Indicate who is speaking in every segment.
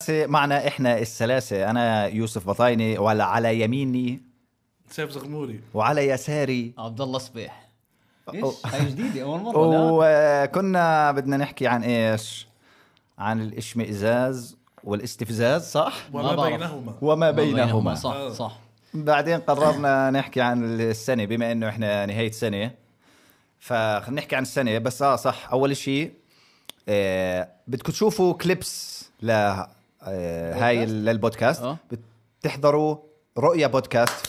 Speaker 1: السلاسة معنا إحنا السلاسة أنا يوسف بطايني وعلى على يميني
Speaker 2: سيف زغموري
Speaker 1: وعلى يساري
Speaker 3: عبد الله صبيح
Speaker 1: أو-
Speaker 3: ليش؟ هاي جديدة أول مرة لا
Speaker 1: وكنا بدنا نحكي عن إيش عن الإشمئزاز والاستفزاز صح؟
Speaker 3: ما
Speaker 2: وما
Speaker 3: بعرف.
Speaker 2: بينهما
Speaker 1: وما
Speaker 3: ما
Speaker 1: بينهما
Speaker 3: صح
Speaker 2: آه.
Speaker 3: صح
Speaker 1: بعدين قررنا نحكي عن السنة بما انه احنا نهاية سنة فخلينا نحكي عن السنة بس اه صح اول شيء آه بدكم تشوفوا كليبس ل آه هاي ال- للبودكاست
Speaker 3: آه.
Speaker 1: بتحضروا رؤيا بودكاست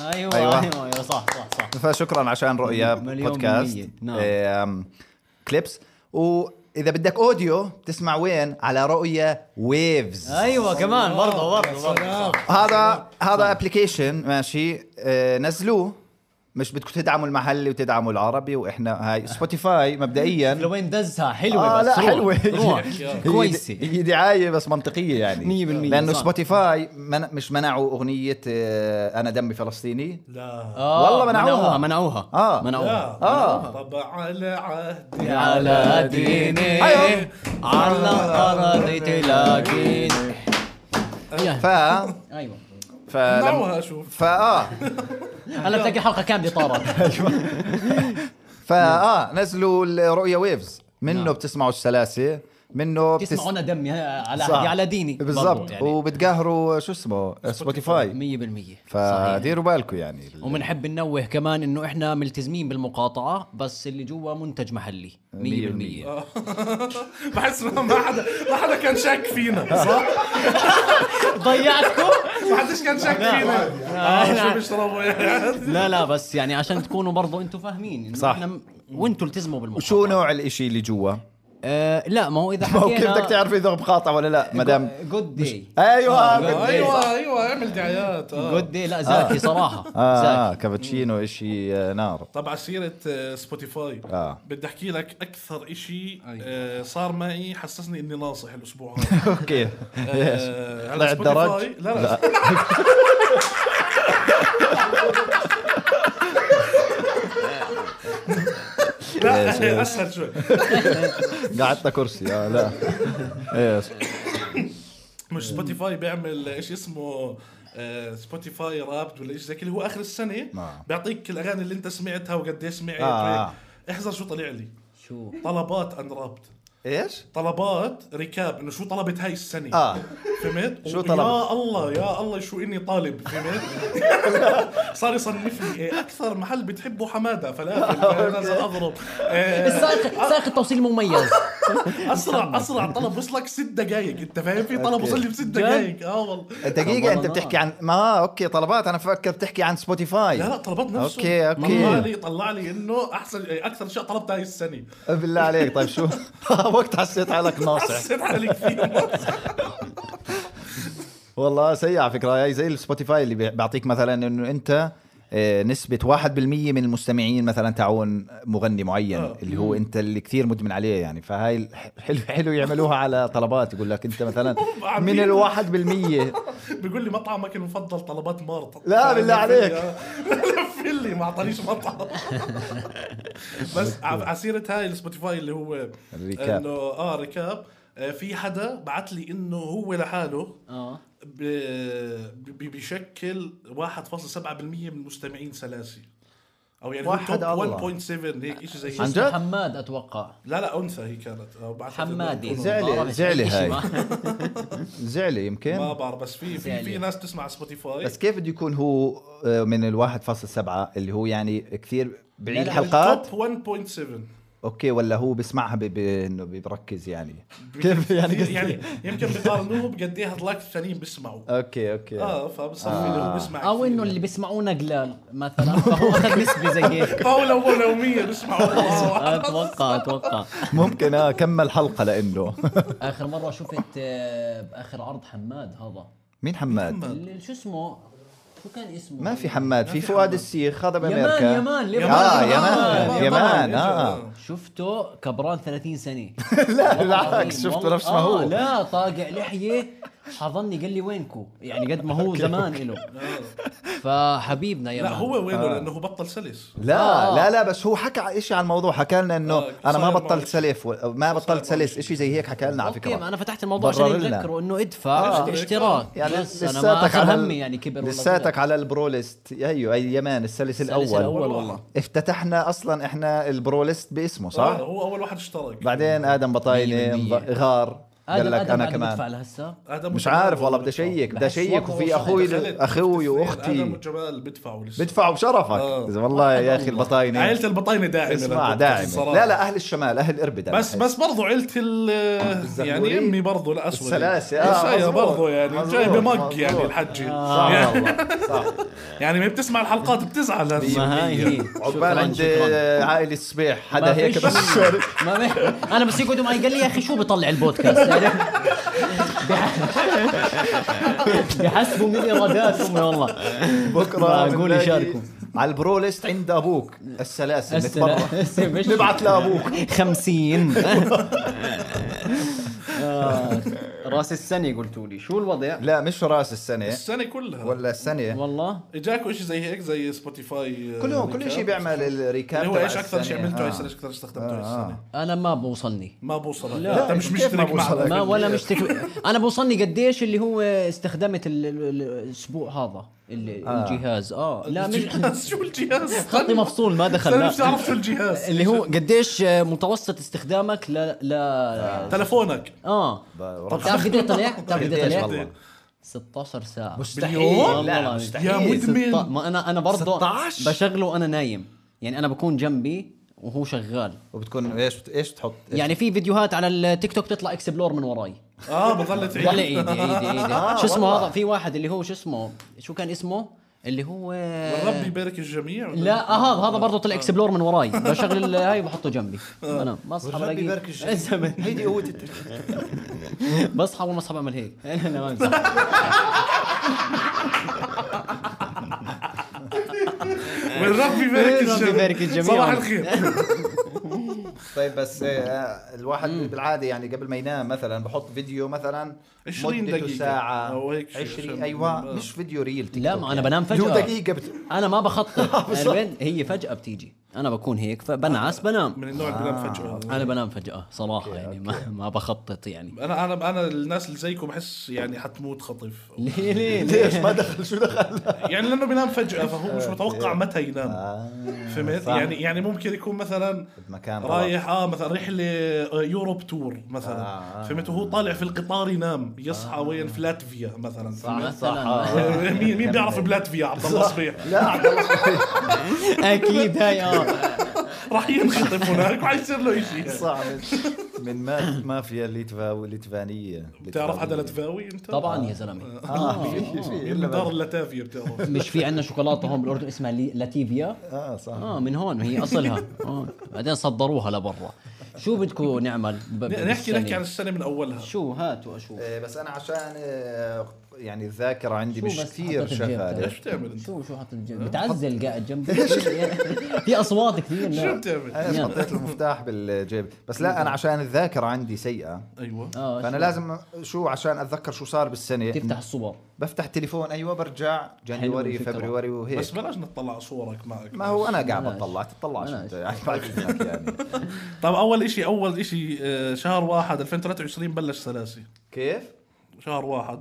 Speaker 3: أيوة
Speaker 1: أيوة.
Speaker 3: أيوة, أيوة صح صح صح
Speaker 1: فشكرا عشان رؤيا
Speaker 3: مليون
Speaker 1: بودكاست
Speaker 3: بالمية، نعم.
Speaker 1: آم، كليبس واذا بدك اوديو بتسمع وين على رؤيا ويفز
Speaker 3: أيوة كمان برضه برضه برضه صح.
Speaker 1: هذا هذا
Speaker 3: طيب.
Speaker 1: ابلكيشن ماشي آه، نزلوه مش بدكم تدعموا المحلي وتدعموا العربي واحنا هاي سبوتيفاي مبدئيا
Speaker 3: لوين دزها حلوة
Speaker 1: آه
Speaker 3: بس
Speaker 1: لا
Speaker 3: روح.
Speaker 1: حلوه
Speaker 3: روح
Speaker 1: هي-
Speaker 3: كويسة
Speaker 1: هي دعايه بس منطقيه يعني
Speaker 3: 100%
Speaker 1: لانه
Speaker 3: صح.
Speaker 1: سبوتيفاي من مش منعوا اغنيه آه، انا دمي فلسطيني
Speaker 2: لا
Speaker 3: آه،
Speaker 1: والله منعوها.
Speaker 3: منعوها
Speaker 1: آه.
Speaker 3: منعوها
Speaker 2: لا
Speaker 1: آه.
Speaker 2: طبع على عهدي
Speaker 3: على ديني
Speaker 1: أيوة.
Speaker 3: أيوه. على الأرض تلاقيني
Speaker 1: ف آه.
Speaker 3: أيوة نعم.
Speaker 1: فلم...
Speaker 2: نوها شوف
Speaker 1: فاه
Speaker 3: هلا بتلاقي حلقة كاملة طارت
Speaker 1: فاه نزلوا الرؤيا ويفز منه
Speaker 3: نعم.
Speaker 1: بتسمعوا السلاسه منه بتس-
Speaker 3: تسمعونا دمي ها، على
Speaker 1: صح.
Speaker 3: أحدي على ديني
Speaker 1: بالضبط
Speaker 3: برضو
Speaker 1: يعني.
Speaker 3: يعني
Speaker 1: وبتقهروا شو اسمه سبوتيفاي
Speaker 3: 100% صحيح.
Speaker 1: فديروا بالكم يعني
Speaker 3: وبنحب ننوه كمان انه احنا ملتزمين بالمقاطعه بس اللي جوا منتج محلي 100%
Speaker 2: بحس ما ما حدا ما حدا كان شاك فينا صح؟
Speaker 3: ضيعتكم
Speaker 2: ما حدش كان شاك فينا آه، شو بيشربوا يعني
Speaker 3: لا لا بس يعني عشان تكونوا برضو انتم فاهمين انه
Speaker 1: صح.
Speaker 3: صح احنا م- وانتم التزموا بالمقاطعه
Speaker 1: شو نوع الاشي اللي جوا؟
Speaker 3: آه لا ما هو اذا
Speaker 1: ما
Speaker 3: حكينا
Speaker 1: هو كيف بدك تعرف اذا مقاطع ولا لا مدام
Speaker 3: جود داي
Speaker 1: ايوه
Speaker 3: آه،
Speaker 1: بدي-
Speaker 2: ايوه ايوه اعمل دعايات آه.
Speaker 3: جود داي لا زاكي صراحه
Speaker 1: اه, آه
Speaker 3: زاكي
Speaker 1: كابتشينو اشي آه، نار
Speaker 2: طبعا سيرة آه، سبوتيفاي
Speaker 1: آه.
Speaker 2: بدي احكي لك اكثر اشي
Speaker 3: أيوة.
Speaker 2: آه، صار معي حسسني اني ناصح الاسبوع هذا
Speaker 1: اوكي
Speaker 2: آه، على
Speaker 1: طلع
Speaker 2: Spotify-
Speaker 1: الدرج؟
Speaker 2: لا لا لا اسهل شوي
Speaker 1: قعدت كرسي اه لا ايش
Speaker 2: مش سبوتيفاي بيعمل ايش اسمه آه، سبوتيفاي رابد ولا ايش زي كده اللي هو اخر السنه
Speaker 1: نعم.
Speaker 2: بيعطيك الاغاني اللي انت سمعتها وقديش سمعت
Speaker 1: آه.
Speaker 2: وهيك. احذر شو طلع لي
Speaker 3: شو
Speaker 2: طلبات ان رابد
Speaker 1: ايش؟
Speaker 2: طلبات ركاب انه شو طلبت هاي السنه
Speaker 1: اه
Speaker 2: فهمت؟
Speaker 1: شو
Speaker 2: و-
Speaker 1: طلبت؟
Speaker 2: يا الله يا الله شو اني طالب فهمت؟ صار يصنفني إيه، اكثر محل بتحبه حماده فلافل لازم اضرب إيه،
Speaker 3: السائق سائق التوصيل مميز
Speaker 2: اسرع اسرع طلب وصلك ست دقائق انت فاهم في طلب
Speaker 1: أوكي.
Speaker 2: وصل لي بست دقائق اه والله
Speaker 1: دقيقة
Speaker 3: والله
Speaker 1: انت
Speaker 3: نار.
Speaker 1: بتحكي عن ما اوكي طلبات انا فكر بتحكي عن سبوتيفاي
Speaker 2: لا لا طلبات نفسه
Speaker 1: أوكي، أوكي.
Speaker 2: طلع لي طلع لي انه احسن إيه، اكثر شيء طلبته هاي السنه
Speaker 1: بالله عليك طيب شو وقت حسيت حالك ناصح
Speaker 2: حسيت حالي كثير
Speaker 1: والله سيء على فكرة هي زي السبوتيفاي اللي بي- بيعطيك مثلا انه انت آه، نسبة 1% من المستمعين مثلا تعون مغني معين
Speaker 2: آه.
Speaker 1: اللي هو انت اللي كثير مدمن عليه يعني فهاي الح- حلو حلو يعملوها على طلبات يقول لك انت مثلا من ال 1%
Speaker 2: بيقول لي مطعمك المفضل طلبات طيب، مرت
Speaker 1: لا، بالله عليك.
Speaker 2: لف لي ما اعطانيش مطعم بس ع- عسيرة هاي السبوتيفاي اللي هو
Speaker 1: الريكاب.
Speaker 2: انه اه ريكاب آه، في حدا بعت لي انه هو لحاله
Speaker 1: آه.
Speaker 3: اه
Speaker 2: ب- ب- بيشكل 1.7% من المستمعين سلاسي او يعني هو
Speaker 1: واحد
Speaker 2: توب
Speaker 1: الله.
Speaker 2: 1.7 هيك شيء زي
Speaker 1: عن
Speaker 2: هيك
Speaker 1: جد؟
Speaker 3: حماد اتوقع
Speaker 2: لا لا انثى هي كانت آه، بعثت لنا
Speaker 3: حمادي
Speaker 2: تكون-
Speaker 1: زعلي-
Speaker 3: بعرف
Speaker 1: زعلي
Speaker 3: إشي
Speaker 1: هاي.
Speaker 3: ما-
Speaker 1: زعلي
Speaker 2: ما
Speaker 1: يمكن
Speaker 2: بعرف بس في في, في
Speaker 3: زعلي.
Speaker 2: ناس تسمع سبوتيفاي
Speaker 1: بس كيف بده يكون هو آه، من ال 1.7 اللي هو يعني كثير بعيد
Speaker 3: لا،
Speaker 1: حلقات
Speaker 2: توب 1.7
Speaker 1: اوكي ولا هو بيسمعها ب- ب- انه بركز يعني كيف يعني
Speaker 2: كثير-
Speaker 1: قصدي
Speaker 2: يعني يمكن بيقارنوه بقد ايه هذلاك الثانيين بيسمعوا
Speaker 1: اوكي اوكي
Speaker 2: اه فبصفي اللي
Speaker 1: آه.
Speaker 2: هو بيسمع
Speaker 3: او
Speaker 2: كثير.
Speaker 3: انه اللي بيسمعونا قلال مثلا فهو اخذ نسبه زي هيك
Speaker 2: طاولة أول يومية بيسمعوا
Speaker 1: آه،
Speaker 2: آه.
Speaker 3: اتوقع اتوقع
Speaker 1: ممكن اه كمل حلقه لانه
Speaker 3: اخر مره شفت آه، باخر عرض حماد هذا
Speaker 1: مين حماد؟
Speaker 3: اللي- شو اسمه شو كان اسمه
Speaker 1: ما في حماد في فؤاد السيخ هذا بامريكا
Speaker 3: يمان يمان لبنان
Speaker 1: آه، يمان،
Speaker 3: يمان
Speaker 1: يمان، آه.
Speaker 3: شفته كبران 30 سنه
Speaker 1: لا
Speaker 3: والله
Speaker 1: بالعكس
Speaker 3: العظيم،
Speaker 1: شفته
Speaker 3: والله-
Speaker 1: نفس ما هو
Speaker 3: آه، لا طاقع لحيه حضني قال لي وينكو يعني قد ما هو زمان له فحبيبنا يا
Speaker 2: لا
Speaker 3: مان.
Speaker 2: هو
Speaker 1: آه.
Speaker 2: وينه لانه بطل سلس
Speaker 1: لا
Speaker 3: آه.
Speaker 1: لا لا بس هو حكى شيء عن الموضوع حكى لنا انه
Speaker 2: آه،
Speaker 1: انا ما
Speaker 2: صاير معه
Speaker 1: بطلت سلف و- ما بطلت سلس شيء زي هيك حكى لنا على
Speaker 3: اوكي ما
Speaker 1: فكره
Speaker 3: انا فتحت الموضوع عشان
Speaker 1: برر لنا.
Speaker 3: يتذكروا انه ادفع
Speaker 2: آه.
Speaker 3: اشتراك
Speaker 1: يعني
Speaker 3: بس انا ما
Speaker 1: لساتك
Speaker 3: اخذ
Speaker 1: على
Speaker 3: همي يعني كبر ولا
Speaker 1: لساتك على البرو ليست ايوه اي يمان السلس
Speaker 3: صغير. الثالث
Speaker 1: الاول
Speaker 3: الاول والله
Speaker 1: افتتحنا اصلا احنا البرو ليست باسمه
Speaker 2: آه،
Speaker 1: صح؟
Speaker 2: هو اول واحد اشترك
Speaker 1: بعدين ادم
Speaker 3: مية
Speaker 1: بطاينه
Speaker 3: بالمية.
Speaker 1: غار قال
Speaker 3: ادم
Speaker 1: لك
Speaker 3: ادم
Speaker 1: انا
Speaker 3: بعد ما ادفع
Speaker 1: كمان
Speaker 3: لهسه
Speaker 2: آدم
Speaker 1: مش
Speaker 2: وجمال
Speaker 1: عارف والله بدي
Speaker 2: بدفعوا.
Speaker 1: اشيك بدي
Speaker 3: بحس
Speaker 1: اشيك
Speaker 3: وضعه
Speaker 1: وفي
Speaker 3: صعب.
Speaker 1: اخوي
Speaker 2: دخلت
Speaker 1: اخوي
Speaker 2: الاثنين، ادم
Speaker 1: واختي
Speaker 2: وجمال بدفعوا لسه
Speaker 1: بدفعوا بشرفك
Speaker 2: آه.
Speaker 1: اذا والله يا اخي
Speaker 3: الله.
Speaker 1: البطاينه
Speaker 2: عائلة البطاينة داعمة
Speaker 1: اسمع
Speaker 2: للبودكاست
Speaker 1: داعمه
Speaker 2: الصراحة.
Speaker 1: لا لا اهل الشمال اهل اربد أنا
Speaker 2: بس
Speaker 1: بحس.
Speaker 2: بس برضو عيلة ال يعني
Speaker 1: الزغلولين.
Speaker 2: امي برضو الاسود
Speaker 1: السلاسة، آه،
Speaker 2: السيا
Speaker 1: مزبوط،
Speaker 2: برضو يعني
Speaker 1: مزبوط،
Speaker 2: جايبة مج
Speaker 1: مزبوط.
Speaker 2: يعني الحجة
Speaker 1: صح
Speaker 2: يعني,
Speaker 1: والله آه، صح
Speaker 2: يعني ما بتسمع الحلقات بتزعل
Speaker 3: ما هاي هي
Speaker 1: عقبال
Speaker 3: شكراً،
Speaker 1: عند
Speaker 3: شكراً.
Speaker 1: عائلة صبيح
Speaker 3: ما
Speaker 1: حدا هيك
Speaker 3: فيش
Speaker 1: بس
Speaker 3: منه. ما بي... انا بس يقعدوا معي قال لي يا اخي شو بيطلع البودكاست يعني بح- بحسبوا من اراداتهم يا والله
Speaker 1: بكره
Speaker 3: معقول
Speaker 1: بنلاقي
Speaker 3: يشاركوا.
Speaker 1: على البرو ليست عند ابوك السلاسل نتبرع
Speaker 3: السلام مش
Speaker 1: نبعث لابوك
Speaker 3: 50 آه، راس السنه قلتوا لي شو الوضع
Speaker 1: لا مش راس السنه
Speaker 2: السنة كلها
Speaker 1: ولا السنه
Speaker 3: والله
Speaker 2: اجاكوا شيء زي هيك زي سبوتيفاي آه،
Speaker 1: كلهم كل
Speaker 2: ريكاب؟
Speaker 1: شيء بيعمل الريكاب
Speaker 2: اللي هو
Speaker 1: تبع
Speaker 2: ايش اكثر شيء
Speaker 1: السنة.
Speaker 2: عملته
Speaker 1: آه.
Speaker 2: هاي السنة ايش اكثر استخدمته هاي السنة
Speaker 3: انا ما بوصلني
Speaker 2: ما بوصلك
Speaker 1: لا،
Speaker 2: لا انت مش
Speaker 1: كيف ما
Speaker 2: مشترك
Speaker 1: بوصلك؟
Speaker 2: مع
Speaker 3: آه. ما ولا مشتك انا بوصلني قديش اللي هو استخدمت ال- ال- ال- الاسبوع هذا ال-
Speaker 1: آه.
Speaker 3: الجهاز اه لا مش
Speaker 2: الجهاز شو الجهاز؟
Speaker 3: خطي مفصول ما دخل
Speaker 2: انا
Speaker 3: لا.
Speaker 2: مش عارف شو الجهاز
Speaker 3: اللي هو قديش آه، متوسط استخدامك ل ل
Speaker 2: تلفونك
Speaker 3: اه
Speaker 1: ب-
Speaker 3: طب تعرف قد ايه طلع؟ تعرف قد
Speaker 1: قديش
Speaker 3: ايه طلع؟
Speaker 1: والله
Speaker 3: 16 ساعة
Speaker 1: مستحيل
Speaker 2: باليوم؟
Speaker 1: لا
Speaker 3: والله
Speaker 1: لا مستحيل
Speaker 2: يا مدمن.
Speaker 3: ستة- ما انا انا برضه
Speaker 1: 16
Speaker 3: بشغله وانا نايم يعني انا بكون جنبي وهو شغال
Speaker 1: وبتكون ايش ايش تحط إيش-
Speaker 3: يعني في فيديوهات على التيك توك تطلع اكسبلور من وراي
Speaker 2: اه بضل تعيد
Speaker 3: ولا ايدي ايدي
Speaker 1: آه،
Speaker 3: ايدي شو اسمه
Speaker 1: والله.
Speaker 3: هذا في واحد اللي هو شو اسمه شو كان اسمه اللي هو
Speaker 2: ربي يبارك الجميع
Speaker 3: لا آه، هذا هذا برضه طلع اكسبلور من وراي بشغل ال- هاي وبحطه جنبي انا بصحى
Speaker 1: آه. والرب
Speaker 3: بلاقي
Speaker 1: يبارك الجميع. هيدي قوه التفكير.
Speaker 3: بصحى اول ما اصحى بعمل هيك لا لا ما بمزح.
Speaker 2: والرب يبارك
Speaker 3: والرب
Speaker 2: الجميع
Speaker 3: يبارك الجميع.
Speaker 2: صباح الخير
Speaker 1: طيب بس آه، الواحد بالعاده يعني قبل ما ينام مثلا بحط فيديو مثلا
Speaker 2: 20
Speaker 1: مدته
Speaker 2: دقيقة
Speaker 1: ساعه
Speaker 2: أو هيك شيء
Speaker 1: 20
Speaker 2: عشان-
Speaker 1: ايوه
Speaker 2: آه.
Speaker 1: مش فيديو ريل تيك
Speaker 3: لا
Speaker 1: توك
Speaker 3: ما انا
Speaker 1: يعني.
Speaker 3: بنام
Speaker 1: فيديو
Speaker 3: فجأة
Speaker 1: دقيقه بت...
Speaker 3: انا ما بخطط البين هي فجأة بتيجي انا بكون هيك فبنعس بنام
Speaker 2: من النوع اللي بنام فجأة هذا
Speaker 3: انا بنام فجأة صراحة يعني ما, ما بخطط يعني
Speaker 2: انا انا انا الناس اللي زيكم بحس يعني حتموت خطف
Speaker 3: ليه ليه ليه
Speaker 1: ليش ما دخل شو دخل
Speaker 2: يعني لانه بينام فجأة فهو مش متوقع متى ينام فهمت؟
Speaker 1: آه، صح.
Speaker 2: يعني يعني ممكن يكون مثلا
Speaker 1: مكان
Speaker 2: رايح اه مثلا رحله آه، يوروب تور مثلا
Speaker 1: آه.
Speaker 2: فهمت وهو طالع في القطار ينام يصحى وين في لاتفيا مثلا فهمت؟
Speaker 1: صح
Speaker 2: آه، مين مين بيعرف بلاتفيا عبد الله صبيح
Speaker 1: لا عبد الله صحيح.
Speaker 3: اكيد هاي اه
Speaker 2: راح ينخطف هناك وحيصير له شيء
Speaker 1: صح من- من ما- مافيا ليتفاو ليتفانيه
Speaker 2: بتعرف حدا لاتفاوي انت؟
Speaker 3: طبعا يا زلمه
Speaker 1: اه في في
Speaker 2: من دار
Speaker 1: إلا
Speaker 2: اللاتافيا بتعرف
Speaker 3: مش في عندنا شوكولاته هون بالاردن اسمها لي- لاتيفيا
Speaker 1: اه صح
Speaker 3: اه من هون هي اصلها اه بعدين صدروها لبرا شو بدكم نعمل ب- ب-
Speaker 2: نحكي
Speaker 3: بالسنة؟
Speaker 2: نحكي عن السنه من اولها
Speaker 3: شو هات واشوف
Speaker 1: إيه، بس انا عشان إيه، يعني الذاكره عندي
Speaker 3: شو
Speaker 1: مش
Speaker 3: بس
Speaker 1: كثير
Speaker 3: حطيت الجيب
Speaker 1: شغاله
Speaker 3: تبعك؟
Speaker 2: ايش بتعمل انت؟
Speaker 3: شو شو حاطط الجنب بتعزل قاعد جنبي في اصوات كثير
Speaker 2: شو
Speaker 3: لا
Speaker 2: بتعمل؟
Speaker 1: انا
Speaker 3: يلا.
Speaker 1: حطيت المفتاح بالجيب بس لا انا عشان الذاكره عندي سيئه
Speaker 2: ايوه
Speaker 3: اه
Speaker 1: فانا
Speaker 3: شو؟
Speaker 1: لازم شو عشان اتذكر شو صار بالسنه
Speaker 3: تفتح الصور
Speaker 1: بفتح تليفون ايوه برجع جانيوري
Speaker 3: الفكرة.
Speaker 1: فبروري وهيك
Speaker 2: بس بلاش نطلع صورك معك
Speaker 1: ما هو انا قاعد
Speaker 3: بلاش.
Speaker 1: بطلع تطلعش
Speaker 3: بلاش.
Speaker 1: انت يعني بعد إذنك يعني
Speaker 2: طب اول طيب، إشي اول إشي آه، شهر واحد 2023 بلش سلاسي
Speaker 1: كيف؟
Speaker 2: شهر واحد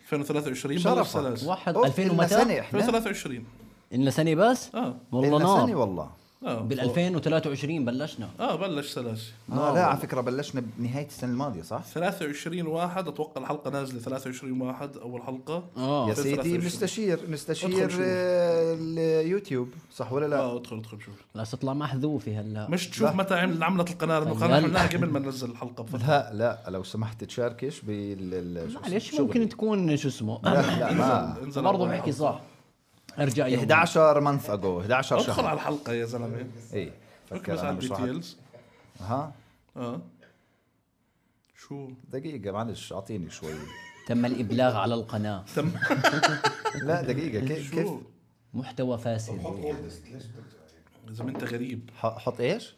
Speaker 2: 2023 بلش
Speaker 1: شرفك.
Speaker 2: سلاسي
Speaker 3: واحد
Speaker 1: أوف،
Speaker 3: 2000
Speaker 1: إلنا
Speaker 3: ومتى؟
Speaker 1: سنه احنا
Speaker 2: 2023
Speaker 3: إلنا سنه بس؟
Speaker 2: اه
Speaker 3: والله
Speaker 1: إلنا سنه
Speaker 3: نار آه،
Speaker 1: والله
Speaker 2: اه
Speaker 3: بال 2023 بلشنا
Speaker 2: اه بلش سلاسي
Speaker 1: آه لا على فكره بلشنا بنهايه السنه الماضيه صح؟
Speaker 2: 23 واحد اتوقع الحلقه نازله 23 واحد اول حلقه
Speaker 1: آه، يا
Speaker 3: اه
Speaker 2: في
Speaker 1: سيدي
Speaker 2: 23.
Speaker 1: نستشير نستشير
Speaker 2: ادخل شوف.
Speaker 1: آه، اليوتيوب صح ولا لا؟
Speaker 2: اه ادخل ادخل شوف
Speaker 3: بس تطلع محذوفه هلا
Speaker 2: مش تشوف متى عمل عملت القناه لانه
Speaker 3: طيب
Speaker 2: كان
Speaker 3: هلا.
Speaker 2: عملناها قبل ما ننزل الحلقه بفتره
Speaker 1: لا لا لو سمحت تشاركش بال ال- شو
Speaker 3: معلش
Speaker 1: اسمه؟
Speaker 3: ممكن تكون شو اسمه
Speaker 1: لا لا ما
Speaker 2: انزل
Speaker 3: برضه
Speaker 2: أول
Speaker 3: بحكي
Speaker 2: حلقة.
Speaker 3: صح ارجع يوم
Speaker 1: 11 مانث اجو 11
Speaker 2: ادخل على
Speaker 1: شهر
Speaker 2: الحلقه يا زلمه
Speaker 1: اي
Speaker 2: اكبس
Speaker 1: فكر
Speaker 2: على
Speaker 1: انا مش راح
Speaker 2: الديتيلز
Speaker 1: ها
Speaker 2: اه شو
Speaker 1: دقيقة معلش اعطيني شوي
Speaker 3: تم الابلاغ على القناه
Speaker 2: تم
Speaker 1: لا دقيقة كيف إيه، كيف
Speaker 2: شو
Speaker 3: محتوى فاسد
Speaker 2: اذا ما انت غريب
Speaker 1: ح- حط ايش؟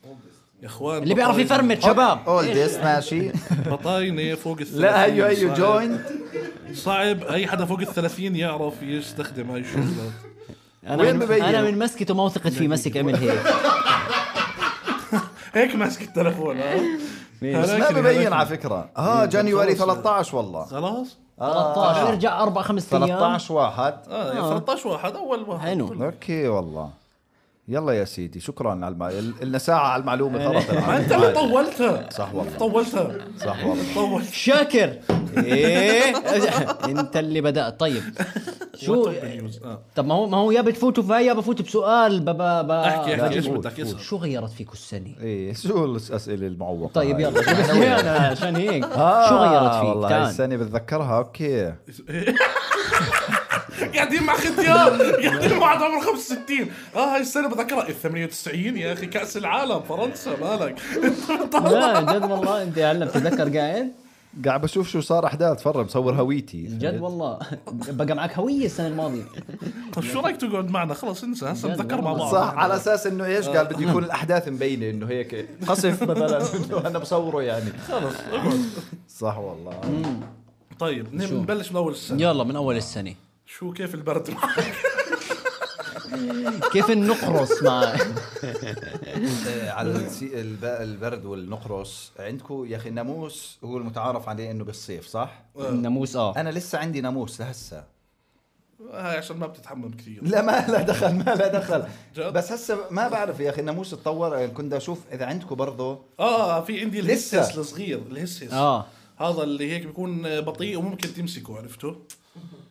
Speaker 2: يا اخوان
Speaker 3: اللي بيعرف
Speaker 2: بطاينة-
Speaker 3: يفرمت شباب
Speaker 1: اولدس ماشي
Speaker 2: بطاينه فوق ال
Speaker 1: لا أيوة،
Speaker 2: 30
Speaker 3: أيوة،
Speaker 1: هيو هيو
Speaker 2: صعب-
Speaker 1: جوينت
Speaker 2: صعب اي حدا فوق ال 30 يعرف يستخدم هاي الشغلات
Speaker 3: انا
Speaker 1: وين
Speaker 3: من
Speaker 1: ببين؟
Speaker 3: انا من مسكته ما وثقت فيه مسك عمل هيك
Speaker 2: هيك ماسك التليفون ها
Speaker 1: بس ما
Speaker 2: هلاكني-
Speaker 1: ببين
Speaker 2: هلاكني.
Speaker 1: على فكره
Speaker 3: إيه،
Speaker 1: اه جانيوري
Speaker 2: خلص.
Speaker 1: 13 والله
Speaker 2: خلاص
Speaker 1: آه.
Speaker 3: 13 يرجع اربع خمس ايام
Speaker 1: 13 واحد
Speaker 2: اه,
Speaker 3: آه.
Speaker 2: 13 واحد اول واحد
Speaker 3: حلو.
Speaker 2: كله.
Speaker 1: اوكي والله يلا يا سيدي شكرا على الم... ال- لنا ساعه على
Speaker 3: إيه.
Speaker 1: المعلومه خلص
Speaker 2: ما انت اللي طولتها
Speaker 1: صح والله.
Speaker 2: طولتها
Speaker 1: صح والله
Speaker 2: طولت
Speaker 3: شاكر ايه انت اللي بدات طيب شو
Speaker 2: آه.
Speaker 3: طب ما هو ما هو يا بتفوتوا فيها يا بفوت بسؤال بابا بابا
Speaker 2: احكي
Speaker 1: لا،
Speaker 2: احكي ايش
Speaker 1: قول،
Speaker 2: بدك
Speaker 1: قول.
Speaker 2: اسال
Speaker 3: شو غيرت فيكم السنه
Speaker 1: ايه شو الاسئله المعوقه
Speaker 3: طيب
Speaker 1: هاي؟
Speaker 3: يلا ليه انا عشان هيك شو غيرت
Speaker 1: آه،
Speaker 3: فيك
Speaker 1: والله هاي
Speaker 3: تعال
Speaker 1: السنه بتذكرها اوكي
Speaker 2: قاعدين مع ختيار قاعدين مع واحد عمره 65 اه هاي السنه بذكرها ال 98 يا اخي كاس العالم فرنسا مالك
Speaker 3: لا جد والله انت هلا بتتذكر قاعد
Speaker 1: قاعد بشوف شو صار احداث فرا مصور هويتي
Speaker 3: جد والله بقى معك هويه السنه الماضيه
Speaker 2: طيب شو رايك تقعد معنا خلص انسى هسه
Speaker 3: جد
Speaker 2: نتذكر مع
Speaker 3: والله.
Speaker 2: بعض
Speaker 1: صح على اساس انه ايش قال بده يكون الاحداث مبينه انه هيك قصف مثلا انه انا بصوره يعني
Speaker 2: خلص اقعد
Speaker 1: صح والله
Speaker 2: طيب نبلش من اول السنه
Speaker 3: يلا من اول السنه
Speaker 2: شو كيف البرد
Speaker 3: كيف نقرص مع
Speaker 1: آه، على الس- الب- البرد والنقرس عندكم يا اخي الناموس هو المتعارف عليه انه بالصيف صح؟
Speaker 3: الناموس اه
Speaker 1: انا لسه عندي ناموس لهسه
Speaker 2: هاي عشان ما بتتحمم كثير
Speaker 1: لا ما لا دخل ما لا دخل
Speaker 2: جد؟
Speaker 1: بس هسه ما بعرف يا اخي الناموس اتطور يعني كنت اشوف اذا عندكم برضه
Speaker 2: اه في عندي
Speaker 1: لسه. آه.
Speaker 2: الهسس الصغير الهسس
Speaker 3: اه
Speaker 2: هذا اللي هيك بيكون بطيء وممكن تمسكه عرفته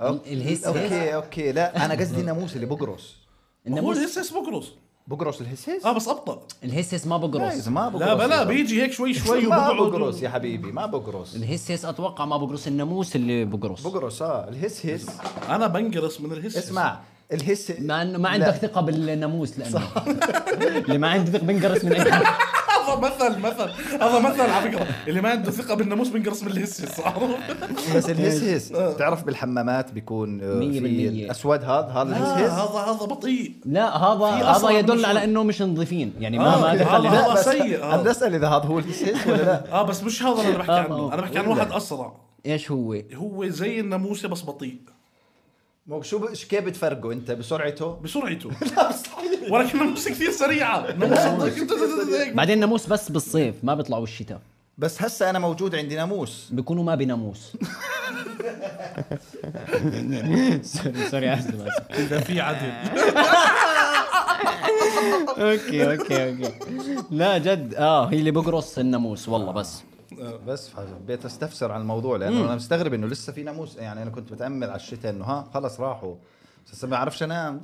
Speaker 1: أوك-
Speaker 3: الهس-
Speaker 1: اوكي اوكي لا انا قصدي الناموس اللي بقرص
Speaker 2: هو
Speaker 3: الناموس
Speaker 2: الهسس بقرص
Speaker 1: بقرص الهسس
Speaker 2: اه بس ابطا
Speaker 3: الهسس ما بقرص
Speaker 1: جايز إيه، ما بقرص
Speaker 2: لا بلا
Speaker 1: يا زلمة.
Speaker 2: بيجي هيك شوي شوي
Speaker 1: ما
Speaker 2: وبقعد
Speaker 1: بقرص يا حبيبي ما بقرص
Speaker 3: الهسس اتوقع ما بقرص الناموس اللي بقرص
Speaker 1: بقرص اه الهس هس
Speaker 2: انا بنقرص من الهسس
Speaker 1: اسمع الهس
Speaker 3: ما انه ما
Speaker 1: لا.
Speaker 3: عندك ثقه بالناموس لانه اللي ما عنده ثقه بنقرص من اي حد.
Speaker 2: هذا مثل مثل هذا مثل على فكره اللي ما عنده ثقه بالناموس بنقرص من الهسس عرفت؟
Speaker 1: بس الهس هس بتعرف بالحمامات بيكون آه،
Speaker 3: مية
Speaker 1: في
Speaker 3: بالمية.
Speaker 1: الاسود هذا هذا
Speaker 2: آه،
Speaker 1: الهس هس
Speaker 2: هذا هذا بطيء
Speaker 3: لا هذا
Speaker 2: في
Speaker 3: هذا
Speaker 2: أصلاً
Speaker 3: يدل
Speaker 2: مش-
Speaker 3: على انه مش نظيفين يعني ما
Speaker 2: آه،
Speaker 3: ما
Speaker 2: أوكي.
Speaker 3: دخل
Speaker 2: هذا-
Speaker 3: لا،
Speaker 1: بس
Speaker 2: سيء هذا.
Speaker 1: انا بسال اذا هذا هو الهس هس ولا لا
Speaker 2: اه بس مش هذا اللي انا بحكي
Speaker 3: آه،
Speaker 2: عنه
Speaker 3: آه.
Speaker 2: انا بحكي عن واحد اسرع
Speaker 3: ايش هو
Speaker 2: هو زي الناموسه بس بطيء
Speaker 1: مو شو ب- شو كيف بتفرقه انت بسرعته
Speaker 2: بسرعته ولكن الناموسه كثير سريعه الناموسه
Speaker 3: بعدين ناموس بس بالصيف ما بيطلعوا الشتاء
Speaker 1: بس هسه انا موجود عندي ناموس
Speaker 3: بيكونوا ما بناموس سوري سوري اسف آسف.
Speaker 2: اذا في عدل
Speaker 3: اوكي اوكي اوكي لا جد اه هي اللي بقرص الناموس والله بس
Speaker 1: بس حبيت استفسر عن الموضوع لانه انا مستغرب انه لسه في ناموس يعني انا كنت متامل على الشتاء انه ها خلص راحوا بس هسه ما بعرفش انام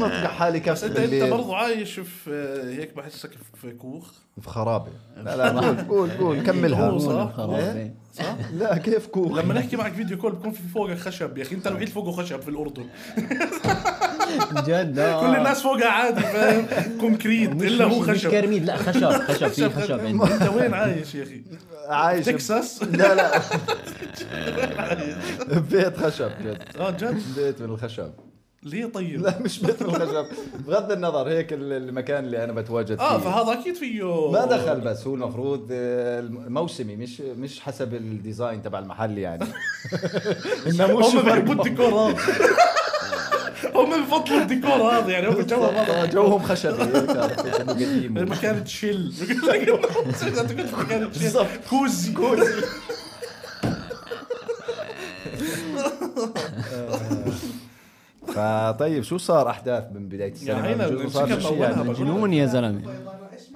Speaker 1: بطلع حالي كبس
Speaker 2: انت انت
Speaker 1: بالليل
Speaker 2: برضه عايش في آه، هيك بحسك في كوخ
Speaker 1: في خرابه لا لا قول قول قول
Speaker 2: هو
Speaker 1: كملها
Speaker 2: صح. إيه؟
Speaker 3: خرابي
Speaker 2: صح؟
Speaker 1: لا كيف كوخ
Speaker 2: لما نحكي معك فيديو كول بكون في فوقك خشب يا اخي انت الوحيد فوقه خشب في الاردن
Speaker 3: آه. جد آه.
Speaker 2: كل الناس فوقها عادي فاهم كونكريت الا هو
Speaker 3: مش
Speaker 2: خشب
Speaker 3: كرميد لا خشب خشب في خشب عندي.
Speaker 2: انت وين عايش يا اخي؟
Speaker 1: عايش
Speaker 2: تكساس؟
Speaker 1: لا لا بيت خشب جد
Speaker 2: اه جد
Speaker 1: بيت من الخشب
Speaker 2: ليه طيب؟
Speaker 1: لا مش بيت من الخشب بغض النظر هيك ال- المكان اللي انا بتواجد فيه
Speaker 2: اه فهذا اكيد فيه
Speaker 1: ما دخل بس هو المفروض آه، موسمي مش مش حسب الديزاين تبع المحل يعني انه مش
Speaker 2: هم بيحبوا الديكور هذا هم بفضلوا الديكور هذا يعني هم جو هذا
Speaker 1: آه، جوهم خشبي هيك عرفت، إنه قديم
Speaker 2: المكان تشيل بالضبط كوزي كوزي
Speaker 1: فطيب طيب، شو صار احداث من بدايه
Speaker 2: يا عيني،
Speaker 1: السنه شو
Speaker 2: المسكة
Speaker 1: صار شيء
Speaker 2: بأولها
Speaker 1: يعني
Speaker 2: بقى.
Speaker 3: جنون يا زلمه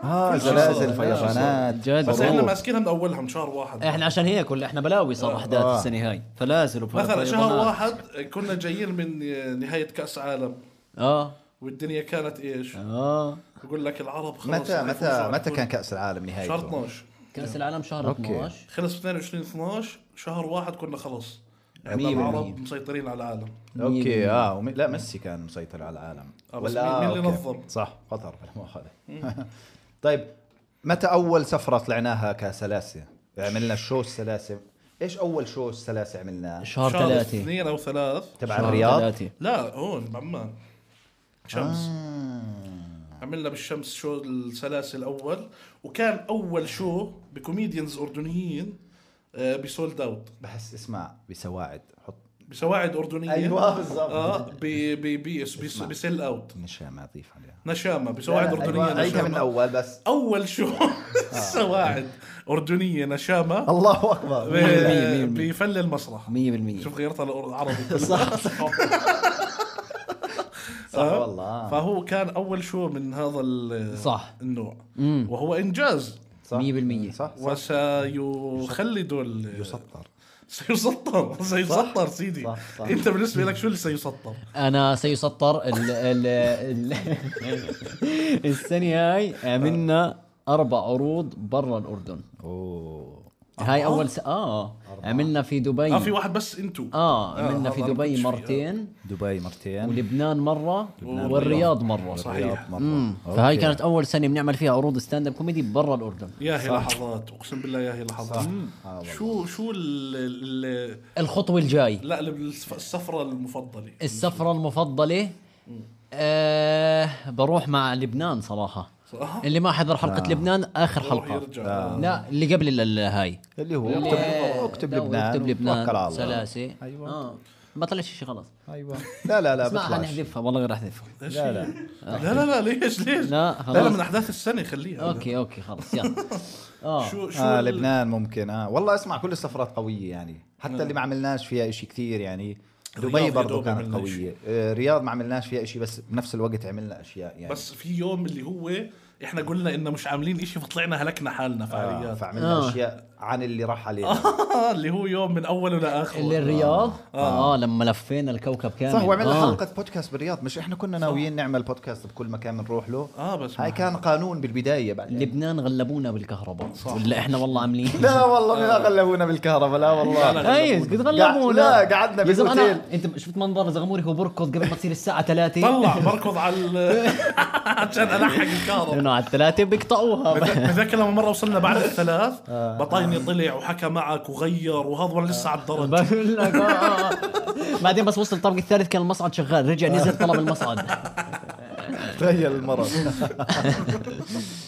Speaker 1: اه
Speaker 2: صار.
Speaker 1: زلازل فيضانات
Speaker 3: جد
Speaker 2: بس احنا
Speaker 3: والله.
Speaker 2: ماسكينها من اولها من شهر واحد
Speaker 3: احنا عشان هيك ولا احنا بلاوي صار احداث
Speaker 1: آه.
Speaker 3: السنه هاي فلازل وفلازل
Speaker 2: مثلا شهر واحد كنا جايين من نهايه كاس عالم
Speaker 3: اه
Speaker 2: والدنيا كانت
Speaker 1: آه.
Speaker 2: ايش؟
Speaker 3: اه
Speaker 2: بقول لك العرب خلص
Speaker 1: متى متى
Speaker 2: حيفوزوا
Speaker 1: متى
Speaker 2: على
Speaker 1: كان كاس العالم
Speaker 2: الكل. شهر
Speaker 1: نهايته
Speaker 2: 12
Speaker 3: كاس العالم شهر
Speaker 1: أوكي.
Speaker 3: 12
Speaker 2: خلص 22 12 شهر واحد كنا خلص
Speaker 3: مية
Speaker 2: احنا
Speaker 3: بالمية.
Speaker 2: العرب مسيطرين على العالم
Speaker 1: اوكي اه ومي...
Speaker 3: إيه.
Speaker 1: لا ميسي كان مسيطر على العالم
Speaker 2: آه، بس مين- مين اللي
Speaker 1: أوكي.
Speaker 2: نظم؟
Speaker 1: صح قطر لا مؤاخذه طيب متى اول سفره طلعناها كسلاسه؟ عملنا شو السلاسه ايش اول شو السلاسه عملناه؟
Speaker 3: شهر
Speaker 2: شهر
Speaker 3: 3
Speaker 2: اثنين او ثلاث
Speaker 1: تبع الرياض آه.
Speaker 2: لا هون بعمان شمس عملنا بالشمس شو السلاسل الاول وكان اول شو بكوميديانز اردنيين آه، بسولد اوت
Speaker 1: بحس اسمع بسواعد حط
Speaker 2: بسواعد اردنيه
Speaker 1: أيوة، بالضبط.
Speaker 2: اه ب- ب- بيس- بيس- بسيل اوت
Speaker 1: نشام اضيف عليها
Speaker 2: نشامه بسواعد اردنيه
Speaker 1: أيوة، آه. عيدها من
Speaker 2: نشامه
Speaker 1: الاول بس
Speaker 2: اول شو سواعد اردنيه نشامه
Speaker 1: الله اكبر
Speaker 2: ب-
Speaker 3: مية مية مية مية.
Speaker 2: بفل المسرح
Speaker 3: 100%
Speaker 2: شوف غيرتها للعربي
Speaker 3: صح
Speaker 1: صح والله آه.
Speaker 2: فهو كان اول شو من هذا ال-
Speaker 3: صح.
Speaker 2: النوع وهو انجاز
Speaker 1: صح
Speaker 3: 100%.
Speaker 1: صح صح
Speaker 2: وسيخلد ال-
Speaker 1: يسطر
Speaker 2: سيسطر سيسطر سيدي
Speaker 1: صح، صح.
Speaker 2: انت بالنسبه لك شو اللي سيسطر؟
Speaker 3: انا سيسطر ال ال ال السنه هاي عملنا اربع عروض برا الاردن
Speaker 1: اوه
Speaker 3: هاي اول س... اه عملنا في دبي
Speaker 1: أيوه.
Speaker 2: اه في واحد بس انتو
Speaker 3: اه عملنا
Speaker 2: آه،
Speaker 3: في
Speaker 2: هذا ما كنتش
Speaker 3: دبي
Speaker 2: فيه.
Speaker 3: مرتين
Speaker 1: دبي مرتين
Speaker 3: ولبنان مره والرياض مره
Speaker 2: صح.
Speaker 1: والرياض مرة.
Speaker 3: فهاي
Speaker 1: أوكي.
Speaker 3: كانت اول سنه بنعمل فيها عروض ستاند اب كوميدي برا الاردن
Speaker 2: يا هي لحظات اقسم بالله يا هي لحظات
Speaker 1: آه والله.
Speaker 2: شو شو ال ال-
Speaker 3: الخطوه الجاي
Speaker 2: لا ال- السفره المفضله
Speaker 3: السفرة المفضلة آه بروح مع لبنان صراحة
Speaker 2: صراحة؟
Speaker 3: اللي ما حضر
Speaker 1: آه.
Speaker 3: حلقة لبنان آخر
Speaker 2: يروح
Speaker 3: حلقة
Speaker 2: آه. يرجع
Speaker 3: لا اللي قبل ال- ال- هاي
Speaker 1: اللي هو اكتب
Speaker 3: اللي-
Speaker 1: اكتب
Speaker 3: لا،
Speaker 1: لبنان
Speaker 3: اكتب لبنان
Speaker 1: وتوكل على الله.
Speaker 3: سلاسة
Speaker 1: أيوة.
Speaker 3: آه. ما طلعش شيء غلط
Speaker 1: ايوه لا لا لا
Speaker 3: اسمع
Speaker 1: بطلعش
Speaker 3: حنحذفها والله غير احذفها
Speaker 2: ليش
Speaker 1: لا
Speaker 2: هي؟
Speaker 1: لا آه.
Speaker 2: لا لا لا ليش ليش؟
Speaker 3: لا،
Speaker 2: لا
Speaker 3: خلاص.
Speaker 2: لا من احداث السنه خليها
Speaker 1: أيوة.
Speaker 3: اوكي اوكي خلص يلا اه
Speaker 2: شو شو
Speaker 1: اه
Speaker 2: ال-
Speaker 1: لبنان ممكن اه والله اسمع كل السفرات قويه يعني حتى
Speaker 3: آه.
Speaker 1: اللي ما عملناش فيها إشي كثير يعني
Speaker 2: الرياض يا
Speaker 1: دبي برضه
Speaker 2: دوب
Speaker 1: كانت
Speaker 2: عملنا
Speaker 1: قويه آه، رياض ما عملناش فيها إشي بس بنفس الوقت عملنا اشياء يعني
Speaker 2: بس في يوم اللي هو احنا قلنا انه مش عاملين إشي فطلعنا هلكنا حالنا
Speaker 1: آه
Speaker 2: فعاليات
Speaker 1: فعملنا
Speaker 3: آه.
Speaker 1: اشياء عن اللي راح عليه
Speaker 2: آه، اللي هو يوم من اوله لاخره
Speaker 3: اللي الرياض اه, آه لما لفينا الكوكب كامل
Speaker 1: صح وعملنا
Speaker 3: آه.
Speaker 1: حلقه بودكاست بالرياض مش احنا كنا ناويين نعمل بودكاست بكل مكان بنروح له
Speaker 2: آه، بس
Speaker 1: هاي
Speaker 2: ما-
Speaker 1: كان قانون بالبدايه بعدين
Speaker 3: لبنان غلبونا بالكهرباء ولا احنا والله عاملين
Speaker 1: لا والله ما غلبونا بالكهرباء لا والله
Speaker 3: ايس قد غلبونا
Speaker 1: قع- لا، قعدنا
Speaker 3: يا زلمة أنا-
Speaker 1: بالأوتيل.
Speaker 3: انت شفت منظر زغموري هو بركض قبل ما تصير الساعه 3
Speaker 2: طلع بركض على ال- عشان الحق الكهرباء
Speaker 3: لانه على الثلاثه بيقطعوها
Speaker 2: بتذكر لما مره وصلنا بعد الثلاث بطايني طلع وحكى معك وغير وهذا وانا لسه على الدرج
Speaker 3: بقول لك، آه، آه. بعدين بس وصل الطابق الثالث كان المصعد شغال رجع نزل طلب المصعد
Speaker 1: تخيل المرض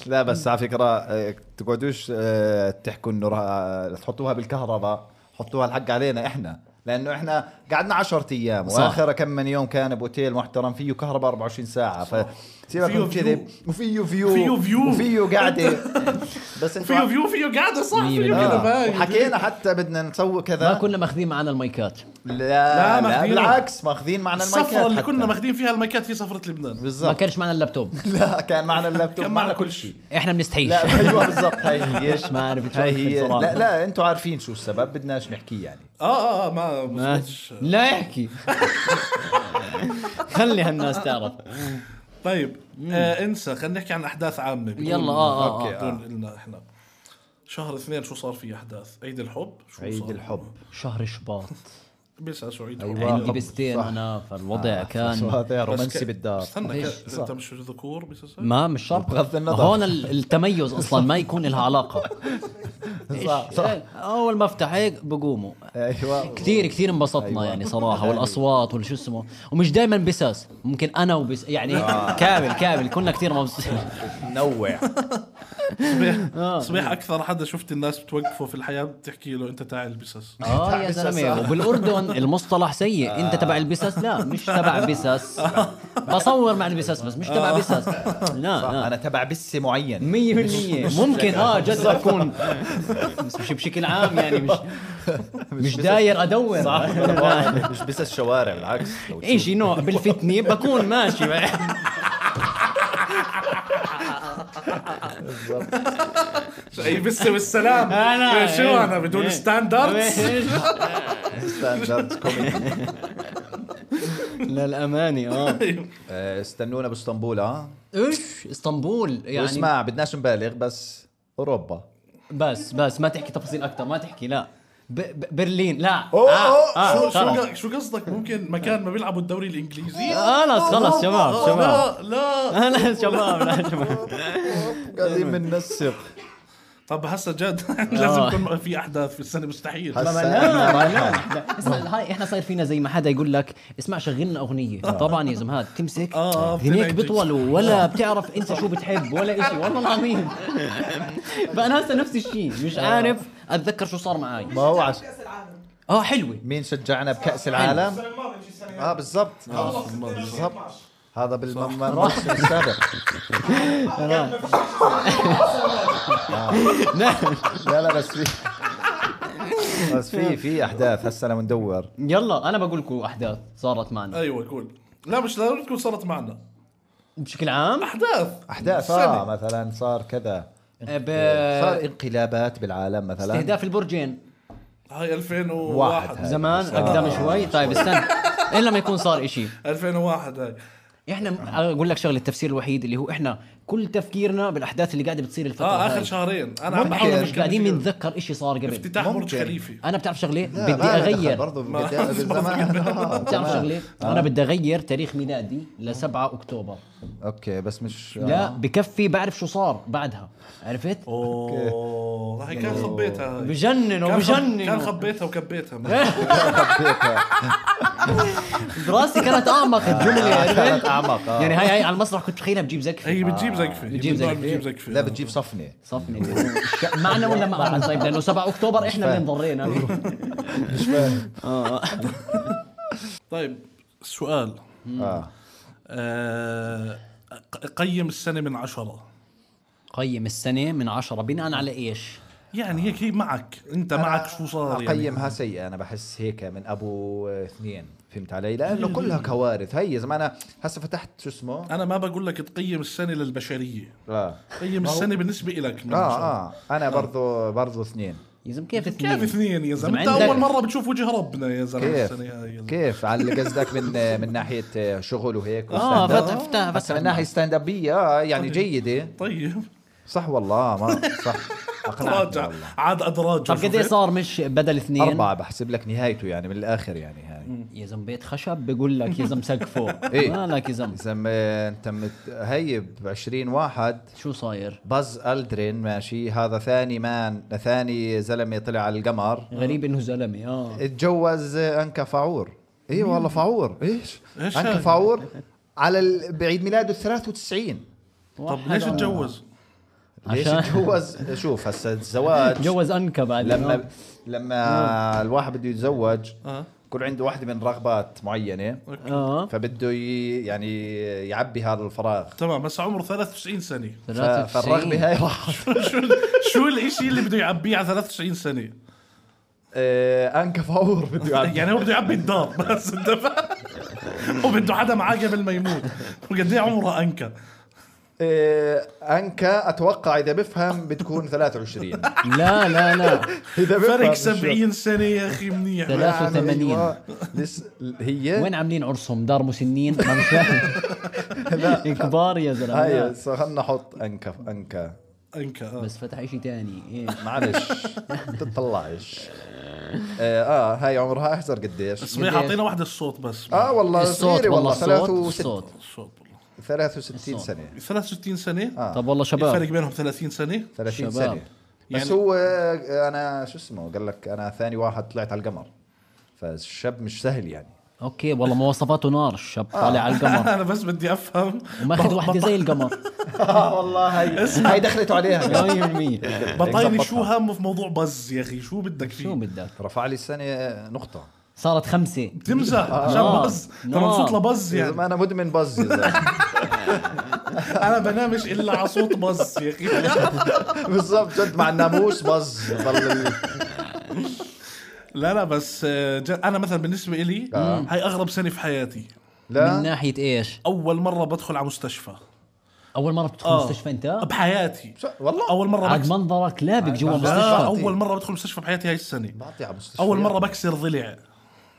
Speaker 1: لا بس على فكره آه، تقعدوش آه، تحكوا انه را- تحطوها بالكهرباء حطوها الحق علينا احنا لانه احنا قعدنا 10 ايام
Speaker 3: صح.
Speaker 1: واخر كم من يوم كان باوتيل محترم فيه كهرباء 24 ساعه ف
Speaker 2: فيه
Speaker 1: سيبكم
Speaker 2: فيو.
Speaker 1: كذب وفيه فيو
Speaker 2: فيه فيو.
Speaker 1: وفيه قعده بس انتوا
Speaker 2: فيه فيو فيه قاعده صح
Speaker 3: مين
Speaker 2: فيه
Speaker 3: اللي-
Speaker 2: كذا
Speaker 1: آه.
Speaker 2: باين.
Speaker 1: وحكينا حتى بدنا نسوي كذا
Speaker 3: ما كنا ماخذين معنا المايكات
Speaker 1: لا, لا,
Speaker 2: لا، ماخذينه.
Speaker 1: بالعكس ماخذين معنا المايكات
Speaker 2: السفره اللي
Speaker 1: حتى.
Speaker 2: كنا ماخذين فيها المايكات هي سفره لبنان
Speaker 3: ما
Speaker 1: بالضبط
Speaker 3: كانش معنا اللابتوب
Speaker 1: لا كان معنا اللابتوب
Speaker 2: كان معنا كل شيء
Speaker 3: احنا بنستحيش
Speaker 1: لا ايوه بالضبط هاي هي
Speaker 3: ليش ما عرفت
Speaker 1: هاي
Speaker 3: شو
Speaker 1: هي
Speaker 3: صراحة.
Speaker 1: لا لا انتم عارفين شو السبب بدناش نحكيه يعني
Speaker 2: اه اه ما
Speaker 3: ما-
Speaker 2: مزبوطش.
Speaker 3: لا يحكي خلي هالناس تعرف
Speaker 2: طيب آه انسى خلينا نحكي عن احداث عامه بدون-
Speaker 3: يلا، آه، آه،
Speaker 1: أوكي، آه.
Speaker 2: بدون إلنا احنا شهر اثنين شو صار في احداث عيد الحب شو
Speaker 1: عيد
Speaker 2: صار؟
Speaker 1: الحب
Speaker 3: شهر شباط
Speaker 2: بس اسوا عيد الحب
Speaker 1: أيوة.
Speaker 3: عندي
Speaker 1: صح. آه،
Speaker 3: بستين انا يعني فالوضع كان
Speaker 1: هذا
Speaker 2: بس
Speaker 1: رومانسي
Speaker 2: ك-
Speaker 1: بالدار
Speaker 2: استنى
Speaker 3: ليش؟
Speaker 2: ك- انت مش ذكور بس اسوا؟
Speaker 3: ما مش شرط
Speaker 1: بغض النظر.
Speaker 3: هون ال- التميز اصلا ما يكون لها علاقه
Speaker 1: صح صح
Speaker 3: اول ما افتح هيك بقوموا
Speaker 1: ايوه
Speaker 3: كثير كثير انبسطنا أيوة. يعني صراحه والاصوات والشو اسمه ومش دائما بساس ممكن انا وبس يعني
Speaker 1: آه.
Speaker 3: كامل كامل كنا كثير مبسوطين
Speaker 1: نوع
Speaker 3: آه.
Speaker 2: صبيح صبيح اكثر حدا شفت الناس بتوقفه في الحياه بتحكي له انت تعال بسس
Speaker 3: اه يا زلمه وبالاردن المصطلح سيء انت تبع البساس لا مش تبع بساس بصور مع البساس بس مش تبع بساس لا لا
Speaker 1: انا تبع بسه معين
Speaker 3: 100% ممكن اه جد اكون بس مش بشكل عام يعني مش مش داير ادور صح
Speaker 1: مش بس الشوارع بالعكس لو تشوف.
Speaker 3: ايش نوع بالفتنه بكون ماشي
Speaker 2: اي بس والسلام
Speaker 3: أنا-
Speaker 2: شو انا بدون
Speaker 3: إيه.
Speaker 2: ستاندردز
Speaker 1: ستاندرد كوميدي
Speaker 3: للامانه اه
Speaker 1: آه، استنونا باسطنبول اه
Speaker 3: ايش اسطنبول يعني
Speaker 1: واسمع بدناش نبالغ بس اوروبا
Speaker 3: بس بس ما تحكي تفاصيل اكثر ما تحكي لا ب ب برلين لا
Speaker 1: أوه،
Speaker 3: آه،
Speaker 2: شو
Speaker 3: آه، خلص.
Speaker 2: شو شو قصدك ممكن مكان ما بيلعبوا الدوري الانجليزي
Speaker 3: خلص خلص شباب
Speaker 2: آه،
Speaker 3: شباب
Speaker 2: لا لا
Speaker 3: لا شباب لا شباب
Speaker 1: قاعدين بننسق
Speaker 2: طب هسه جد لازم
Speaker 3: آه.
Speaker 2: يكون في احداث في السنه مستحيل
Speaker 1: هسا-
Speaker 3: ما لا ما لا اسمع هاي احنا صاير فينا زي ما حدا يقول لك اسمع شغلنا اغنيه طبعا يا زلمه هاد تمسك
Speaker 2: آه،
Speaker 3: هنيك
Speaker 2: بتنعجز.
Speaker 3: بطول ولا بتعرف انت شو بتحب ولا إشي والله العظيم فانا هسه نفس الشيء مش عارف اتذكر شو صار معي
Speaker 1: ما هو عش... آه،
Speaker 4: كاس العالم
Speaker 3: اه حلوه
Speaker 1: مين شجعنا بكاس العالم
Speaker 4: السنه الماضيه مش السنه
Speaker 1: اه
Speaker 4: هاي.
Speaker 1: بالضبط
Speaker 4: خلص
Speaker 1: بالضبط
Speaker 4: 2012.
Speaker 1: هذا بالم- بالموسم السابق لا لا بس في بس في في احداث هسه لما ندور
Speaker 3: يلا انا بقول لكم احداث صارت معنا
Speaker 2: ايوه قول لا مش لازم تكون صارت معنا
Speaker 3: بشكل عام
Speaker 2: احداث
Speaker 1: احداث
Speaker 2: السنة.
Speaker 1: اه
Speaker 3: آه.
Speaker 1: مثلا صار كذا
Speaker 3: ب...
Speaker 1: صار انقلابات بالعالم مثلا
Speaker 3: آه، استهداف البرجين
Speaker 2: هاي 2001
Speaker 1: واحد هاي.
Speaker 3: زمان اقدم شوي طيب استنى الا ما يكون صار إشي
Speaker 2: 2001 هاي
Speaker 3: احنا اقول لك شغله التفسير الوحيد اللي هو احنا كل تفكيرنا بالاحداث اللي قاعده بتصير الفتره
Speaker 2: اه اخر
Speaker 3: هاي.
Speaker 2: شهرين انا عم
Speaker 1: ممكن.
Speaker 2: بحاول
Speaker 3: مش قاعدين بنتذكر إشي صار قبل
Speaker 2: افتتاح برج
Speaker 1: ممكن.
Speaker 2: خليفه
Speaker 3: انا بتعرف شغله
Speaker 1: لا،
Speaker 3: بدي
Speaker 1: ما له دخل
Speaker 3: اغير
Speaker 1: برضه
Speaker 2: ما-
Speaker 1: بدي زمان آه،
Speaker 3: بتعرف
Speaker 1: زمان.
Speaker 3: شغله انا بدي اغير تاريخ ميلادي ل 7 اكتوبر
Speaker 1: اوكي بس مش
Speaker 3: لا بكفي بعرف شو صار بعدها عرفت
Speaker 2: اوه هاي كان خبيتها هاي.
Speaker 3: بجنن
Speaker 2: كان خب- كان
Speaker 3: وبجنن
Speaker 2: خبيتها وكبيتها
Speaker 3: دراسي كانت اعمق الجمله
Speaker 1: كانت
Speaker 3: عرفت
Speaker 1: اعمق آه.
Speaker 3: يعني هاي هاي على المسرح كنت تخيلها بجيب زكفي
Speaker 2: هي بتجيب زقفه
Speaker 3: بتجيب
Speaker 2: بتضل
Speaker 3: زقفة.
Speaker 2: بتجيب زقفه
Speaker 1: لا بتجيب صفنه
Speaker 3: صفني معنا ولا معنا طيب لانه 7 اكتوبر احنا اللي انضرينا
Speaker 2: طيب سؤال
Speaker 1: اه
Speaker 2: آه، ق- قيم السنه من عشره
Speaker 3: قيم السنه من 10 بناء على ايش؟
Speaker 2: يعني هيك هي معك انت معك شو صار يعني
Speaker 1: اقيمها سيئه انا بحس هيك من ابو اثنين فهمت علي لانه كلها كوارث هي زمان انا هسه فتحت شو اسمه
Speaker 2: انا ما بقول لك تقيم السنه للبشريه
Speaker 1: اه
Speaker 2: قيم السنه بالنسبه لك من
Speaker 3: آه،
Speaker 1: اه
Speaker 2: عشرة.
Speaker 1: اه انا برضو برضو اثنين
Speaker 3: يا زلمه كيف اثنين؟
Speaker 2: كيف اثنين يا زلمه انت
Speaker 3: زلمة عندك-
Speaker 2: اول مره بتشوف وجه ربنا يا زلمه
Speaker 1: كيف
Speaker 2: السنه هاي يا زلمة.
Speaker 1: كيف على اللي قصدك من من ناحيه شغل وهيك
Speaker 3: اه
Speaker 1: وستاند أب.
Speaker 3: فتح فتح
Speaker 1: آه، بس
Speaker 3: فتح
Speaker 1: من ناحيه ستاند ابيه آه يعني جيده
Speaker 2: طيب
Speaker 1: صح والله ما صح اقنعتني
Speaker 2: راجع
Speaker 1: والله
Speaker 2: عاد ادراج
Speaker 3: طب قد ايه صار مش بدل اثنين؟
Speaker 1: أربعة بحسب لك نهايته يعني من الآخر يعني هاي
Speaker 3: يا زلمه بيت خشب بقول لك يا زلمه سقفه
Speaker 1: إيه.
Speaker 3: مالك يا زلمه
Speaker 1: إذا ما أنت مت- هي ب 20 واحد
Speaker 3: شو صاير؟
Speaker 1: باز الدرين ماشي هذا ثاني مان ثاني زلمه طلع على القمر
Speaker 3: غريب انه زلمه اه
Speaker 1: اتجوز انكا فاعور اي والله فاعور ايش؟
Speaker 2: إيش
Speaker 1: انكا
Speaker 2: هاي؟
Speaker 1: فاعور على ال- بعيد ميلاده 93
Speaker 2: طب ليش
Speaker 3: واحد-
Speaker 2: اتجوز؟
Speaker 1: ليش
Speaker 3: عشان-
Speaker 1: اتجوز شوف هسه الزواج
Speaker 3: تجوز انكا بعد
Speaker 1: آه. لما
Speaker 3: اه.
Speaker 1: لما الواحد بده يتزوج
Speaker 2: اه
Speaker 1: يكون عنده واحدة من رغبات معينة
Speaker 3: اه
Speaker 1: فبده ي- يعني يعبي هذا الفراغ
Speaker 2: تمام هسه عمره 93 سنه
Speaker 1: ف-
Speaker 3: 93.
Speaker 1: فالرغبة هاي راح
Speaker 2: شو شو الاشي اللي بده يعبيه على 93 سنه؟
Speaker 1: انكا فاور آه، بده يعبي
Speaker 2: يعني هو بده يعبي الدار بس انت فاهم؟ هو بده حدا معاه قبل ما يموت وقد ايه عمره انكا
Speaker 1: إيه، انكا اتوقع اذا بفهم بتكون 23
Speaker 3: لا لا لا
Speaker 1: اذا بفهم
Speaker 2: فرق
Speaker 1: مش-
Speaker 2: 70 سنه يا اخي منيح
Speaker 3: ثلاثة. 83.
Speaker 1: أيوة. لس... هي
Speaker 3: وين عاملين عرسهم؟ دار مسنين ما مش فاهم. كبار يا زلمه
Speaker 1: هاي
Speaker 3: لا.
Speaker 1: خلينا نحط انكا في انكا
Speaker 2: انكا آه.
Speaker 3: بس فتح شيء ثاني ايه
Speaker 1: معلش تطلعش آه, اه هاي عمرها احزر قديش
Speaker 2: صبيح
Speaker 3: قد إيه؟
Speaker 2: اعطينا واحدة الصوت بس
Speaker 3: آه.
Speaker 1: اه والله
Speaker 3: الصوت
Speaker 1: صغيرة
Speaker 3: والله
Speaker 1: والله
Speaker 3: الصوت
Speaker 1: 63
Speaker 3: الصوت
Speaker 2: الصوت والله
Speaker 1: 63
Speaker 3: الصوت.
Speaker 1: سنة
Speaker 2: 63 سنة
Speaker 1: آه.
Speaker 3: طب والله
Speaker 2: الفرق
Speaker 3: شباب
Speaker 2: بينهم 30 سنة
Speaker 1: 30
Speaker 3: شباب.
Speaker 1: سنة بس
Speaker 2: يعني-
Speaker 1: هو آه، انا شو اسمه قال لك انا ثاني واحد طلعت على القمر فالشاب مش سهل يعني
Speaker 3: اوكي والله مواصفاته نار
Speaker 1: آه.
Speaker 3: الشاب طالع على القمر
Speaker 2: انا بس بدي افهم
Speaker 3: وماخذ
Speaker 2: بط-
Speaker 3: واحده زي القمر
Speaker 1: اه والله هاي هاي دخلته عليها
Speaker 3: 100%
Speaker 2: بطايني
Speaker 1: ظبطها.
Speaker 2: شو هامه في موضوع بز يا اخي شو بدك
Speaker 3: شو
Speaker 2: فيه
Speaker 3: بدك؟
Speaker 1: رفع لي السنة نقطة
Speaker 3: صارت خمسه
Speaker 2: تمزح عشان
Speaker 3: نار.
Speaker 2: بز انت
Speaker 3: نار.
Speaker 2: مبسوط لبز
Speaker 1: يا
Speaker 2: يعني
Speaker 1: زلمة انا مدمن بز يا زلمة.
Speaker 2: انا بنامش الا على صوت بز يا اخي
Speaker 1: بالضبط جد مع الناموس بز ضل
Speaker 2: لا لا بس آه، جد انا مثلا بالنسبة إلي
Speaker 1: آه.
Speaker 2: هاي اغرب سنة في حياتي
Speaker 3: من
Speaker 1: لا
Speaker 3: ناحيه ايش؟
Speaker 2: اول مرة بدخل على مستشفى
Speaker 3: اول مره بتدخل
Speaker 2: آه.
Speaker 3: مستشفى انت؟
Speaker 2: بحياتي
Speaker 1: شو- والله
Speaker 2: اول مرة
Speaker 3: عاد
Speaker 2: بكسر-
Speaker 3: منظرك لابق جوا
Speaker 1: عاد-
Speaker 2: لا،
Speaker 1: مستشفى.
Speaker 3: مستشفى
Speaker 2: اول مرة بدخل مستشفى بحياتي هاي السنة
Speaker 1: بعطي على مستشفى
Speaker 2: اول مرة بكسر ضلع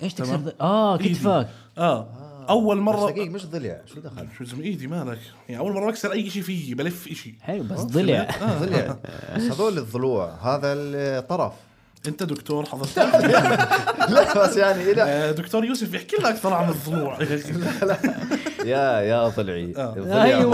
Speaker 3: ايش تكسر ذ- اه
Speaker 2: إيدي.
Speaker 3: كتفك
Speaker 2: اه اول مرة
Speaker 1: آه. دقيقة مش ضلع شو دخل
Speaker 2: شو لازم ايدي مالك يعني اول مره بكسر اي شيء فيي بلف شيء
Speaker 3: حلو بس ضلع
Speaker 1: آه. ضلع بس هذول الضلوع هذا الطرف
Speaker 2: انت دكتور حضرتك
Speaker 1: لا بس يعني إلى
Speaker 2: آه، دكتور يوسف يحكي لنا اكثر عن الضلوع يا أخي.
Speaker 1: يا يا ضلعي
Speaker 2: آه. أيوة.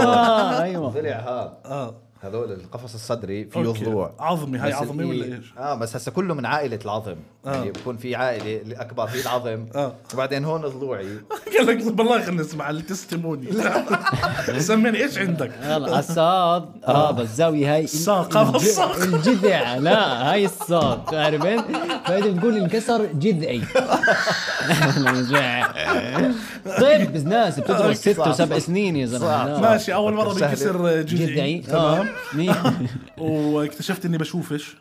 Speaker 1: الضلع هذا.
Speaker 3: ايوه ايوه
Speaker 1: الضلع هذا
Speaker 2: اه
Speaker 1: هذول القفص الصدري فيه
Speaker 2: أوكي.
Speaker 1: ضلوع
Speaker 2: عظمي هاي
Speaker 1: بس
Speaker 2: عظمي
Speaker 1: الإيد-
Speaker 2: ولا ايش؟
Speaker 1: اه بس هسه كله من عائله العظم
Speaker 2: آه.
Speaker 1: يعني بكون في عائله الاكبر في العظم
Speaker 2: آه.
Speaker 1: وبعدين هون ضلوعي
Speaker 2: قال لك بالله خلينا نسمع التستيموني سمعني ايش عندك؟
Speaker 3: يلا الصاد
Speaker 2: آه.
Speaker 3: اه بس الزاويه هاي ال-
Speaker 2: الساق، هذا
Speaker 3: الج-
Speaker 2: الساق.
Speaker 3: الجذع لا هاي الساق تعرف انت فانت بتقول انكسر جذعي طيب ناس بتدرس ست
Speaker 1: صعب.
Speaker 3: وسبع سنين يا
Speaker 1: صعب.
Speaker 3: زلمه لا.
Speaker 2: ماشي اول مره
Speaker 1: سهلة.
Speaker 2: بنكسر جذعي
Speaker 3: جذعي
Speaker 2: تمام
Speaker 3: آه. مية-
Speaker 2: واكتشفت اني بشوفش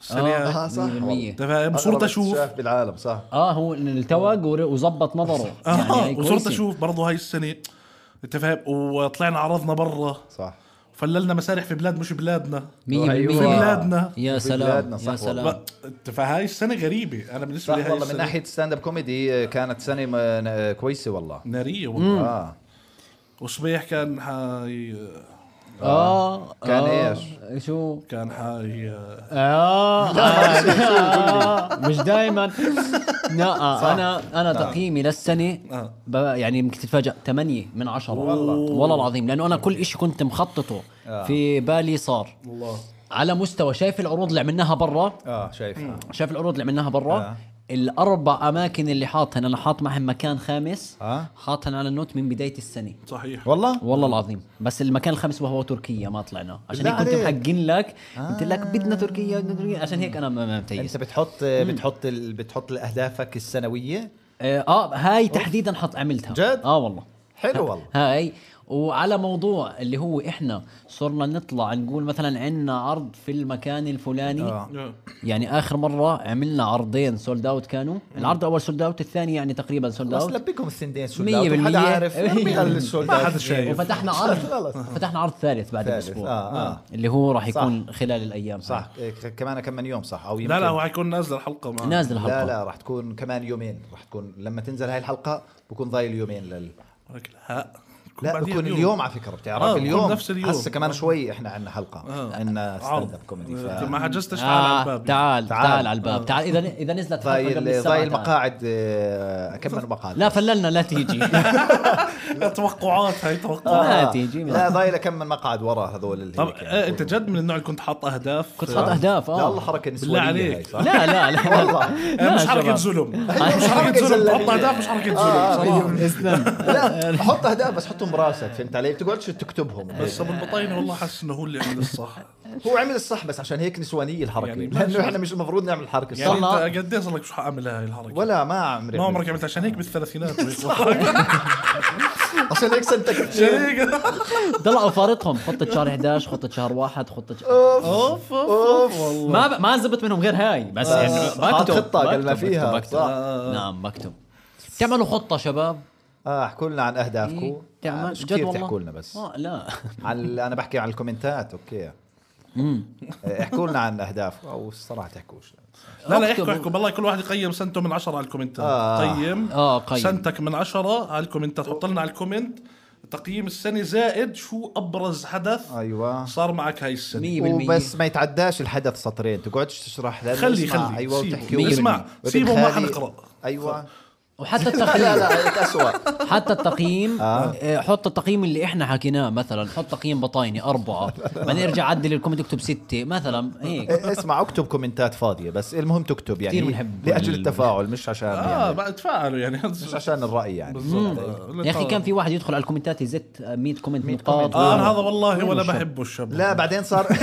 Speaker 2: السريع
Speaker 1: آه، صح.
Speaker 3: مية بالمية.
Speaker 2: انت فاهم صرت
Speaker 1: أغرب
Speaker 2: اشوف
Speaker 1: اكتشاف بالعالم صح
Speaker 3: اه هو إن التوج ور- وظبط نظره يعني
Speaker 2: اه
Speaker 3: هاي
Speaker 2: وصرت
Speaker 3: كويسة.
Speaker 2: اشوف برضه هاي السنه انت فاهم وطلعنا عرضنا برا
Speaker 1: صح
Speaker 2: فللنا مسارح في بلاد مش بلادنا
Speaker 3: مية
Speaker 1: أيوة.
Speaker 3: بالمية
Speaker 2: في بلادنا
Speaker 3: يا
Speaker 1: في
Speaker 3: سلام
Speaker 1: بلادنا، صح
Speaker 3: يا
Speaker 1: والله.
Speaker 3: سلام
Speaker 2: ب- انت فهاي السنه غريبه انا بالنسبه
Speaker 1: صح
Speaker 2: لي هاي
Speaker 1: والله من
Speaker 2: السنه
Speaker 1: ناحيه ستاند اب كوميدي آه، كانت سنه م- ن- كويسه والله
Speaker 2: ناريه والله
Speaker 1: اه
Speaker 2: وصبيح كان حي
Speaker 3: اه
Speaker 1: كان
Speaker 3: آه. شو
Speaker 2: كان حي
Speaker 3: آه آه، مش دائما لا
Speaker 1: صح.
Speaker 3: آه، انا انا تقييمي للسنه
Speaker 2: آه.
Speaker 3: ب- يعني يمكن تتفاجئ 8 من 10 والله آه. والله العظيم لانه انا كل شيء كنت مخططه في بالي صار
Speaker 2: الله
Speaker 3: على مستوى شايف العروض اللي عملناها برا
Speaker 1: اه شايفها
Speaker 3: شايف العروض اللي عملناها
Speaker 1: آه.
Speaker 3: برا الاربع اماكن اللي حاطهن انا حاط معهم مكان خامس
Speaker 1: آه.
Speaker 3: حاطهن على النوت من بدايه السنه
Speaker 2: صحيح
Speaker 1: والله
Speaker 3: والله العظيم بس المكان الخامس وهو تركيا ما طلعنا عشان هيك
Speaker 1: بالله
Speaker 3: كنت
Speaker 1: عليك.
Speaker 3: محقين لك قلت لك
Speaker 1: آه.
Speaker 3: بدنا تركيا بدنا تركيا عشان هيك انا ما ما
Speaker 1: انت
Speaker 3: متيس
Speaker 1: بتحط آه، بتحط ال... بتحط اهدافك السنويه
Speaker 3: آه، اه هاي تحديدا حط عملتها
Speaker 1: جد؟
Speaker 3: اه والله
Speaker 1: حلو والله
Speaker 3: هاي وعلى موضوع اللي هو احنا صرنا نطلع نقول مثلا عندنا عرض في المكان الفلاني
Speaker 1: آه.
Speaker 2: آه.
Speaker 3: يعني اخر مره عملنا عرضين سولد اوت كانوا العرض الاول سولد اوت الثاني يعني تقريبا سولد
Speaker 1: بس
Speaker 3: اوت
Speaker 1: لبيكم السندين
Speaker 3: مية
Speaker 1: سولدات حدا
Speaker 3: بالمية.
Speaker 1: عارف ارمي السولدات
Speaker 2: ما حدا شايف
Speaker 3: أيوه. وفتحنا
Speaker 1: خلص.
Speaker 3: عرض فتحنا عرض ثالث بعد
Speaker 1: ثالث،
Speaker 3: باسبوع
Speaker 1: آه، آه.
Speaker 3: اللي هو راح يكون خلال الايام
Speaker 1: صح إيه، كمان كم من يوم صح او يمكن
Speaker 2: لا لا هو حيكون نازل الحلقه معه
Speaker 3: نازل
Speaker 1: لا
Speaker 3: الحلقه
Speaker 1: لا راح تكون كمان يومين راح تكون لما تنزل هاي الحلقه بكون ضايل يومين لل
Speaker 2: ولكن ها بكون
Speaker 1: لا
Speaker 2: بعدين
Speaker 1: بكون
Speaker 2: اليوم.
Speaker 1: اليوم على فكره بتعرف
Speaker 2: آه، بكون
Speaker 1: اليوم
Speaker 2: نفس اليوم.
Speaker 1: هسه كمان شوي احنا عندنا حلقه
Speaker 2: آه.
Speaker 1: عندنا
Speaker 2: عرض.
Speaker 1: ستاند اب كوميدي
Speaker 2: آه،
Speaker 1: ف...
Speaker 2: ما حجزتش تعال على
Speaker 3: آه
Speaker 2: الباب
Speaker 3: تعال
Speaker 1: تعال.
Speaker 3: تعال على الباب تعال اذا اذا نزلت حلقة قبل
Speaker 1: ضايل
Speaker 3: السبعة
Speaker 1: ضايل
Speaker 3: تعال.
Speaker 1: مقاعد آه، كمل مقاعد
Speaker 3: لا فللنا لا تيجي
Speaker 2: توقعات هاي توقعات
Speaker 3: ما تيجي
Speaker 1: لا ضايل كم من مقعد ورا هذول اللي
Speaker 2: طب
Speaker 1: هيك يعني
Speaker 2: آه، انت
Speaker 1: يكونوا.
Speaker 2: جد من النوع اللي كنت حاط آه، اهداف
Speaker 3: كنت حاط اهداف
Speaker 1: لا
Speaker 3: اه
Speaker 1: والله حركه نسوانيه
Speaker 2: بالله عليك.
Speaker 1: هاي، صح؟
Speaker 3: لا لا لا
Speaker 1: والله.
Speaker 3: لا
Speaker 2: آه، مش
Speaker 3: يا
Speaker 2: حركه
Speaker 3: شباب.
Speaker 2: ظلم
Speaker 1: أيوة،
Speaker 2: مش حركه ظلم
Speaker 1: زلمة.
Speaker 2: تحط اهداف مش حركه
Speaker 1: آه،
Speaker 2: ظلم صراحه
Speaker 3: اسلم
Speaker 1: لا حط اهداف بس حطهم براسك فهمت علي؟ ما تقعدش تكتبهم
Speaker 2: آه. بس ابو البطاينه والله حاسس انه هو اللي عمل الصح
Speaker 1: هو عمل الصح بس عشان هيك نسوانيه الحركه
Speaker 2: يعني ماشي.
Speaker 1: لانه احنا مش المفروض نعمل الحركه الصح
Speaker 2: يعني
Speaker 3: صلى.
Speaker 2: انت قد ايش صار لك شو حاعمل هاي الحركه؟
Speaker 1: ولا ما عمري
Speaker 2: ما
Speaker 1: عملت.
Speaker 2: عمرك عملت عشان هيك بالثلاثينات
Speaker 1: عشان هيك سنتك
Speaker 2: عشان هيك
Speaker 3: طلعوا فارطهم خطة شهر 11 خطة شهر واحد خطة شهر-
Speaker 2: اوف اوف والله
Speaker 3: ما ب... ما زبط منهم غير هاي بس
Speaker 1: آه،
Speaker 3: يعني
Speaker 1: حاط
Speaker 3: بكتب-
Speaker 1: خطة قال ما
Speaker 3: بكتب-
Speaker 1: فيها،
Speaker 3: بكتب-
Speaker 1: صح.
Speaker 3: بكتب. نعم بكتب تعملوا خطة شباب
Speaker 1: اه احكوا لنا عن
Speaker 2: إيه،
Speaker 1: اهدافكم آه،
Speaker 3: تعمل
Speaker 1: مش
Speaker 3: جد
Speaker 1: كثير
Speaker 3: والله
Speaker 1: تحكوا لنا بس
Speaker 3: آه، لا
Speaker 1: على ال- انا بحكي عن الكومنتات اوكي آه، احكوا لنا عن اهدافكم او الصراحه تحكوش
Speaker 2: لا لا
Speaker 3: اكتب.
Speaker 2: احكوا احكوا بالله كل واحد يقيم سنته من عشرة على الكومنتات
Speaker 1: آه.
Speaker 2: قيم
Speaker 3: آه، قيم.
Speaker 2: سنتك من عشرة على الكومنتات حط لنا على الكومنت تقييم السنة زائد شو أبرز حدث
Speaker 1: ايوه
Speaker 2: صار معك هاي السنة
Speaker 3: 100%
Speaker 1: وبس ما يتعداش الحدث سطرين تقعدش تشرح لانه
Speaker 2: خلي
Speaker 1: اسمع،
Speaker 2: خلي
Speaker 1: ايوه
Speaker 2: سيبه.
Speaker 1: وتحكي
Speaker 2: اسمع، سيبه وما
Speaker 1: وبالتالي-
Speaker 2: حنقرأ.
Speaker 1: ايوه
Speaker 3: وحتى
Speaker 1: لا
Speaker 3: التقييم
Speaker 1: لا اسوء
Speaker 3: حتى التقييم
Speaker 1: آه.
Speaker 3: آه، حط التقييم اللي احنا حكيناه مثلا حط تقييم بطايني أربعة بعدين ارجع عدل الكومنت اكتب ستة مثلا هيك
Speaker 1: إيه، اسمع اكتب كومنتات فاضيه بس المهم تكتب
Speaker 3: كتير
Speaker 1: يعني
Speaker 3: بنحب
Speaker 1: لاجل
Speaker 3: ال-
Speaker 1: التفاعل مش عشان
Speaker 2: آه
Speaker 1: يعني
Speaker 2: بقى تفاعلوا يعني
Speaker 1: مش عشان الرأي يعني
Speaker 2: بالضبط.
Speaker 3: يا اخي كان في واحد يدخل على الكومنتات يزت 100 كومنت
Speaker 1: 100
Speaker 3: نقاط
Speaker 1: كومنت.
Speaker 2: آه أنا
Speaker 3: آه.
Speaker 2: هذا والله ولا
Speaker 3: وين الشاب؟
Speaker 2: بحبه الشاب
Speaker 1: لا بعدين صار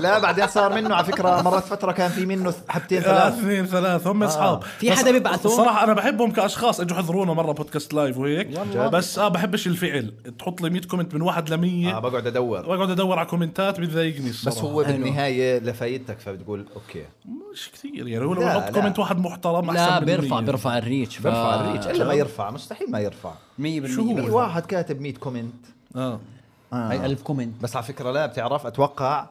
Speaker 1: لا بعدين صار منه على فكره مرات فتره كان في منه حبتين
Speaker 2: آه،
Speaker 1: ثلاث
Speaker 2: اثنين ثلاث هم اصحاب
Speaker 3: في
Speaker 2: بس
Speaker 3: حدا بيبعثون؟
Speaker 2: صراحه انا بحبهم كاشخاص اجوا حضرونا مره بودكاست لايف وهيك بس اه بحبش الفعل تحط لي 100 كومنت من واحد ل 100
Speaker 1: اه بقعد ادور
Speaker 2: واقعد ادور على كومنتات بتضايقني الصراحه
Speaker 1: بس هو بالنهايه لفايدتك فبتقول اوكي
Speaker 2: مش كثير يعني هو لو
Speaker 1: لا،
Speaker 2: بحط
Speaker 1: لا.
Speaker 2: كومنت واحد محترم احسن
Speaker 3: لا
Speaker 2: من
Speaker 3: بيرفع
Speaker 2: مية.
Speaker 3: بيرفع الريتش ف-
Speaker 1: برفع الريتش الا ما يرفع مستحيل ما يرفع
Speaker 3: 100%
Speaker 2: شو هو؟
Speaker 1: في واحد كاتب 100 كومنت
Speaker 2: اه
Speaker 1: آه.
Speaker 3: هاي 1000 كومنت
Speaker 1: بس على فكره لا بتعرف اتوقع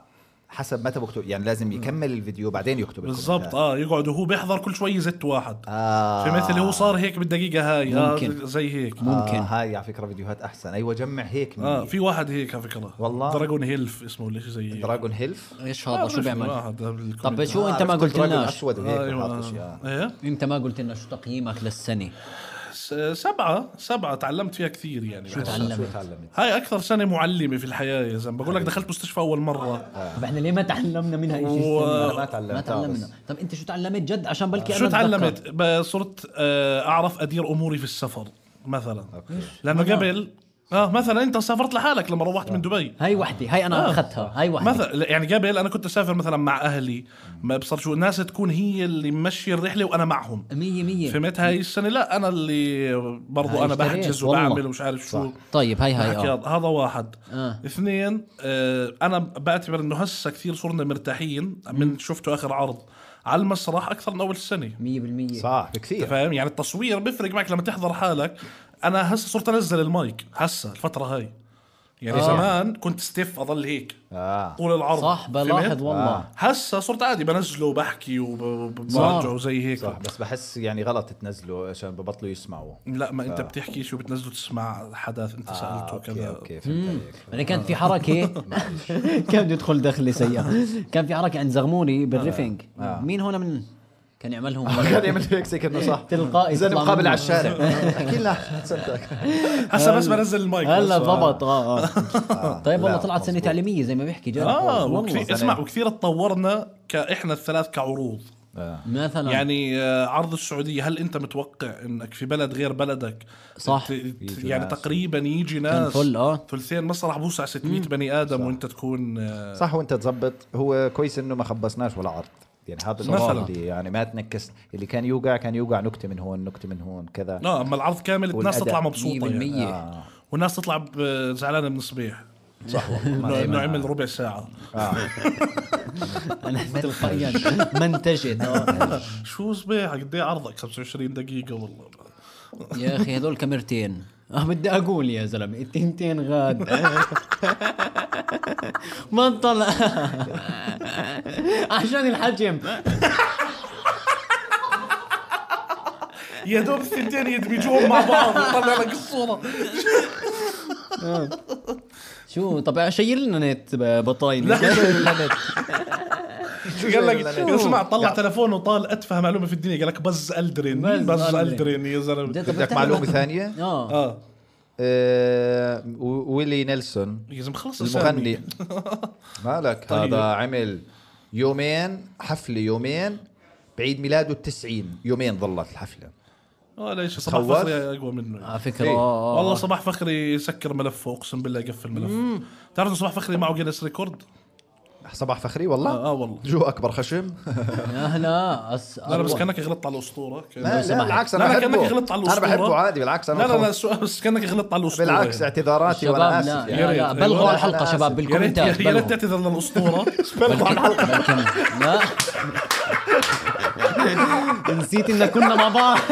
Speaker 1: حسب متى بكتب يعني لازم يكمل الفيديو بعدين يكتب
Speaker 2: بالضبط
Speaker 1: الكومنتات.
Speaker 2: اه يقعد وهو بيحضر كل شوي يزت واحد
Speaker 1: اه
Speaker 2: في مثل هو صار هيك بالدقيقه هاي آه
Speaker 3: ممكن.
Speaker 2: زي هيك
Speaker 3: ممكن.
Speaker 1: آه هاي على فكره فيديوهات احسن ايوه جمع هيك
Speaker 2: اه
Speaker 1: آه
Speaker 2: في واحد هيك على فكره
Speaker 1: والله.
Speaker 2: دراجون هيلف اسمه ولا شيء زي هيك
Speaker 1: دراجون آه، هيلف
Speaker 3: ايش هذا
Speaker 2: آه،
Speaker 3: شو بيعمل طب
Speaker 2: طب
Speaker 3: شو انت ما قلت لناش
Speaker 1: اسود هيك
Speaker 2: ايوه
Speaker 1: وحاطط
Speaker 2: آه.
Speaker 1: اشياء
Speaker 2: ايه
Speaker 3: انت ما قلت لنا شو تقييمك للسنه
Speaker 2: س- آه، سبعة سبعة تعلمت فيها كثير يعني بحس.
Speaker 1: شو
Speaker 3: تعلمت
Speaker 1: تعلمت
Speaker 2: هاي اكثر سنة معلمة في الحياة يا زلمة بقول لك دخلت مستشفى اول مرة
Speaker 3: طب احنا ليه ما تعلمنا منها شيء
Speaker 2: و-
Speaker 1: أنا ما تعلمت،
Speaker 3: ما
Speaker 1: آه،
Speaker 3: تعلمنا طب انت شو تعلمت جد عشان بلكي
Speaker 2: شو
Speaker 3: أنا أتذكر.
Speaker 2: تعلمت ب- صرت آه، اعرف ادير اموري في السفر مثلا
Speaker 1: أوكي.
Speaker 2: لانه قبل اه مثلا انت سافرت لحالك لما روحت
Speaker 3: آه.
Speaker 2: من دبي
Speaker 3: هاي وحده هاي
Speaker 2: آه.
Speaker 3: انا اخذتها هاي وحده
Speaker 2: مثلا يعني قبل انا كنت اسافر مثلا مع اهلي ما بصر شو الناس تكون هي اللي ممشيه الرحله وانا معهم
Speaker 3: مية مية
Speaker 2: فهمت هاي السنه لا انا اللي برضو
Speaker 3: إيه. هاي
Speaker 2: انا
Speaker 3: اشتريت،
Speaker 2: بحجز
Speaker 3: والله.
Speaker 2: وبعمل ومش عارف شو
Speaker 3: طيب هاي هاي
Speaker 2: حكي
Speaker 3: اه
Speaker 2: هذا هذا واحد
Speaker 3: آه.
Speaker 2: اثنين آه انا بعتبر انه هسه كثير صرنا مرتاحين من شفته اخر عرض على المسرح اكثر من اول السنه
Speaker 3: مية بالمية
Speaker 1: صح
Speaker 2: انت
Speaker 1: بكثير
Speaker 2: فاهم يعني التصوير بيفرق معك لما تحضر حالك انا هسه صرت انزل المايك هسه الفتره هاي يعني
Speaker 3: آه.
Speaker 2: آه. زمان كنت ستيف اضل هيك
Speaker 1: اه
Speaker 2: طول العرض
Speaker 3: صح
Speaker 2: فهمت؟
Speaker 3: بلاحظ والله
Speaker 1: آه.
Speaker 2: هسه صرت عادي بنزله وبحكي وب- وبرجع وزي هيك
Speaker 1: صح بس بحس يعني غلط تنزله عشان ببطلوا يسمعوا
Speaker 2: لا ما
Speaker 3: آه.
Speaker 2: انت بتحكي شو بتنزله تسمع حدث انت سالته
Speaker 1: اوكي
Speaker 2: وكذا
Speaker 1: اوكي آه، فهمت عليك
Speaker 3: انا كانت يعني في حركه كان بده يدخل دخله سيئه كان في حركه عند زغموري بالريفنج مين هون من كان يعملهم
Speaker 1: آه. كان يعمل هيك زي كانه صح
Speaker 3: إيه، تلقائي
Speaker 1: زي
Speaker 3: تطلع
Speaker 1: مقابل
Speaker 3: منه. إيه.
Speaker 1: على الشارع احكي لنا سمتك
Speaker 2: هسه بس بنزل المايك
Speaker 3: هلا
Speaker 2: بس.
Speaker 3: ضبط اه اه طيب والله
Speaker 1: آه. لا،
Speaker 3: طلعت سنه
Speaker 1: مظبوط. آه،
Speaker 3: تعليميه زي ما بيحكي جد
Speaker 2: اه
Speaker 3: والله
Speaker 2: وكثير اسمع وكثير تطورنا كاحنا الثلاث كعروض
Speaker 1: آه.
Speaker 3: مثلا يعني
Speaker 2: يعني آه، عرض السعوديه هل انت متوقع انك في بلد غير بلدك
Speaker 3: صح.
Speaker 2: ت- ت-
Speaker 1: يجوا
Speaker 2: يعني
Speaker 1: ناس.
Speaker 2: تقريبا يجي
Speaker 3: كان
Speaker 2: ناس
Speaker 3: فل اه
Speaker 2: ثلثين مسرح بوسع 600 بني ادم وانت تكون آه،
Speaker 1: صح وانت تظبط هو كويس انه ما خبصناش ولا عرض يعني هذا النقطة
Speaker 2: مثلاً.
Speaker 1: اللي يعني ما تنكس اللي كان يوقع كان يوقع نكته من هون نكته من هون كذا
Speaker 2: لا اما نعم، العرض كامل الناس
Speaker 1: والأداء
Speaker 2: تطلع
Speaker 3: 100%
Speaker 2: مبسوطه يعني. والناس تطلع ب- زعلانه من صبيح
Speaker 1: صح والله
Speaker 2: انه
Speaker 1: ما-
Speaker 2: إنه
Speaker 1: ما-
Speaker 2: عمل ربع ساعه
Speaker 3: انا تلقائيا منتجد آه.
Speaker 2: شو صبيح قد ايه عرضك 25 دقيقه والله
Speaker 3: يا اخي هذول كاميرتين اه بدي اقول يا زلمه التنتين غاد ما طلع عشان الحجم
Speaker 2: يا دوب الثنتين يدمجوهم مع بعض وطلع لك الصوره
Speaker 3: شو طب شيل لنا نت ب- بطاينه
Speaker 2: قال لك
Speaker 1: شو؟
Speaker 2: اسمع طلع تلفونه وطال اتفه معلومه في الدنيا قال لك بز الدرين
Speaker 3: بز
Speaker 2: بز
Speaker 3: ألدرين.
Speaker 2: الدرين يا زلمه
Speaker 3: جد، طب
Speaker 1: بدك
Speaker 3: بتعمل-
Speaker 1: معلومة ثانية؟
Speaker 3: اه
Speaker 2: اه
Speaker 1: آه، و- ويلي نيلسون
Speaker 2: يا زلمه خلص أسامي.
Speaker 1: المغني مالك
Speaker 2: طيب.
Speaker 1: هذا عمل يومين حفلة يومين بعيد ميلاده التسعين يومين ظلت الحفلة
Speaker 2: اه ليش صباح
Speaker 1: خوف.
Speaker 2: فخري اقوى منه
Speaker 3: على فكره
Speaker 1: إيه.
Speaker 3: اه
Speaker 2: والله صباح فخري سكر ملفه اقسم بالله يقفل ملفه تعرف إنه صباح فخري معه جينيس ريكورد
Speaker 1: صباح فخري والله
Speaker 2: آه، آه والله.
Speaker 1: جو اكبر خشم
Speaker 3: يا هلا أس...
Speaker 2: لا لا بس كانك غلطت على الاسطوره كأنه-
Speaker 1: لا لا
Speaker 3: سمحت.
Speaker 1: بالعكس
Speaker 2: لا،
Speaker 1: انا
Speaker 2: لا،
Speaker 1: بحبه
Speaker 2: كأنك غلطت على
Speaker 1: انا
Speaker 2: الأسطورة.
Speaker 1: بحبه عادي بالعكس انا
Speaker 2: لا لا لا
Speaker 1: بخلص.
Speaker 2: السؤال بس كانك غلطت على الاسطوره
Speaker 1: بالعكس
Speaker 2: يعني.
Speaker 1: اعتذاراتي وانا
Speaker 3: شباب
Speaker 1: اسف
Speaker 3: لا
Speaker 1: يعني
Speaker 3: لا, لا
Speaker 2: ريت.
Speaker 3: بلغوا
Speaker 2: والله
Speaker 3: الحلقه
Speaker 1: أنا
Speaker 3: شباب
Speaker 1: آسف.
Speaker 2: يا ريت
Speaker 3: بالكومنتات
Speaker 2: يا ريت
Speaker 3: بلغوا
Speaker 2: تعتذر للاسطوره
Speaker 3: بالكم- بالكم- لا نسيت ان كنا مع بعض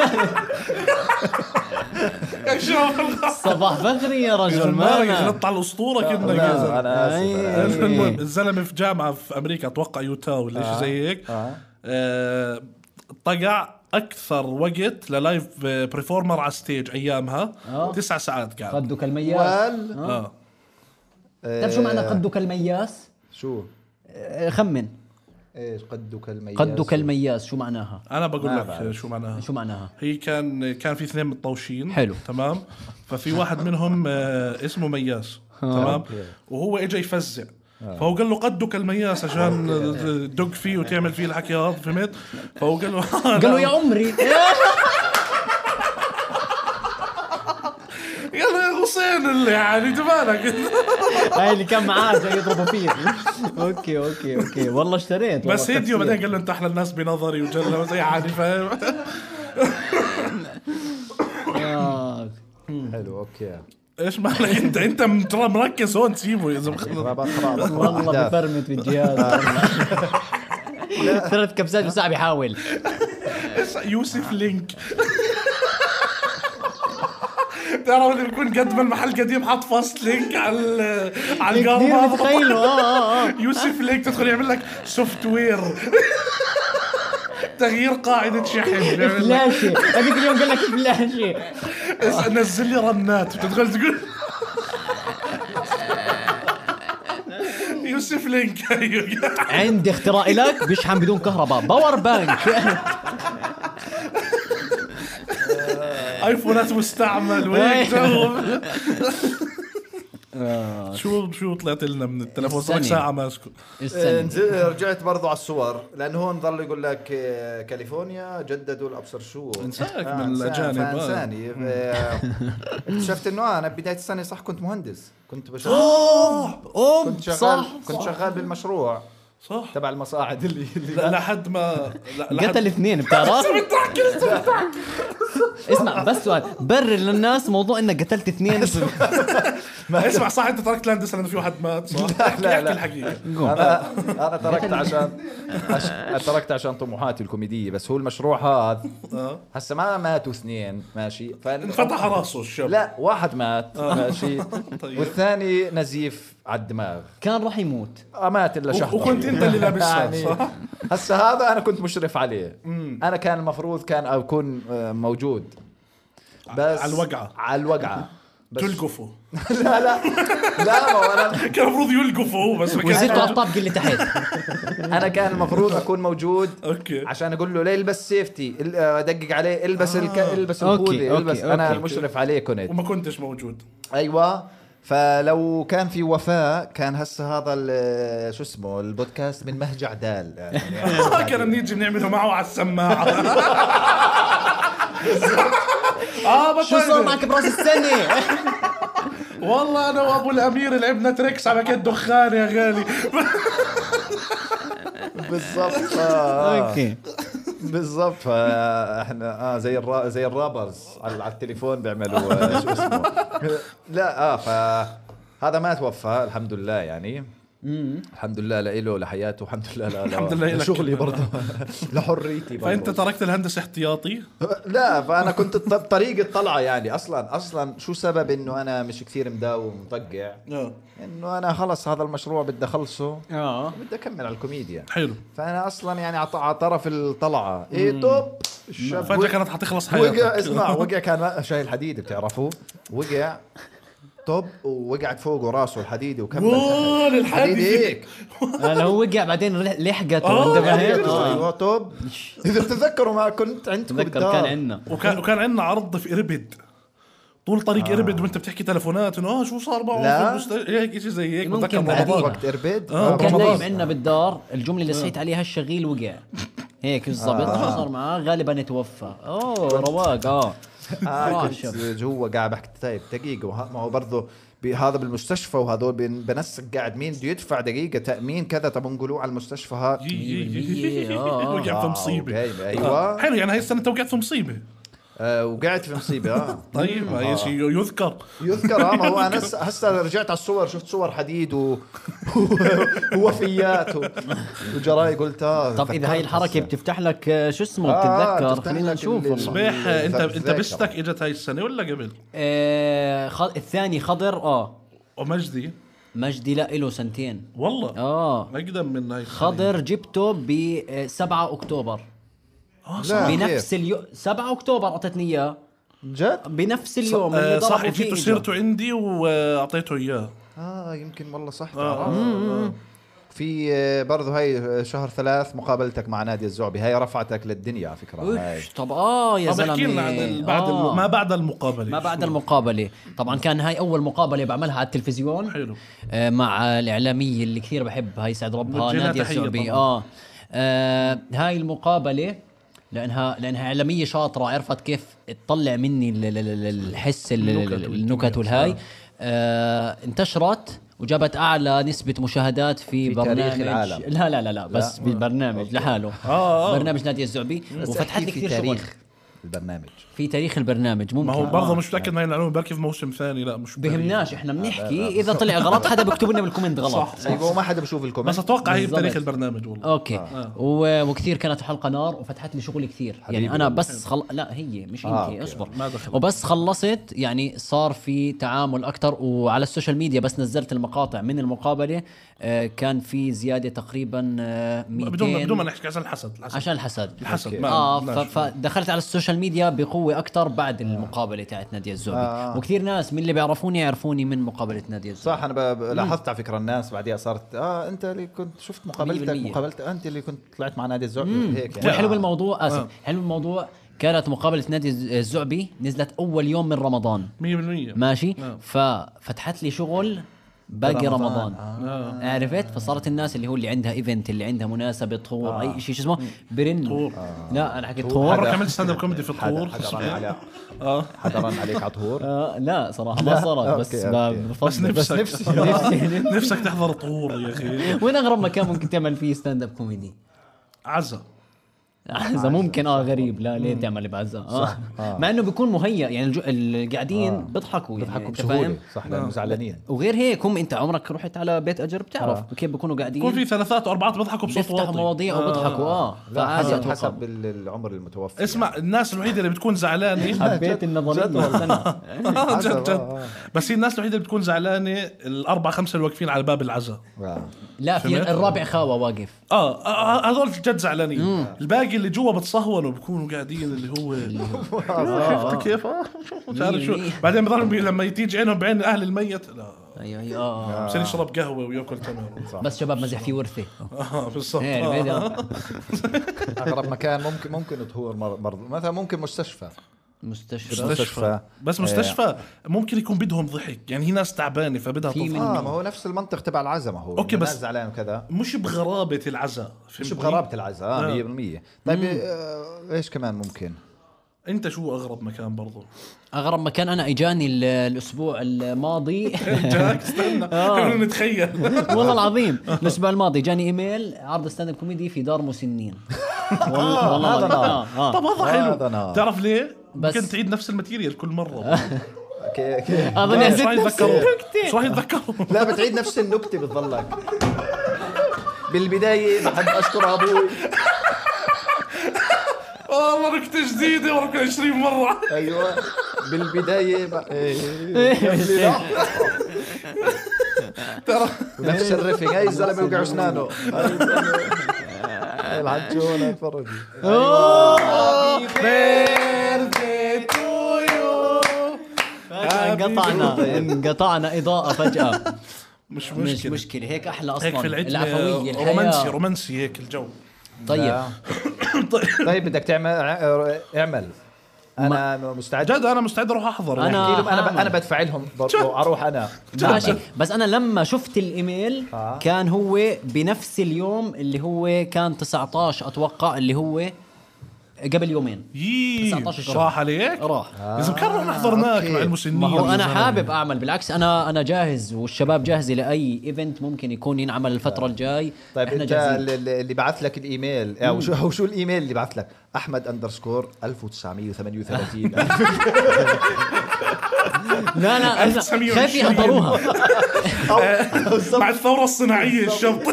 Speaker 3: صباح فخري يا رجل مالك
Speaker 2: غلطت على الاسطوره كأنك يا
Speaker 1: لا،
Speaker 2: زلمة.
Speaker 1: انا اسف
Speaker 3: أي-
Speaker 1: أنا آسف.
Speaker 2: المهم الزلمه في جامعه في امريكا اتوقع يوتا ولا شيء زي هيك
Speaker 1: آه.
Speaker 2: آه، طقع اكثر وقت للايف بريفورمر على ستيج ايامها
Speaker 3: آه.
Speaker 2: تسع ساعات قاعد
Speaker 3: قدك المياس
Speaker 1: وال
Speaker 2: اه
Speaker 3: تعرف طيب، شو معنى قدك المياس؟
Speaker 1: آه، شو
Speaker 3: آه، خمن
Speaker 1: ايش قدك المياس
Speaker 3: قدك المياس شو معناها؟
Speaker 2: انا بقول
Speaker 1: ما
Speaker 2: لك
Speaker 1: بعرف.
Speaker 2: شو معناها
Speaker 3: شو معناها؟
Speaker 2: هي كان كان في اثنين متطوشين
Speaker 3: حلو.
Speaker 2: تمام ففي واحد منهم آه، اسمه مياس
Speaker 3: آه.
Speaker 2: تمام وهو اجى يفزع فهو قال له قدك المياس عشان تدق فيه وتعمل فيه الحكي هذا فهمت؟ فهو قال له
Speaker 3: قال له يا عمري
Speaker 2: قال له يا حسين اللي يعني تبالك
Speaker 3: هاي اللي كان معاه جاي يضربوا فيه اوكي اوكي اوكي والله اشتريت والله
Speaker 2: بس هيديو
Speaker 3: تفسير.
Speaker 2: بعدين قال له انت احلى الناس بنظري وجلة زي عادي فاهم؟
Speaker 3: آه.
Speaker 1: حلو اوكي
Speaker 2: ايش مالك انت انت م- ترى مركز هون سيبه يا زلمه خلص.
Speaker 1: رابط رابط
Speaker 3: والله
Speaker 1: أحداث.
Speaker 3: بفرمت في الجهاز ثلاث كبسات بساعة بيحاول
Speaker 2: يوسف لينك تعرف اللي بيكون قد ما المحل قديم حاط فاست لينك على ال- على
Speaker 3: كثير
Speaker 2: القرب
Speaker 3: إيه، متخيله اه اه اه
Speaker 2: يوسف لينك تدخل يعمل لك سوفت وير تغيير قاعدة شحن بيعمل لك
Speaker 3: فلاشة هذيك اليوم قال لك فلاشة
Speaker 2: اس- نزل لي رنات وتدخل تقول يوسف لينك أيوة.
Speaker 3: عندي اختراع لك بيشحن بدون كهرباء باور بانك
Speaker 2: ايفونات مستعمل وهيك جو شو شو طلعت لنا من التلفون صار لك
Speaker 3: السنة.
Speaker 2: ساعه ماسكه
Speaker 1: آه،
Speaker 3: السنة
Speaker 1: نزل- رجعت برضو على الصور لانه هون ظل يقول لك آه، كاليفورنيا جددوا الابصر شو
Speaker 2: انساك
Speaker 1: آه،
Speaker 2: من
Speaker 1: إنسان-
Speaker 2: الأجانب، آه.
Speaker 1: فانساني آه، اكتشفت انه آه، انا بدايه السنه صح كنت مهندس كنت بشتغل
Speaker 2: اوه
Speaker 1: كنت
Speaker 3: اوه
Speaker 1: شغال
Speaker 3: صح
Speaker 1: كنت شغال بالمشروع
Speaker 2: صح
Speaker 1: تبع المصاعد اللي اللي
Speaker 2: لا، لحد ما لا- لحد-
Speaker 3: قتل اثنين بتعرف؟ اسمع بس سؤال برر للناس موضوع انك قتلت اثنين
Speaker 2: اسمع صح انت تركت لاندس لانه في واحد مات صح احكي
Speaker 1: لا،
Speaker 2: احكي
Speaker 1: لا.
Speaker 2: الحقيقه
Speaker 1: انا انا تركت عشان عش- تركت عشان طموحاتي الكوميديه بس هو المشروع هذا
Speaker 2: آه.
Speaker 1: هسه ما ماتوا اثنين ماشي فن-
Speaker 2: انفتح راسه الشاب
Speaker 1: لا واحد مات ماشي
Speaker 2: آه. طيب.
Speaker 1: والثاني نزيف على الدماغ
Speaker 3: كان راح يموت
Speaker 1: آه، مات الا
Speaker 2: و-
Speaker 1: شهر يعني
Speaker 2: وكنت انت اللي لابسها، صح؟
Speaker 1: هسه هذا انا كنت مشرف عليه انا كان المفروض كان اكون آه، موجود بس
Speaker 2: على الوقعة.
Speaker 1: على الوقعه بس
Speaker 2: تلقفه
Speaker 1: لا لا لا ما هو انا
Speaker 2: كان المفروض يلقفه هو بس ما كان-
Speaker 3: وزيرته على الطابق اللي تحت
Speaker 1: انا كان المفروض اكون موجود
Speaker 2: اوكي
Speaker 1: عشان اقول له ليه البس سيفتي ال- آه، دقق عليه البس الك... البس
Speaker 3: أوكي،
Speaker 1: الخوذه
Speaker 3: أوكي،
Speaker 1: البس
Speaker 3: أوكي.
Speaker 1: انا المشرف عليه كنت
Speaker 2: وما كنتش موجود
Speaker 1: ايوه فلو كان في وفاء كان هسه هذا ال- شو اسمه البودكاست من مهجع دال يعني
Speaker 2: كان بنيجي بنعمله معه على السماعه اه
Speaker 3: شو صار
Speaker 2: بطل
Speaker 3: معك براس السنة؟
Speaker 2: والله انا وابو الامير لعبنا تريكس على كد دخان يا غالي
Speaker 1: بالضبط آه، آه.
Speaker 3: اوكي
Speaker 1: بالضبط فاحنا اه زي الرا زي الرابرز على على التليفون بيعملوا آه، شو اسمه لا اه فهذا ما توفى الحمد لله يعني الحمد لله لإله لحياته الحمد لله لا
Speaker 2: الحمد لله إلك.
Speaker 1: لشغلي برضه لحريتي برضه
Speaker 2: فانت تركت الهندسه احتياطي
Speaker 1: لا فانا كنت الط- بطريقه طلعه يعني اصلا اصلا شو سبب انه انا مش كثير مداوم مطقع انه انا خلص هذا المشروع بدي اخلصه
Speaker 2: آه.
Speaker 3: اه
Speaker 1: بدي اكمل على الكوميديا
Speaker 2: حلو
Speaker 1: فانا اصلا يعني عط- على طرف الطلعه ايه طب الشاب
Speaker 2: فجاه
Speaker 1: وقع-
Speaker 2: كانت حتخلص
Speaker 1: وقع
Speaker 2: حياتك
Speaker 1: اسمع وقع كان شايل حديد بتعرفوه وقع طب ووقعت فوقه راسه الحديده وكمل
Speaker 2: وول
Speaker 1: حديد
Speaker 2: الحديد
Speaker 1: هيك
Speaker 3: لو وقع بعدين رح- لحقته
Speaker 2: آه،
Speaker 3: انت فاهم؟
Speaker 1: حديده،
Speaker 3: آه.
Speaker 1: ايوه طب اذا بتتذكروا ما كنت عندكم
Speaker 3: تذكر
Speaker 1: بالدار
Speaker 3: كان عندنا
Speaker 2: وكان وكان عندنا عرض في اربد طول
Speaker 3: آه.
Speaker 2: طريق اربد وانت بتحكي تلفونات انه اه شو صار معه
Speaker 1: لا.
Speaker 2: في المست- هيك شيء زي هيك بتذكر
Speaker 3: ممكن بعدين.
Speaker 2: رمضان
Speaker 1: وقت اربد
Speaker 2: آه،
Speaker 1: آه،
Speaker 3: كان
Speaker 2: رمضان.
Speaker 3: نايم عندنا بالدار الجمله اللي صحيت عليها الشغيل وقع هيك بالضبط شو صار معاه غالبا توفى اوه رواق اه
Speaker 1: آه
Speaker 3: آه،
Speaker 1: كنت
Speaker 3: شوف.
Speaker 1: جوا قاعد بحكي طيب دقيقة وه- ما هو برضه ب- هذا بالمستشفى وهذول بن- بنسق قاعد مين بده يدفع دقيقة تأمين كذا طب نقولوه على المستشفى ها
Speaker 2: يي- يي- يي- يي-
Speaker 3: 100% آه.
Speaker 2: وقع في
Speaker 1: واو،
Speaker 2: مصيبه
Speaker 1: جايبة، أيوة.
Speaker 2: آه. حلو يعني هاي السنه انت وقعت في مصيبه
Speaker 1: آه وقعت في مصيبة آه
Speaker 2: طيب هاي شيء يذكر
Speaker 1: يذكر آه ما هو أنا هسه- هسه رجعت على الصور شفت صور حديد و... ووفيات و... وجراي قلت آه
Speaker 3: طب اذا هاي
Speaker 1: تذكرت
Speaker 3: الحركه
Speaker 1: هسه.
Speaker 3: بتفتح لك آه، شو اسمه
Speaker 1: آه،
Speaker 3: بتتذكر
Speaker 1: بتفتح
Speaker 3: خلينا
Speaker 1: لك
Speaker 3: نشوف
Speaker 1: ال-
Speaker 3: والله
Speaker 2: صبيح انت انت
Speaker 1: الذاكرة.
Speaker 2: بستك اجت هاي السنه ولا قبل؟
Speaker 3: آه، خ- الثاني خضر اه
Speaker 2: ومجدي
Speaker 3: مجدي لا له سنتين
Speaker 2: والله
Speaker 3: اه
Speaker 2: اقدم من هاي السنة.
Speaker 3: خضر جبته ب 7 اكتوبر
Speaker 2: آه، صح.
Speaker 1: لا
Speaker 3: بنفس اليوم 7 اكتوبر اعطتني اياه
Speaker 1: جد؟
Speaker 3: بنفس اليوم
Speaker 2: آه،
Speaker 3: اللي
Speaker 2: صح
Speaker 3: ضربوا فيه
Speaker 2: جيت
Speaker 3: إجا.
Speaker 2: سيرته عندي واعطيته اياه
Speaker 1: آه يمكن والله صح
Speaker 2: آه،
Speaker 1: تعرف.
Speaker 2: آه.
Speaker 1: في آه، برضه هاي شهر ثلاث مقابلتك مع نادي الزعبي هاي رفعتك للدنيا على فكرة هاي
Speaker 3: وش طب اه يا
Speaker 2: طب
Speaker 3: زلمه
Speaker 2: احكي لنا عن ال- بعد
Speaker 3: آه.
Speaker 2: الم- ما بعد المقابله
Speaker 3: ما بعد
Speaker 2: شو؟
Speaker 3: المقابلة طبعا كان هاي أول مقابلة بعملها على التلفزيون
Speaker 2: حلو.
Speaker 3: آه مع الإعلامية اللي كثير بحبها يسعد ربها
Speaker 2: بنوجه لها
Speaker 3: نادية
Speaker 2: تحية
Speaker 3: السعبي
Speaker 2: طبعاً.
Speaker 3: آه. آه هاي المقابلة لأنها لأنها إعلامية شاطرة عرفت كيف تطلع مني ال- ال- ال- الحس ال- ال-
Speaker 2: النكت
Speaker 3: النكت والهاي آه انتشرت وجابت اعلى نسبه مشاهدات في,
Speaker 1: في تاريخ
Speaker 3: برنامج
Speaker 1: العالم.
Speaker 3: لا لا لا لا بس بالبرنامج لحاله
Speaker 2: آه، آه.
Speaker 3: برنامج نادية الزعبي وفتحت لي
Speaker 1: احكي
Speaker 3: كثير
Speaker 1: في
Speaker 3: شغل
Speaker 1: تاريخ البرنامج
Speaker 3: في تاريخ البرنامج ممكن
Speaker 2: ما هو
Speaker 3: آه.
Speaker 2: برضه مش متاكد من هاي المعلومه بركي في موسم ثاني لا مش متأكد.
Speaker 3: بهمناش احنا بنحكي اذا طلع غلط حدا بيكتب لنا بالكومنت غلط
Speaker 2: صح.
Speaker 1: ايوه وما حدا بشوف
Speaker 2: بس
Speaker 1: الكومنت
Speaker 2: اتوقع هي
Speaker 3: بالضبط.
Speaker 2: بتاريخ البرنامج والله
Speaker 3: اوكي
Speaker 2: آه.
Speaker 3: و... وكثير كانت الحلقه نار وفتحت لي شغل كثير يعني انا بس خل... لا هي مش انت
Speaker 1: آه، أوكي.
Speaker 3: اصبر
Speaker 2: ما دخل.
Speaker 3: وبس خلصت يعني صار في تعامل اكثر وعلى السوشيال ميديا بس نزلت المقاطع من المقابله آه، كان في زياده تقريبا آه، 200
Speaker 2: بدون ما- بدون ما نحكي عشان الحسد الحسد
Speaker 3: عشان الحسد
Speaker 2: الحسد
Speaker 1: أوكي.
Speaker 2: ما آه.
Speaker 3: اه
Speaker 2: بدناش.
Speaker 3: ف- فدخلت على السوشيال ميديا بقوه اكثر بعد المقابله تاعت ناديه الزعبي
Speaker 1: آه.
Speaker 3: وكثير ناس من اللي بيعرفوني يعرفوني من مقابله ناديه الزعبي
Speaker 1: صح انا ب- ب- لاحظت على فكره الناس بعديها صارت اه انت اللي كنت شفت مقابلتك
Speaker 3: 100%.
Speaker 1: مقابلتك انت اللي كنت طلعت مع نادي الزعبي هيك يعني.
Speaker 3: والحلو بالموضوع اسف حلو بالموضوع كانت مقابله نادي الز- الزعبي نزلت اول يوم من رمضان
Speaker 2: 100%
Speaker 3: ماشي
Speaker 2: نعم.
Speaker 3: ففتحت لي شغل باقي
Speaker 1: رمضان.
Speaker 3: رمضان,
Speaker 2: آه.
Speaker 3: عرفت فصارت الناس اللي هو اللي عندها ايفنت اللي عندها مناسبه طور آه. اي شيء شو اسمه برن
Speaker 2: طور.
Speaker 3: لا انا حكيت طور
Speaker 2: مره عملت ستاند اب كوميدي في الطور
Speaker 1: حدا حدا رن
Speaker 2: صحيح.
Speaker 1: على
Speaker 2: اه
Speaker 1: حدا رن عليك على طهور
Speaker 3: آه لا صراحه ما صارت بس
Speaker 1: أوكي،
Speaker 3: ب-
Speaker 1: أوكي.
Speaker 3: بفضل.
Speaker 2: بس نفسك
Speaker 1: نفسي.
Speaker 3: نفسي-
Speaker 2: نفسك تحضر طور يا اخي
Speaker 3: وين اغرب مكان ممكن تعمل فيه ستاند اب كوميدي؟
Speaker 2: عزا
Speaker 3: اذا آه، ممكن اه غريب لا ليه تعمل بعزة آه. مع انه بيكون مهيأ يعني الجو- اللي قاعدين بيضحكوا يعني
Speaker 1: بضحكوا
Speaker 3: أنت فاهم؟
Speaker 1: بسهوله صح لانه زعلانين
Speaker 3: وغير هيك هم انت عمرك رحت على بيت اجر بتعرف كيف بيكونوا
Speaker 2: يكون
Speaker 3: قاعدين
Speaker 2: في ثلاثات واربعات بيضحكوا بصوت
Speaker 3: بيفتحوا
Speaker 2: واطي
Speaker 3: إيه. مواضيع وبيضحكوا اه
Speaker 1: لا
Speaker 3: فعادي
Speaker 1: حسب
Speaker 3: اتوقع
Speaker 1: حسب ال- العمر المتوفى
Speaker 2: اسمع الناس الوحيده اللي بتكون زعلانه
Speaker 3: حبيت النظريه استنى.
Speaker 2: آه،
Speaker 1: عزا،
Speaker 2: جد
Speaker 1: آه،
Speaker 2: جد بس هي الناس الوحيده اللي بتكون زعلانه الاربعه خمسه اللي واقفين على باب العزا
Speaker 1: آه.
Speaker 3: لا في
Speaker 2: فهمت؟
Speaker 3: الرابع خاوه واقف
Speaker 2: اه آه، آه، هذول جد زعلانين الباقي اللي جوا بتصهونوا بيكونوا قاعدين اللي هو شفت كيف آه، مش عارف شو
Speaker 3: مية.
Speaker 2: بعدين بضلهم بي- لما تيجي عينهم بعين اهل الميت لا
Speaker 3: ايوه ايوه آه.
Speaker 2: عشان يشرب قهوه وياكل تمر
Speaker 3: بس شباب مزح في ورثه
Speaker 2: اه بالضبط
Speaker 3: إيه،
Speaker 2: آه.
Speaker 3: البيت، آه.
Speaker 1: اقرب مكان ممكن ممكن طهور مر- مرض مثلا ممكن مستشفى
Speaker 3: مستشفى
Speaker 2: مستشفى
Speaker 1: مستشفى.
Speaker 3: إيه.
Speaker 2: بس مستشفى ممكن يكون بدهم ضحك يعني هي ناس تعبانه فبدها
Speaker 3: في
Speaker 2: تضحك
Speaker 3: منهم.
Speaker 1: اه ما هو نفس المنطق تبع العزا ما هو
Speaker 2: أوكي،
Speaker 1: الناس
Speaker 2: بس-
Speaker 1: زعلان وكذا
Speaker 2: مش بغرابه العزاء
Speaker 1: مش
Speaker 2: فهمتني؟
Speaker 1: بغرابه العزا آه 100% طيب آه، ايش كمان ممكن؟
Speaker 2: انت شو اغرب مكان برضو
Speaker 3: اغرب مكان انا اجاني ال- الاسبوع الماضي
Speaker 2: جاك استنى
Speaker 3: آه.
Speaker 2: خلينا نتخيل
Speaker 3: والله العظيم الاسبوع الماضي جاني ايميل عرض ستاند اب كوميدي في دار مسنين والله والله
Speaker 1: هذا
Speaker 3: العظيم.
Speaker 1: نار.
Speaker 3: آه، آه.
Speaker 2: طب هذا
Speaker 1: هذا
Speaker 2: حلو
Speaker 1: نار.
Speaker 2: تعرف ليه؟
Speaker 3: بس-
Speaker 2: ممكن تعيد نفس الماتيريال كل مره
Speaker 1: اوكي اوكي
Speaker 3: اظن
Speaker 2: شو راح
Speaker 3: نسيت نفس
Speaker 2: يتذكروا؟
Speaker 3: النكتة.
Speaker 2: شو راح يتذكروا؟
Speaker 1: لا بتعيد نفس النكته بتضلك بالبدايه بحب اشكر ابوي
Speaker 2: والله نكته جديده وركن 20 مره
Speaker 1: ايوه بالبدايه ب- إيه. ونفس الرفق هاي الزلمه وقع اسنانه هاي الزلمة. هاي العجونه اتفرج
Speaker 3: فجأة انقطعنا انقطعنا اضاءه فجاه
Speaker 2: مش
Speaker 3: مش
Speaker 2: مشكله
Speaker 3: مشكله هيك احلى اصلا
Speaker 2: هيك في
Speaker 3: العفويه
Speaker 2: العتمه
Speaker 3: الحياة.
Speaker 2: رومانسي رومانسي هيك الجو
Speaker 3: طيب
Speaker 1: لا. طيب بدك تعمل ع- اعمل انا مستعد
Speaker 2: جد انا مستعد اروح احضر
Speaker 3: أنا-
Speaker 1: احكي لهم انا ب-
Speaker 3: هعمل.
Speaker 1: انا بدفع لهم برضه اروح انا
Speaker 3: ماشي بس انا لما شفت الايميل
Speaker 1: آه.
Speaker 3: كان هو بنفس اليوم اللي هو كان 19 اتوقع اللي هو قبل يومين
Speaker 2: يي
Speaker 3: 19 شهر.
Speaker 2: راح عليك
Speaker 3: راح
Speaker 2: لازم كان نروح نحضر هناك
Speaker 1: أوكي.
Speaker 2: مع المسنين
Speaker 3: آه، ما هو
Speaker 2: يا
Speaker 3: انا
Speaker 2: زلمة.
Speaker 3: حابب اعمل بالعكس انا انا جاهز والشباب جاهزه لاي ايفنت ممكن يكون ينعمل الفتره الجاي
Speaker 1: طيب
Speaker 3: احنا
Speaker 1: انت
Speaker 3: جاهزين
Speaker 1: ال- ال- اللي بعث لك الايميل او شو او شو الايميل اللي بعث لك احمد اندرسكور 1938
Speaker 3: لا لا أنا
Speaker 2: 1920.
Speaker 3: خايف يحضروها
Speaker 2: مع الثوره الصناعيه الشبط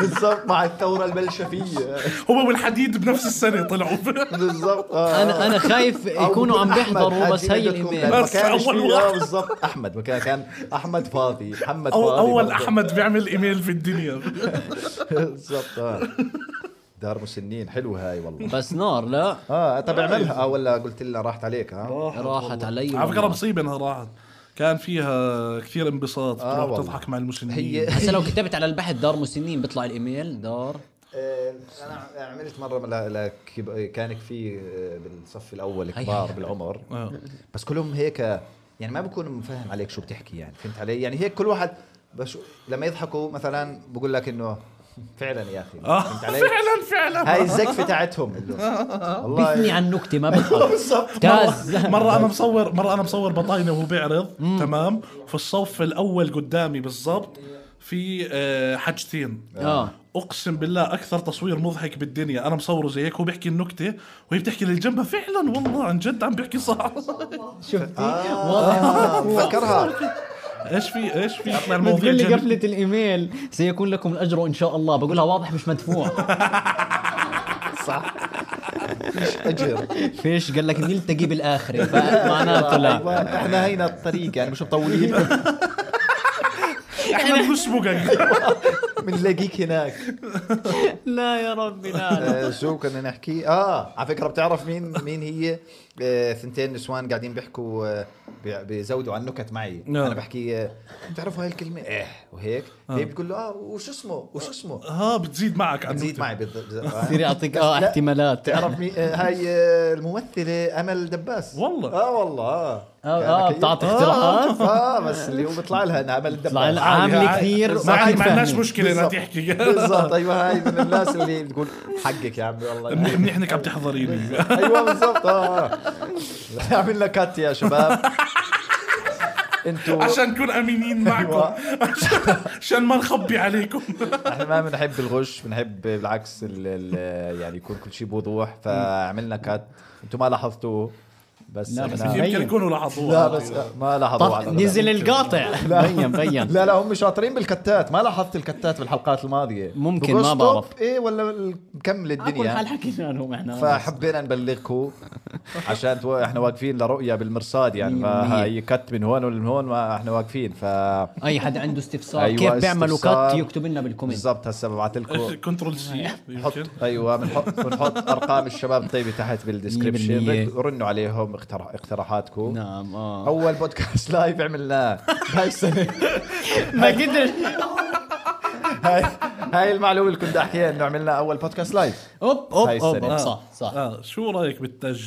Speaker 1: بالضبط مع الثوره البلشفيه
Speaker 2: هو والحديد بنفس السنه طلعوا
Speaker 1: بالضبط آه.
Speaker 3: انا انا خايف
Speaker 1: أو
Speaker 3: يكونوا عم
Speaker 1: أحمد
Speaker 3: بيحضروا بس هي
Speaker 1: أجندتكم لأنه
Speaker 3: الايميل
Speaker 1: ما
Speaker 2: بس
Speaker 1: كانش
Speaker 2: أول
Speaker 1: فيه-
Speaker 2: واحد.
Speaker 1: آه، بالضبط احمد ما كان كان احمد فاضي محمد
Speaker 2: أو
Speaker 1: فاضي
Speaker 2: اول
Speaker 1: برضه.
Speaker 2: احمد بيعمل ايميل في الدنيا
Speaker 1: بالضبط آه. دار مسنين حلوه هاي والله
Speaker 3: بس نار لا
Speaker 1: اه طب اعملها اه ولا قلت لها راحت عليك آه. ها
Speaker 3: راحت علي
Speaker 2: على فكره
Speaker 3: والله.
Speaker 2: مصيبه انها راحت كان فيها كثير انبساط
Speaker 1: آه
Speaker 2: تروح
Speaker 1: والله.
Speaker 2: تضحك مع المسنين
Speaker 1: هي
Speaker 3: طيب. هسه لو كتبت على البحث دار مسنين بيطلع الايميل دار
Speaker 1: آه، انا عملت مره ل- لكب- كان في آه، بالصف الاول
Speaker 3: هي
Speaker 1: كبار
Speaker 3: هي.
Speaker 1: بالعمر
Speaker 2: آه.
Speaker 1: بس كلهم هيك آه، يعني ما بكون فاهم عليك شو بتحكي يعني فهمت علي يعني هيك كل واحد بش لما يضحكوا مثلا بقول لك انه فعلا يا اخي
Speaker 2: آه،
Speaker 1: فهمت علي
Speaker 2: فعلا فعلا
Speaker 1: هاي الزقفه تاعتهم اللي هو.
Speaker 3: بثني
Speaker 1: والله
Speaker 3: عن نكته ما بفهم
Speaker 1: بالضبط
Speaker 3: تاز
Speaker 2: مرة أنا مصور مرة أنا مصور بطاينة وهو بيعرض تمام في الصف الأول قدامي بالضبط في آه، حاجتين
Speaker 3: اه
Speaker 2: اقسم بالله اكثر تصوير مضحك بالدنيا انا مصوره زي هيك هو بيحكي النكته وهي بتحكي اللي جنبها فعلا والله عن جد عم بيحكي صح
Speaker 1: آه، بفكرها
Speaker 2: ايش في ايش في اطلع
Speaker 3: بتقول لي
Speaker 2: جانبي.
Speaker 3: قفلة الإيميل سيكون لكم الأجر إن شاء الله بقولها واضح مش مدفوع
Speaker 1: صح اجر
Speaker 3: فيش قال لك نلتقي بالآخرة فمعناته لا
Speaker 1: أيوة، احنا هينا الطريق يعني مش مطولين
Speaker 2: احنا بنسبقك
Speaker 1: بنلاقيك هناك
Speaker 3: لا يا ربي لا
Speaker 1: آه، شو كنا نحكي اه على فكره بتعرف مين مين هي آه، ثنتين نسوان قاعدين بيحكوا آه، بي- بيزودوا على النكت معي
Speaker 2: نعم. آه.
Speaker 1: انا بحكي آه، بتعرفوا هاي الكلمه ايه وهيك هي بتقول له اه وشو اسمه وشو اسمه
Speaker 2: ها آه، بتزيد معك عن
Speaker 1: بتزيد
Speaker 2: النكتة.
Speaker 1: معي بالض- بالض-
Speaker 3: بصير يعطيك اه
Speaker 1: لا.
Speaker 3: احتمالات
Speaker 1: تعرف مي... آه، هاي آه، الممثله امل دباس
Speaker 2: والله.
Speaker 1: اه والله اه
Speaker 3: اه اه
Speaker 1: أنا
Speaker 3: بتعطي
Speaker 1: كيف-
Speaker 3: اختراعات
Speaker 1: اه إيه. بس اللي هو بيطلع لها انها امل دباس
Speaker 3: طلع لها
Speaker 2: عادي،
Speaker 3: عاملة
Speaker 2: عادي.
Speaker 3: كثير
Speaker 2: ما عاد- ما عندناش
Speaker 3: فاهمين.
Speaker 2: مشكله انها
Speaker 1: بالضبط.
Speaker 2: تحكي
Speaker 1: بالضبط ايوه هاي من الناس اللي بتقول حقك يا عمي والله
Speaker 2: منيح- منيح انك عم تحضريني
Speaker 1: ايوه بالضبط اه عملنا كات يا شباب انتوا
Speaker 2: عشان نكون امينين معكم
Speaker 1: أيوة.
Speaker 2: عشان- عشان ما نخبي عليكم
Speaker 1: احنا ما بنحب الغش بنحب بالعكس ال ال يعني يكون كل شيء بوضوح فعملنا كات انتوا ما لاحظتوه بس
Speaker 3: لا، بس
Speaker 1: إحنا-
Speaker 2: يمكن يكونوا لاحظوها
Speaker 1: لا بس ما لاحظوه
Speaker 3: طف
Speaker 1: على
Speaker 3: نزل القاطع بين بين
Speaker 1: لا لا هم شاطرين بالكتات ما لاحظت الكتات بالحلقات الماضيه
Speaker 3: ممكن، ما
Speaker 1: بقص
Speaker 3: بعرف.
Speaker 1: توب، ايه ولا ال- مكمل
Speaker 3: على كل حال
Speaker 1: الدنيا
Speaker 3: حكينا لهم
Speaker 1: آه.
Speaker 3: احنا
Speaker 1: فحبينا نبلغكم عشان تو... احنا واقفين لرؤيه بالمرصاد يعني
Speaker 3: مية بالمية.
Speaker 1: فهي كت من هون ومن هون ما احنا واقفين ف
Speaker 3: اي حدا عنده استفسار
Speaker 1: أيوة،
Speaker 3: كيف بيعملوا
Speaker 1: استفسار.
Speaker 3: كات يكتب لنا بالكومنت
Speaker 1: بالضبط هسه ببعث لكم
Speaker 2: كنترول سي يمكن
Speaker 1: حط ايوه بنحط بنحط ارقام الشباب الطيبه تحت بالدسكربشن
Speaker 3: بالمية.
Speaker 1: رد- رنوا عليهم اقتراح اقتراحاتكم
Speaker 3: نعم اه
Speaker 1: اول بودكاست لايف عملناه هاي السنه
Speaker 3: ما قدرش
Speaker 1: هاي هاي المعلومه اللي كنت احكيها انه عملنا اول بودكاست لايف
Speaker 3: اوب اوب
Speaker 1: هاي آه.
Speaker 3: اوب
Speaker 1: السنة.
Speaker 3: أوب، صح صح
Speaker 2: اه شو رايك بالتج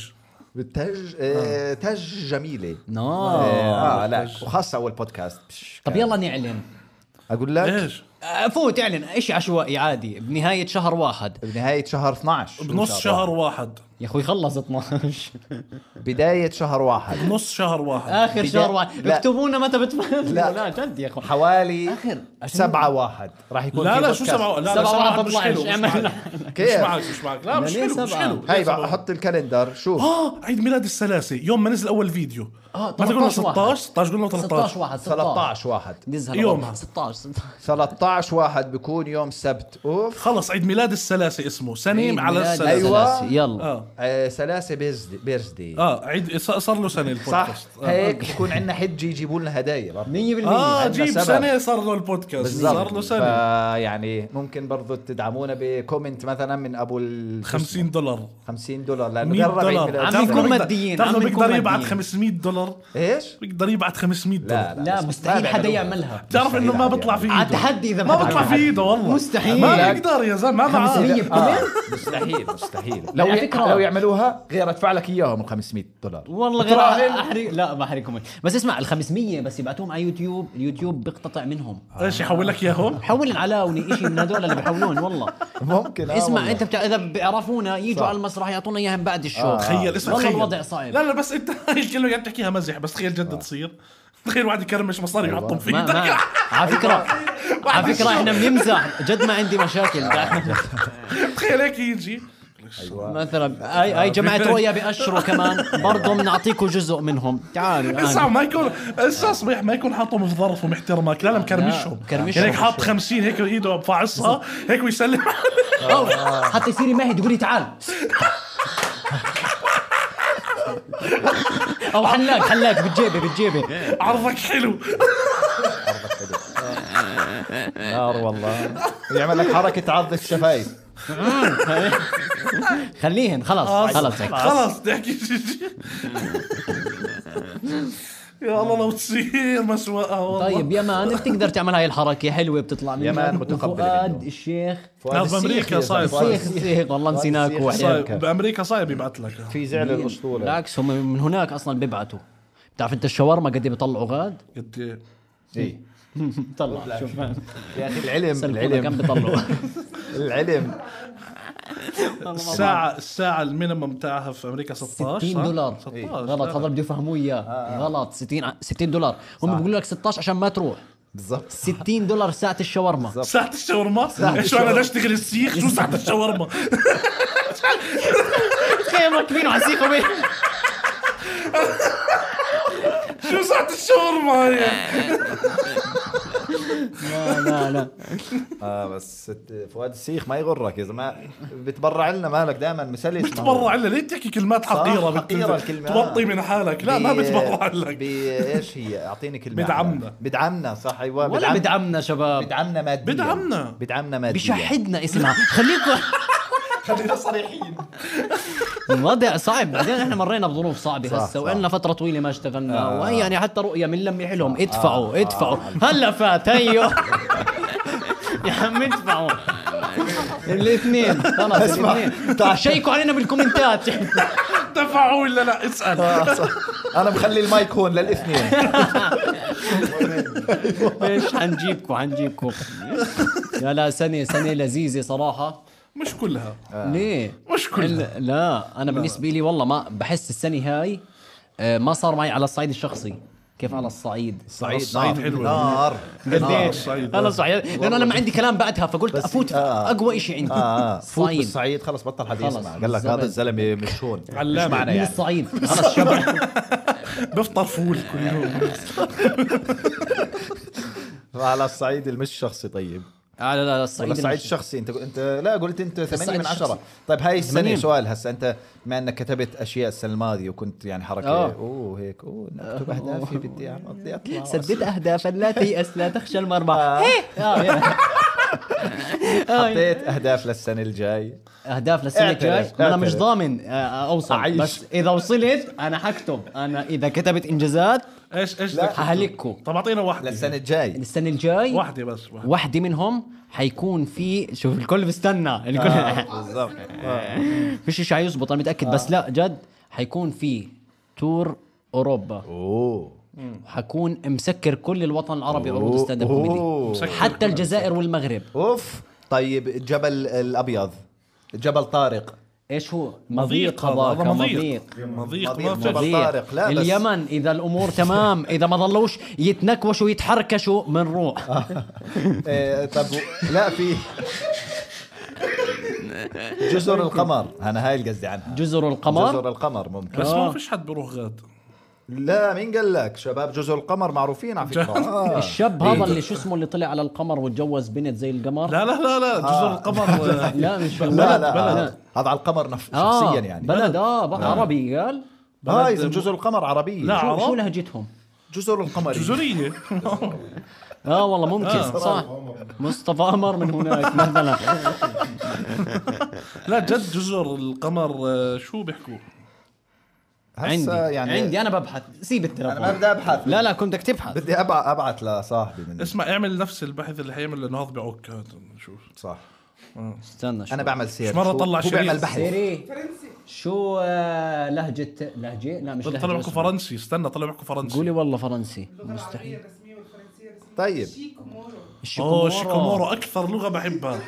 Speaker 1: بالتج آه، تج جميله
Speaker 3: نو
Speaker 1: اه, آه لا وخاصه اول بودكاست بش،
Speaker 3: نعم. طب يلا نعلن
Speaker 1: اقول لك
Speaker 2: ايش
Speaker 3: فوت اعلن شيء عشوائي عادي بنهايه شهر واحد
Speaker 1: بنهايه شهر 12
Speaker 2: بنص شهر واحد
Speaker 3: يا اخوي خلص 12
Speaker 1: بدايه شهر واحد
Speaker 2: نص شهر واحد
Speaker 3: اخر
Speaker 1: بدا-
Speaker 3: شهر واحد
Speaker 1: لا.
Speaker 3: اكتبوا لنا متى بتفهم
Speaker 1: لا.
Speaker 3: لا جد يا اخوي
Speaker 1: حوالي
Speaker 3: آخر. عشان-
Speaker 1: سبعة واحد راح يكون
Speaker 2: لا
Speaker 1: في
Speaker 2: لا شو
Speaker 1: بودكاست.
Speaker 2: طيب، سبعة لا لا
Speaker 3: سبعة
Speaker 2: سبعة
Speaker 3: واحد
Speaker 2: مش
Speaker 3: بطلعش،
Speaker 2: حلو مش
Speaker 3: اعمل-
Speaker 2: معك مش
Speaker 1: كيف؟
Speaker 2: معك مش معك لا
Speaker 3: لا،
Speaker 2: مش
Speaker 3: ليه
Speaker 2: حلو مش
Speaker 3: سبعة؟
Speaker 2: حلو
Speaker 1: إيه. هاي
Speaker 2: ليه سبعة؟
Speaker 1: بقى حط الكالندر شوف
Speaker 2: اه عيد ميلاد السلاسه يوم ما نزل اول فيديو
Speaker 3: آه،
Speaker 2: ما قلنا
Speaker 3: 13 واحد.
Speaker 2: 16 16 قلنا
Speaker 3: 16
Speaker 2: 13
Speaker 3: واحد
Speaker 1: 13 واحد
Speaker 3: نزهر
Speaker 2: يومها.
Speaker 3: يومها 16 16
Speaker 1: 13 واحد بيكون يوم سبت اوف
Speaker 2: خلص عيد ميلاد السلاسه اسمه
Speaker 3: عيد
Speaker 2: سنه على
Speaker 3: ميلاد
Speaker 2: السلاسه
Speaker 1: أيوة.
Speaker 3: الثلاثي. يلا
Speaker 2: اه
Speaker 1: آه، سلاسه بيرزدي بيرزدي
Speaker 2: اه عيد ص- صار له سنه
Speaker 1: صح
Speaker 2: البودكاست آه.
Speaker 1: هيك بكون عندنا حجه يجيبوا لنا هدايا برضه.
Speaker 3: 100%
Speaker 2: اه
Speaker 1: عندنا
Speaker 2: جيب
Speaker 1: سبب.
Speaker 2: سنه صار له البودكاست صار له سنه
Speaker 1: فيعني يعني ممكن برضو تدعمونا بكومنت مثلا من ابو ال
Speaker 2: 50 دولار
Speaker 1: 50 دولار لانه
Speaker 2: 100
Speaker 1: قرب عيد
Speaker 2: دولار
Speaker 1: ميلاد
Speaker 3: عم
Speaker 1: السنة.
Speaker 3: نكون ماديين، عم
Speaker 2: تاخذ
Speaker 3: نكون
Speaker 2: بيقدر يبعث
Speaker 3: ماديين.
Speaker 2: 500 دولار
Speaker 1: ايش؟
Speaker 2: بيقدر يبعث 500 دولار
Speaker 1: لا
Speaker 3: لا
Speaker 1: بس
Speaker 3: مستحيل
Speaker 1: ما
Speaker 3: حدا
Speaker 1: بيعملوها.
Speaker 3: يعملها
Speaker 2: بتعرف انه ما
Speaker 1: مستحيل
Speaker 2: بطلع في
Speaker 3: على
Speaker 2: ايده
Speaker 3: تحدي اذا
Speaker 2: ما
Speaker 3: حدا
Speaker 2: بطلع في
Speaker 3: بيعملها.
Speaker 2: ايده والله
Speaker 3: مستحيل.
Speaker 2: ما بيقدر يا زلمه ما بعرف
Speaker 3: 500
Speaker 1: آه، مستحيل مستحيل لو
Speaker 3: على فكرة-
Speaker 1: لو يعملوها غير ادفع لك اياهم ال 500 دولار
Speaker 3: والله غير
Speaker 1: بتراهن؟
Speaker 3: احرق لا ما احرقكم بس اسمع ال 500 بس يبعتوهم على يوتيوب اليوتيوب بيقتطع منهم
Speaker 2: ايش يحول لك اياهم
Speaker 3: حول العلاوني شيء من هذول اللي بيحولون والله
Speaker 1: ممكن آه
Speaker 3: اسمع
Speaker 1: والله.
Speaker 3: انت بتاع اذا بيعرفونا يجوا
Speaker 1: صح.
Speaker 3: على المسرح يعطونا اياها من بعد الشو
Speaker 2: آه. تخيل اسمع
Speaker 3: والله
Speaker 2: تخيل
Speaker 3: الوضع صعب آه.
Speaker 2: لا لا بس انت هاي الكلمه قاعد تحكيها مزح بس تخيل جد تصير تخيل واحد يكرمش مصاري ويحطهم في
Speaker 3: أيوة. ما ما
Speaker 2: ايدك
Speaker 3: على فكره على فكره احنا بنمزح جد ما عندي مشاكل
Speaker 2: آه. تخيل هيك يجي
Speaker 3: مثلا اي اي جماعه رؤيا باشروا كمان برضه بنعطيكم جزء منهم تعالوا
Speaker 2: اسمع
Speaker 3: الآن.
Speaker 2: ما يكون اسمع صبيح ما يكون حاطهم في ظرف ومحترمك لا لا مكرمشهم
Speaker 3: مكرمشهم.
Speaker 2: يعني هيك حاط 50 هيك ايده بفعصها هيك ويسلم
Speaker 3: أو، حتى يصير ماهي تقول لي تعال او حلاق حلاق بتجيبه بتجيبه
Speaker 2: عرضك حلو
Speaker 1: نار والله نعم، يعمل لك حركه عض الشفايف
Speaker 3: خليهن
Speaker 2: آه،
Speaker 3: خلاص خلاص هيك.
Speaker 2: خلص تحكي شيء يا الله لو تصير مسوقه والله
Speaker 3: طيب يا مان بتقدر تعمل هاي الحركه حلوه بتطلع منك
Speaker 1: مان متقبل
Speaker 3: فؤاد
Speaker 1: منه.
Speaker 3: الشيخ
Speaker 2: لا،
Speaker 1: السيخ
Speaker 2: بأمريكا
Speaker 1: يا
Speaker 2: صاير.
Speaker 1: زلمة.
Speaker 3: الشيخ الشيخ والله نسيناك
Speaker 1: الشيخ.
Speaker 3: وحده
Speaker 2: صايب بامريكا صايب يبعث لك
Speaker 1: في زعل الاسطوله
Speaker 3: بالعكس هم من هناك اصلا بيبعتوا بتعرف انت الشاورما قد ايه بيطلعوا غاد؟
Speaker 2: قد إيه.
Speaker 1: إيه.
Speaker 3: طلع شوف
Speaker 1: يا اخي العلم
Speaker 3: العلم كم
Speaker 1: العلم
Speaker 3: بيطلعوا
Speaker 1: العلم
Speaker 2: الساعة الساعة المينيمم تاعها في امريكا 16
Speaker 3: 60
Speaker 2: صح؟
Speaker 3: دولار
Speaker 2: 16
Speaker 3: غلط
Speaker 2: لا.
Speaker 3: هذا بده يفهموه اياه غلط 60 ع- 60 دولار هم بيقولوا لك 16 عشان ما تروح
Speaker 1: بالضبط
Speaker 3: 60 دولار ساعه الشاورما
Speaker 2: ساعة الشاورما؟ شو انا ليش اشتغل السيخ؟ شو ساعة الشاورما؟
Speaker 3: تخيل مركبين وعسيقوا بيه
Speaker 2: شو ساعة الشاورما هي؟
Speaker 3: لا لا لا
Speaker 1: اه بس ت- فؤاد السيخ ما يغرك اذا ما بتبرع لنا مالك دائما مسلس
Speaker 2: بتبرع لنا ليه بتحكي كلمات حقيرة
Speaker 1: صح، حقيرة
Speaker 2: بت-
Speaker 1: الكلمة.
Speaker 2: توطي من حالك لا ما
Speaker 1: ب-
Speaker 2: بتبرع لك
Speaker 1: بايش هي اعطيني كلمه
Speaker 2: بدعمنا.
Speaker 1: أحلى. بدعمنا صح ايوه
Speaker 3: ولا بدعمنا شباب
Speaker 1: بدعمنا ماديا
Speaker 2: بدعمنا.
Speaker 1: بدعمنا ماديا
Speaker 3: بشحدنا اسمها خليكم
Speaker 4: خلينا صريحين
Speaker 3: الوضع صعب بعدين احنا مرينا بظروف صعبه
Speaker 1: صح،
Speaker 3: هسه
Speaker 1: صح.
Speaker 3: وإلنا فتره طويله ما اشتغلنا آه. وهي يعني حتى رؤيه من لمي لهم ادفعوا ادفعوا هلا فات هيو يا عم ادفعوا الاثنين خلص
Speaker 1: اسمع.
Speaker 3: الاثنين تعال شيكوا علينا بالكومنتات
Speaker 2: دفعوا ولا لا اسال
Speaker 1: آه، صح. انا مخلي المايك هون للاثنين
Speaker 3: ايش حنجيبكم حنجيبكم يا لا سنه سنه لذيذه صراحه
Speaker 2: مش كلها
Speaker 1: آه.
Speaker 3: ليه؟
Speaker 2: مش كلها.
Speaker 3: لا, لا انا بالنسبه لي والله ما بحس السنه هاي آه، ما صار معي على الصعيد الشخصي كيف على الصعيد
Speaker 2: صعيد
Speaker 1: نار
Speaker 2: صعيد حلوه
Speaker 1: نار
Speaker 2: آه،
Speaker 3: قديش
Speaker 2: الصعيد.
Speaker 3: انا صعيد لانه انا ما عندي كلام بعدها فقلت
Speaker 1: بس-
Speaker 3: افوت في
Speaker 1: آه.
Speaker 3: اقوى شيء عندي
Speaker 1: اه آه. فوت
Speaker 3: صعيد
Speaker 1: بالصعيد خلص بطل حد
Speaker 3: خلص،
Speaker 1: يسمع قال لك هذا الزلمه مش هون مش
Speaker 2: علامة.
Speaker 1: معنا
Speaker 3: من
Speaker 1: يعني
Speaker 3: الصعيد خلص شبع
Speaker 2: بفطر فول كل يوم
Speaker 1: على الصعيد المش شخصي طيب
Speaker 3: آه، لا لا
Speaker 1: ولا
Speaker 3: الصعيد
Speaker 1: الصعيد
Speaker 3: الشخصي.
Speaker 1: الشخصي انت انت لا قلت انت 8
Speaker 3: الصعيد
Speaker 1: من 10
Speaker 3: الشخصي.
Speaker 1: طيب هاي السنه
Speaker 3: 80.
Speaker 1: سؤال هسه انت بما انك كتبت اشياء السنه الماضيه وكنت يعني حركه
Speaker 3: آه.
Speaker 1: اوه هيك اوه إني اكتب اهدافي بدي أعمل- بدي اطلع
Speaker 3: سدد اهدافا لا تيأس لا تخشى المرمى
Speaker 1: آه.
Speaker 3: هيه. آه، يا. آه،
Speaker 1: حطيت اهداف للسنه الجاي
Speaker 3: اهداف للسنه
Speaker 1: اعترف،
Speaker 3: الجايه انا مش
Speaker 1: اعترف.
Speaker 3: ضامن آه، اوصل
Speaker 1: أعيش.
Speaker 3: بس اذا وصلت انا حكتب انا اذا كتبت انجازات
Speaker 2: ايش ايش
Speaker 1: لا.
Speaker 2: بدك؟
Speaker 3: حهلككم
Speaker 2: طب اعطينا واحده
Speaker 1: للسنه الجاي
Speaker 3: السنه الجاي
Speaker 2: واحده بس واحدة.
Speaker 3: واحدة منهم حيكون في شوف الكل بستنى الكل
Speaker 1: آه، بالضبط آه.
Speaker 3: فيش شيء حيزبط انا متاكد بس لا جد حيكون في تور اوروبا
Speaker 1: اوه
Speaker 3: حكون مسكر كل الوطن العربي عروض ستاند اب كوميدي
Speaker 1: أوه.
Speaker 2: مسكر.
Speaker 3: حتى الجزائر والمغرب
Speaker 1: اوف طيب الجبل الابيض جبل طارق
Speaker 3: ايش هو
Speaker 2: مضيق
Speaker 3: مضيق هذاك
Speaker 2: هذا
Speaker 3: مضيق
Speaker 2: مضيق مضيق
Speaker 1: مضيق.
Speaker 2: ما
Speaker 1: مضيق.
Speaker 2: في
Speaker 1: جبل طارق، لا بس-
Speaker 3: اليمن اذا الامور تمام اذا ما ضلوش يتنكوشوا يتحركشوا
Speaker 1: آه.
Speaker 3: بنروح
Speaker 1: إيه، طب و- لا في جزر القمر انا هاي اللي قصدي عنها
Speaker 3: جزر
Speaker 1: جزر
Speaker 3: القمر
Speaker 1: القمر ممكن
Speaker 2: بس
Speaker 3: آه.
Speaker 2: ما فيش حد بيروح غاد
Speaker 1: لا مين قال لك شباب جزر القمر معروفين على فكره آه.
Speaker 3: الشاب هذا اللي شو اسمه اللي طلع على القمر وتجوز بنت زي القمر
Speaker 2: لا لا لا لا جزر القمر آه،
Speaker 3: لا مش
Speaker 1: لا لا, لا. هذا على القمر نف...
Speaker 3: آه
Speaker 1: شخصيا يعني
Speaker 3: بلد اه بقى عربي قال
Speaker 1: اه
Speaker 2: بلد-
Speaker 1: اذا جزر القمر عربيه
Speaker 2: لا.
Speaker 3: شو,
Speaker 2: عرب؟
Speaker 3: شو لهجتهم
Speaker 1: جزر القمر
Speaker 2: جزريه
Speaker 3: اه والله ممكن
Speaker 2: آه.
Speaker 3: صح مصطفى قمر من هناك مثلا
Speaker 2: لا جد جزر القمر آه، شو بيحكوا
Speaker 1: عندي
Speaker 3: عندي
Speaker 1: يعني
Speaker 3: عندي انا ببحث سيب
Speaker 1: انا ما
Speaker 3: التلفون
Speaker 1: بدي ابحث
Speaker 3: لا لا كنت بدك تبحث
Speaker 1: بدي أبع... ابعت لصاحبي من
Speaker 2: اسمع اعمل نفس البحث اللي حيعمل لانه هذا بعك هات نشوف
Speaker 1: صح
Speaker 3: استنى شو
Speaker 1: انا بعمل سيرش
Speaker 2: مش مرة
Speaker 1: هو-
Speaker 2: طلع
Speaker 1: هو
Speaker 2: شريط.
Speaker 1: بيعمل بحث
Speaker 3: سيري شو آه، لهجة لهجة لا مش
Speaker 2: طلع بيحكوا
Speaker 3: لهجة
Speaker 2: فرنسي استنى طلع بيحكوا فرنسي
Speaker 3: قولي والله فرنسي
Speaker 4: العربية
Speaker 3: مستحيل
Speaker 4: الرسمية والفرنسية الرسمية
Speaker 1: طيب
Speaker 4: شيكومورو
Speaker 2: اوه شيكومورو اكثر لغه بحبها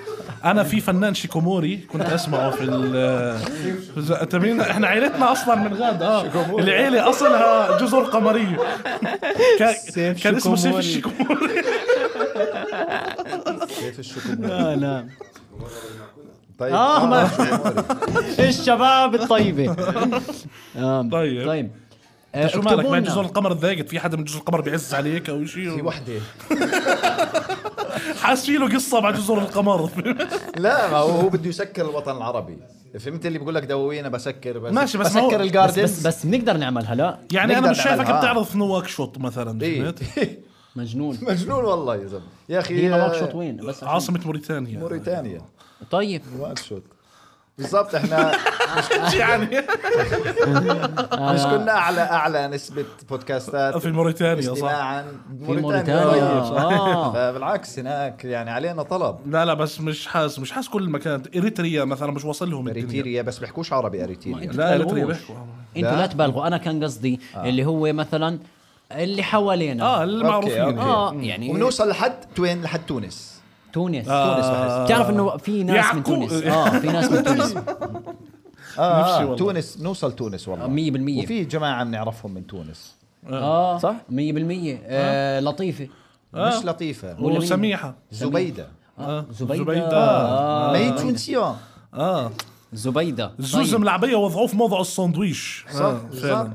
Speaker 2: انا في فنان شيكوموري كنت اسمعه في ال أنت مين؟ احنا عيلتنا اصلا من غاد اه العيله اصلها جزر قمريه كان-
Speaker 3: سيف
Speaker 2: كان اسمه سيف
Speaker 3: شيكوموري.
Speaker 2: الشيكوموري
Speaker 1: كيف الشكوك
Speaker 3: لا لا
Speaker 1: طيب
Speaker 3: اه ما الشباب الطيبة آه،
Speaker 2: طيب.
Speaker 3: طيب آه،
Speaker 2: أنت شو مالك
Speaker 3: اكتبوا
Speaker 2: ما
Speaker 3: لنا.
Speaker 2: جزر القمر تضايقت في حدا من جزر القمر بيعز عليك او
Speaker 1: في
Speaker 2: شيء
Speaker 1: وحده
Speaker 2: حاسس في له قصه مع جزر القمر
Speaker 1: لا ما هو هو بده يسكر الوطن العربي فهمت اللي بقول لك دوينا بسكر بس
Speaker 2: ماشي، بس ما هو-
Speaker 1: بسكر
Speaker 2: بس-
Speaker 1: الجاردن
Speaker 3: بس بس بنقدر نعملها لا
Speaker 2: يعني انا
Speaker 1: نقدر
Speaker 2: مش شايفك
Speaker 1: نعملها.
Speaker 2: بتعرف نواكشوط مثلا فهمت؟
Speaker 3: مجنون
Speaker 1: إيه. مجنون والله يا زلمه يا اخي
Speaker 3: هي نواكشوط وين بس عشان-
Speaker 2: عاصمه موريتانيا
Speaker 1: موريتانيا
Speaker 3: طيب
Speaker 1: نواكشوط بالضبط احنا
Speaker 2: يعني
Speaker 1: مش كنا اعلى اعلى نسبه بودكاستات
Speaker 2: في موريتانيا صح
Speaker 1: استماعا
Speaker 3: في موريتانيا اه
Speaker 1: فبالعكس هناك يعني علينا طلب
Speaker 2: لا لا بس مش حاس مش حاس كل المكان اريتريا مثلا مش واصل لهم الدنيا
Speaker 1: اريتريا بس بيحكوش عربي اريتريا
Speaker 2: لا اريتريا
Speaker 3: تبالغوش.
Speaker 2: بيحكوا
Speaker 3: انتوا لا تبالغوا انا كان قصدي اللي هو مثلا اللي حوالينا
Speaker 2: اه
Speaker 1: أوكي،
Speaker 2: المعروفين
Speaker 1: أوكي.
Speaker 3: اه يعني
Speaker 1: وبنوصل لحد وين لحد تونس
Speaker 3: تونس
Speaker 2: آه.
Speaker 3: تونس بحس. بتعرف انه في ناس
Speaker 2: يعقوب.
Speaker 3: من تونس اه في ناس من تونس 100%
Speaker 1: آه،
Speaker 2: نفسي
Speaker 1: اه
Speaker 2: والله.
Speaker 1: تونس نوصل تونس والله وفي جماعه بنعرفهم من تونس
Speaker 3: اه
Speaker 1: صح؟
Speaker 3: 100% آه لطيفه
Speaker 2: آه.
Speaker 1: مش لطيفه
Speaker 3: ولا مين؟
Speaker 2: وسميحه
Speaker 1: زبيده
Speaker 3: آه. زبيده
Speaker 2: زبيدة.
Speaker 3: آه.
Speaker 1: ما هي تونسيون
Speaker 2: اه
Speaker 3: زبيده
Speaker 2: زوز ملعبيه وضعوف موضع السندويش
Speaker 1: صح
Speaker 2: آه،
Speaker 1: صح
Speaker 2: فعلا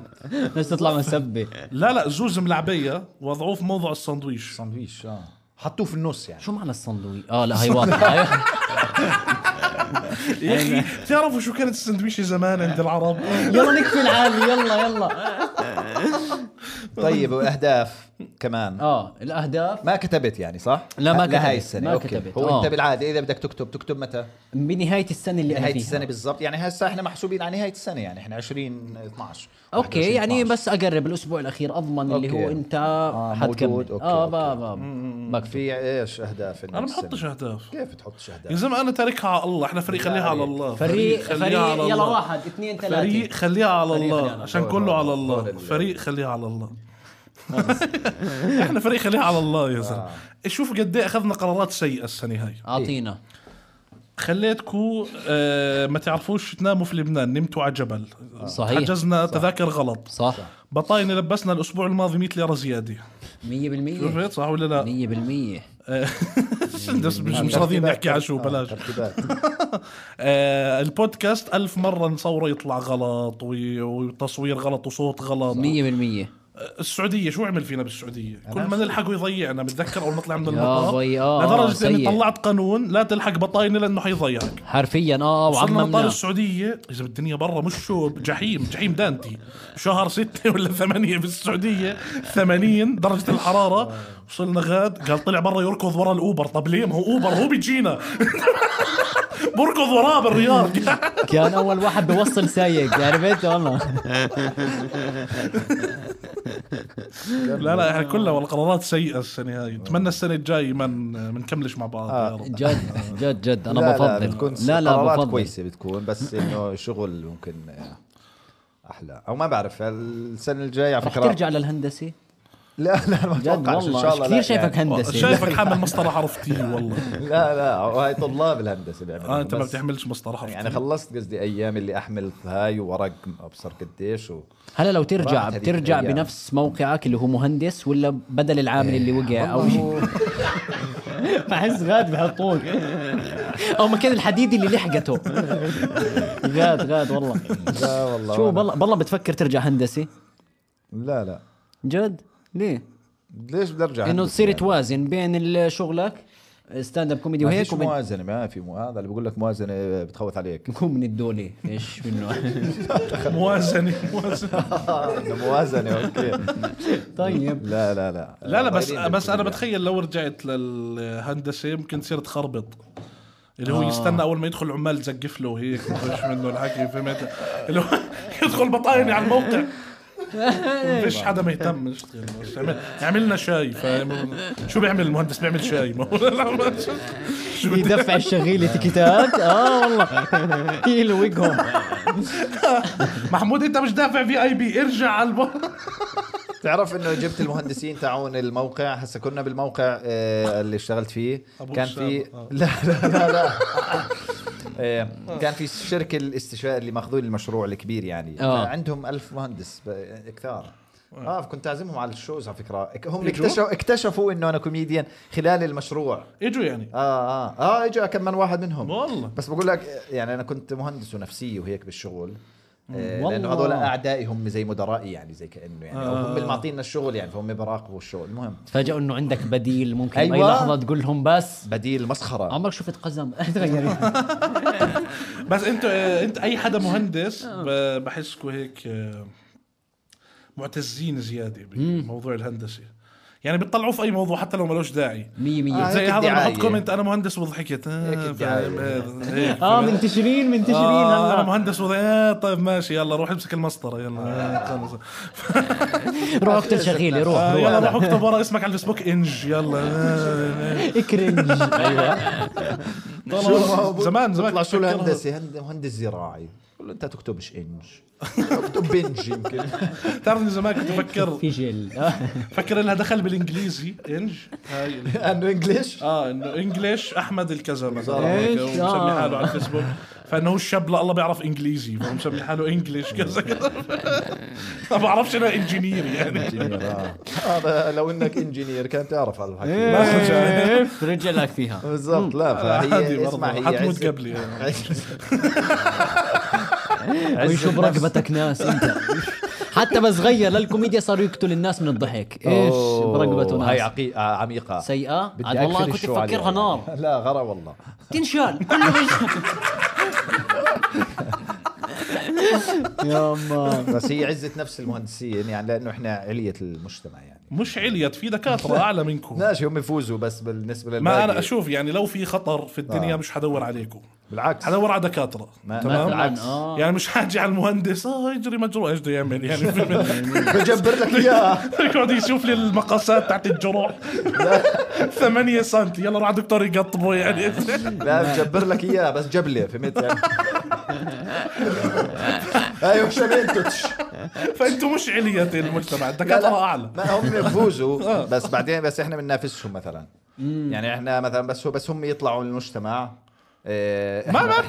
Speaker 3: بس تطلع مسبه
Speaker 2: لا لا زوز ملعبيه وضعوف موضع السندويش
Speaker 1: ساندويش اه حطوه في النص يعني
Speaker 3: شو معنى الصندوي اه لا هي واضحه
Speaker 2: يا اخي تعرفوا شو إيه. كانت السندويشه زمان عند العرب
Speaker 3: يلا نكفي العالي يلا يلا
Speaker 1: طيب واهداف
Speaker 2: آه.
Speaker 1: كمان
Speaker 3: اه الاهداف
Speaker 1: ما كتبت يعني صح؟
Speaker 3: لا، ما
Speaker 1: لهاي
Speaker 3: كتبت.
Speaker 1: السنه
Speaker 3: ما
Speaker 1: أوكي.
Speaker 3: كتبت.
Speaker 1: هو
Speaker 3: آه.
Speaker 1: انت بالعاده اذا بدك تكتب تكتب متى؟
Speaker 3: بنهايه السنه اللي
Speaker 1: نهايه
Speaker 3: انا
Speaker 1: السنه
Speaker 3: فيها
Speaker 1: بالضبط يعني هسه احنا محسوبين على نهايه السنه يعني احنا 20 12
Speaker 3: اوكي يعني
Speaker 1: 21
Speaker 3: بس اقرب الاسبوع الاخير اضمن اللي
Speaker 1: أوكي.
Speaker 3: هو انت
Speaker 1: آه، موجود.
Speaker 3: حتكمل
Speaker 1: أوكي،
Speaker 3: اه
Speaker 1: أوكي.
Speaker 3: بابا بكفي
Speaker 1: في ايش اهداف
Speaker 2: انا ما بحطش اهداف
Speaker 1: كيف تحطش اهداف؟
Speaker 2: يا زلمه انا تاركها على الله احنا فريق خليها على الله
Speaker 3: فريق
Speaker 2: خليها
Speaker 3: فريق
Speaker 2: على
Speaker 3: يلا
Speaker 2: الله.
Speaker 3: واحد اثنين ثلاثه
Speaker 2: فريق خليها على
Speaker 3: فريق
Speaker 2: الله
Speaker 3: خليها على
Speaker 2: عشان
Speaker 1: الله.
Speaker 2: كله على
Speaker 1: هو
Speaker 2: الله
Speaker 1: لله.
Speaker 2: فريق خليها على الله احنا فريق خليها على الله يا زلمه شوف قد ايه اخذنا قرارات سيئه السنه هاي
Speaker 3: اعطينا
Speaker 2: إيه. خليتكم آه ما تعرفوش تناموا في لبنان نمتوا على جبل
Speaker 3: صحيح.
Speaker 2: حجزنا تذاكر غلط
Speaker 3: صح 100%
Speaker 2: بطاينة لبسنا الاسبوع الماضي 100 ليره زياده شفت صح ولا لا
Speaker 3: 100%
Speaker 2: بس مش مش راضيين نحكي على شو بلاش
Speaker 1: ترتيبات
Speaker 2: آه البودكاست ألف مرة نصوره يطلع غلط وي- وتصوير غلط وصوت غلط
Speaker 3: 100%
Speaker 2: السعودية شو عمل فينا بالسعودية كل ما نلحقه يضيعنا بتذكر أول ما طلع من المطار
Speaker 3: بي، آه،
Speaker 2: لدرجة
Speaker 3: آه،
Speaker 2: إني
Speaker 3: سيء.
Speaker 2: طلعت قانون لا تلحق بطاينة لأنه حيضيعك
Speaker 3: حرفيا اه
Speaker 2: وصلنا مطار
Speaker 3: وعممناه
Speaker 2: السعودية إذا الدنيا برا مش شو جحيم جحيم دانتي شهر ستة ولا ثمانية في السعودية ثمانين درجة الحرارة وصلنا غاد قال طلع برا يركض ورا الأوبر طب ليه ما هو أوبر هو بيجينا بركض وراه بالرياض
Speaker 3: كان اول واحد بوصل سايق عرفت والله
Speaker 2: لا لا احنا كلها والقرارات سيئه السنه هاي اتمنى السنه الجاي ما ن- ما نكملش مع بعض يا رب
Speaker 3: جد جد جد انا
Speaker 1: لا، لا
Speaker 3: بفضل
Speaker 1: بتكون
Speaker 3: لا لا
Speaker 1: قرارات
Speaker 3: بفضل
Speaker 1: كويسه بتكون بس انه شغل ممكن آه، احلى او ما بعرف السنه الجايه على
Speaker 3: رح
Speaker 1: فكره
Speaker 3: ترجع للهندسه
Speaker 1: لا لا ما
Speaker 3: جد
Speaker 1: اتوقعش ان شاء
Speaker 3: والله
Speaker 1: الله
Speaker 3: كثير
Speaker 1: لا
Speaker 3: شايفك
Speaker 1: يعني.
Speaker 3: هندسه
Speaker 2: آه، شايفك حامل مسطره حرف تي والله
Speaker 1: لا لا هاي طلاب الهندسه بيعملوا
Speaker 2: اه انت ما
Speaker 1: بس
Speaker 2: بتحملش مسطره حرف
Speaker 1: يعني
Speaker 2: تي
Speaker 1: خلصت قصدي ايام اللي احمل هاي وورق ابصر قديش و...
Speaker 3: هلا لو ترجع
Speaker 1: راحت هذيك
Speaker 3: بترجع
Speaker 1: الأيام.
Speaker 3: بنفس موقعك اللي هو مهندس ولا بدل العامل اللي وقع
Speaker 1: إيه.
Speaker 3: او شيء بحس غاد بحطوك او مكان الحديد اللي لحقته غاد غاد والله
Speaker 1: لا والله
Speaker 3: شو
Speaker 1: وأنا-
Speaker 3: بالله بالله بتفكر ترجع هندسه
Speaker 1: لا لا
Speaker 3: جد ليه
Speaker 1: ليش بدي ارجع
Speaker 3: انه
Speaker 1: هندسة
Speaker 3: تصير
Speaker 1: يعني؟
Speaker 3: توازن بين ال- شغلك ستاند اب كوميدي
Speaker 1: ما
Speaker 3: وهيك
Speaker 1: فيش
Speaker 3: وبين
Speaker 1: موازنه ما في مو... هذا اللي بقول لك موازنه بتخوث عليك
Speaker 3: كم من الدولة ايش منه
Speaker 2: موازنه موازنه
Speaker 1: إنه موازنه اوكي
Speaker 3: آه. طيب
Speaker 1: لا لا لا
Speaker 2: لا لا بس
Speaker 1: طايرين
Speaker 2: بس
Speaker 1: بالكلية.
Speaker 2: انا بتخيل لو رجعت للهندسه يمكن تصير تخربط اللي هو يستنى اول ما يدخل عمال تزقف له هيك مش منه الحكي فهمت اللي هو يدخل بطاينه على الموقع ما فيش حدا مهتم يشتغل بس يعمل- يعمل لنا شاي فاهم شو بيعمل المهندس بيعمل شاي ما هو لا، ما- شو بدي-
Speaker 3: يدفع الشغيل تيكيتات اه والله يلوقهم
Speaker 2: محمود انت مش دافع في اي بي ارجع على الب...
Speaker 1: تعرف انه جبت المهندسين تاعون الموقع هسه كنا بالموقع آه، اللي اشتغلت فيه
Speaker 2: أبو
Speaker 1: كان في
Speaker 2: أسامة، آه.
Speaker 1: لا لا لا, لا. آه، كان في الشركه الاستشاري اللي ماخذين المشروع الكبير يعني
Speaker 3: آه.
Speaker 1: عندهم ألف مهندس ب- كثار
Speaker 2: آه.
Speaker 1: اه كنت اعزمهم على الشوز على فكره إك- هم
Speaker 2: يجوا؟
Speaker 1: اكتشفوا اكتشفوا انه انا كوميديان خلال المشروع
Speaker 2: اجوا يعني
Speaker 1: اه اه اه اجى كم من واحد منهم
Speaker 2: والله
Speaker 1: بس بقول لك يعني انا كنت مهندس ونفسيه وهيك بالشغل آه، لانه
Speaker 3: والله.
Speaker 1: هذول اعدائي هم زي مدرائي يعني زي كانه يعني أو هم
Speaker 2: آه.
Speaker 1: اللي معطينا الشغل يعني فهم بيراقبوا الشغل المهم
Speaker 3: تفاجئوا انه عندك بديل ممكن
Speaker 1: أيوة.
Speaker 3: اي لحظة تقول لهم بس
Speaker 1: بديل مسخره
Speaker 3: عمرك شفت قزم تغيري
Speaker 2: بس انت اه، انت اي حدا مهندس
Speaker 1: اه.
Speaker 2: ب- بحسكوا هيك اه، معتزين زياده بموضوع الهندسه يعني بتطلعوا في اي موضوع حتى لو ملوش داعي
Speaker 3: 100%
Speaker 1: آه.
Speaker 2: زي
Speaker 1: هيك
Speaker 2: هذا اللي
Speaker 1: الدعاية.
Speaker 2: بحط كومنت انا مهندس وضحكت آه،
Speaker 1: هيك
Speaker 2: فاهم،
Speaker 1: الدعاية. آه،
Speaker 2: هذا، هيك،
Speaker 3: اه
Speaker 2: فهمت؟
Speaker 3: منتشرين منتشرين
Speaker 2: آه، انا
Speaker 3: هلا
Speaker 2: مهندس وضحكت آه، طيب ماشي يلا روح امسك المسطره يلا آه، خلص.
Speaker 3: روح اقتل شغيلي روح
Speaker 2: آه، يلا
Speaker 3: روح
Speaker 2: روح اكتب ورا اسمك على الفيسبوك انج يلا آه،
Speaker 3: اكرنج ايوه
Speaker 2: طلع- زمان زمان
Speaker 1: بيطلع شو
Speaker 2: تفكرها.
Speaker 1: الهندسه هند- مهندس زراعي بقول له انت تكتبش انج اكتب بنج يمكن
Speaker 2: بتعرف إني زمان كنت بفكر
Speaker 3: في جل آه.
Speaker 2: فكر انها دخل بالانجليزي انج هاي ال-
Speaker 1: لانه انجلش
Speaker 2: اه انه انجلش احمد الكذا
Speaker 1: إيه،
Speaker 2: مثلا
Speaker 1: إيش؟
Speaker 2: هيك، ومسمي
Speaker 3: آه.
Speaker 2: حاله على الفيسبوك فانه هو الشاب لا الله بيعرف انجليزي فهو مسمي حاله انجلش كذا كذا ما بعرفش انا انجينير يعني
Speaker 1: هذا لو انك انجينير كان تعرف على الحكي
Speaker 2: إيه.
Speaker 3: كيف رجلك فيها
Speaker 1: بالضبط لا
Speaker 2: آه، عادي
Speaker 1: فهي
Speaker 2: برضه،
Speaker 1: اسمع هي
Speaker 2: حتموت
Speaker 1: عز-
Speaker 2: قبلي يعني.
Speaker 1: عز-
Speaker 3: ويشوف رقبتك ناس انت حتى بس غير للكوميديا صار يقتل الناس من الضحك ايش
Speaker 1: أوه،
Speaker 3: برقبته
Speaker 1: هاي
Speaker 3: ناس
Speaker 1: عقي- آه، عميقه
Speaker 3: سيئة
Speaker 1: بدي
Speaker 3: عاد والله
Speaker 1: أقفل
Speaker 3: كنت
Speaker 1: الشو عليها
Speaker 3: مفكرها
Speaker 1: يعني.
Speaker 3: نار
Speaker 1: لا غرا والله
Speaker 3: تنشال كله بينشال. يا الله
Speaker 1: بس هي عزه نفس المهندسين يعني لانه احنا عليه المجتمع يعني
Speaker 2: مش عليت في دكاتره اعلى منكم
Speaker 1: ماشي هم يفوزوا بس بالنسبه للباقي
Speaker 2: ما انا اشوف يعني لو في خطر في الدنيا
Speaker 1: آه.
Speaker 2: مش حدور عليكم
Speaker 1: بالعكس
Speaker 2: حدور على دكاتره
Speaker 1: ما-
Speaker 2: تمام
Speaker 1: بالعكس.
Speaker 3: اه
Speaker 2: يعني مش حاجي على المهندس اه يجري مجروح ايش بده يعمل يعني
Speaker 3: آه.
Speaker 1: بجبر لك اياه
Speaker 2: يقعد يشوف لي المقاسات تحت الجروح 8 سم يلا روح على دكتور يقطبه يعني
Speaker 1: لا بجبر لك اياه بس جبله فهمت يعني ايوه عشان انتش
Speaker 2: فانتم مش علية المجتمع
Speaker 1: لا، لا.
Speaker 2: الدكاتره اعلى
Speaker 1: ما هم
Speaker 2: آه.
Speaker 1: بفوزوا بس بعدين بس احنا بننافسهم مثلا يعني احنا مثلا بس هو بس هم يطلعوا المجتمع إيه،
Speaker 2: ما
Speaker 1: إحنا-
Speaker 2: ما
Speaker 1: إحنا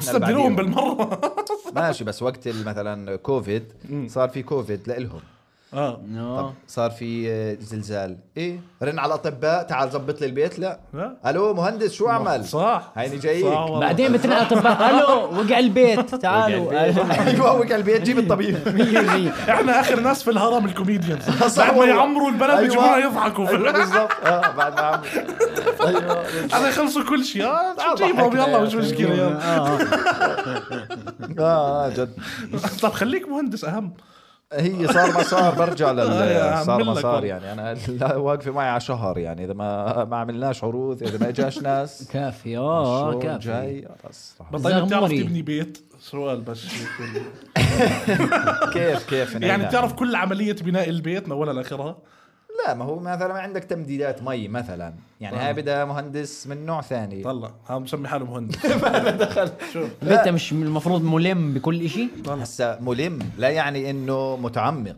Speaker 1: بعديهم.
Speaker 2: تستبدلوهم بالمره
Speaker 1: ماشي بس وقت ال- مثلا كوفيد صار في كوفيد لإلهم
Speaker 2: اه
Speaker 1: طب
Speaker 3: آه.
Speaker 1: صار في آه، زلزال ايه رن على الاطباء تعال زبط لي البيت لا
Speaker 2: لا.
Speaker 1: الو مهندس شو عمل
Speaker 2: صح
Speaker 1: هيني جايك
Speaker 2: صح والله.
Speaker 3: بعدين بترن على الاطباء الو وقع البيت تعالوا آه،
Speaker 1: ايوه وقع البيت
Speaker 2: إيه.
Speaker 1: جيب الطبيب
Speaker 2: احنا اخر ناس في الهرم الكوميديانز
Speaker 1: صح
Speaker 2: بعد ما
Speaker 1: والله.
Speaker 2: يعمروا البلد
Speaker 1: أيوة.
Speaker 2: بيجيبونا يضحكوا أيوة،
Speaker 1: أيوة بالضبط اه بعد ما عم ايوه
Speaker 2: هذا يخلصوا كل شيء اه
Speaker 1: تعال
Speaker 2: جيبهم
Speaker 1: ضحكنا
Speaker 2: يلا
Speaker 1: يا
Speaker 2: مش
Speaker 1: أخي.
Speaker 2: مشكله يلا.
Speaker 1: اه آه، جد
Speaker 2: طب خليك مهندس اهم
Speaker 1: هي صار ما صار برجع
Speaker 2: آه، يا
Speaker 1: لل
Speaker 2: عم
Speaker 1: صار ما
Speaker 2: بالله
Speaker 1: صار
Speaker 2: كل-
Speaker 1: يعني انا لا واقفه معي على شهر يعني اذا ما ما عملناش عروض اذا ما اجاش ناس
Speaker 3: كافي اه
Speaker 2: آه،
Speaker 1: شو
Speaker 3: كافي
Speaker 1: جاي خلص رح-
Speaker 2: بطل بتعرف
Speaker 3: زغمري.
Speaker 2: تبني بيت سؤال بس يكون-
Speaker 1: كيف كيف نعم.
Speaker 2: يعني
Speaker 1: نعمل؟
Speaker 2: بتعرف كل عمليه بناء البيت من اولها لاخرها
Speaker 1: لا ما هو مثلا عندك تمديدات مي مثلا يعني هاي بدها مهندس من نوع ثاني
Speaker 2: طلع ها مسمي حاله مهندس
Speaker 3: انت مش المفروض ملم بكل شيء
Speaker 1: هسا ملم لا يعني انه متعمق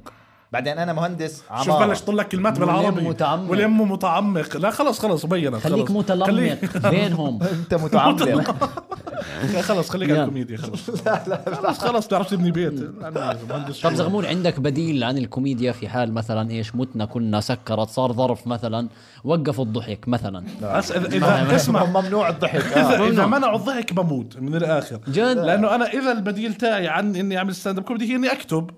Speaker 1: بعدين انا مهندس عمارة
Speaker 2: شوف بلش طلع كلمات بالعربي
Speaker 3: متعمق.
Speaker 2: ولمه متعمق لا خلص خلص بينت خلص.
Speaker 3: خليك
Speaker 2: خليك-
Speaker 3: متلمق بينهم
Speaker 1: انت متعمق
Speaker 2: خلص خليك على الكوميديا خلص خلص خلص بتعرف تبني بيت أنا مهندس
Speaker 3: طب
Speaker 2: شو.
Speaker 3: زغمون عندك بديل عن الكوميديا في حال مثلا ايش متنا كنا سكرت صار ظرف مثلا وقفوا الضحك مثلا
Speaker 2: بس إذا- اذا اسمع
Speaker 1: ممنوع الضحك آه.
Speaker 2: اذا اذا منعوا الضحك بموت من الاخر
Speaker 3: جد؟
Speaker 2: لانه انا اذا البديل تاعي عن اني اعمل ستاند اب كوميدي هي اني اكتب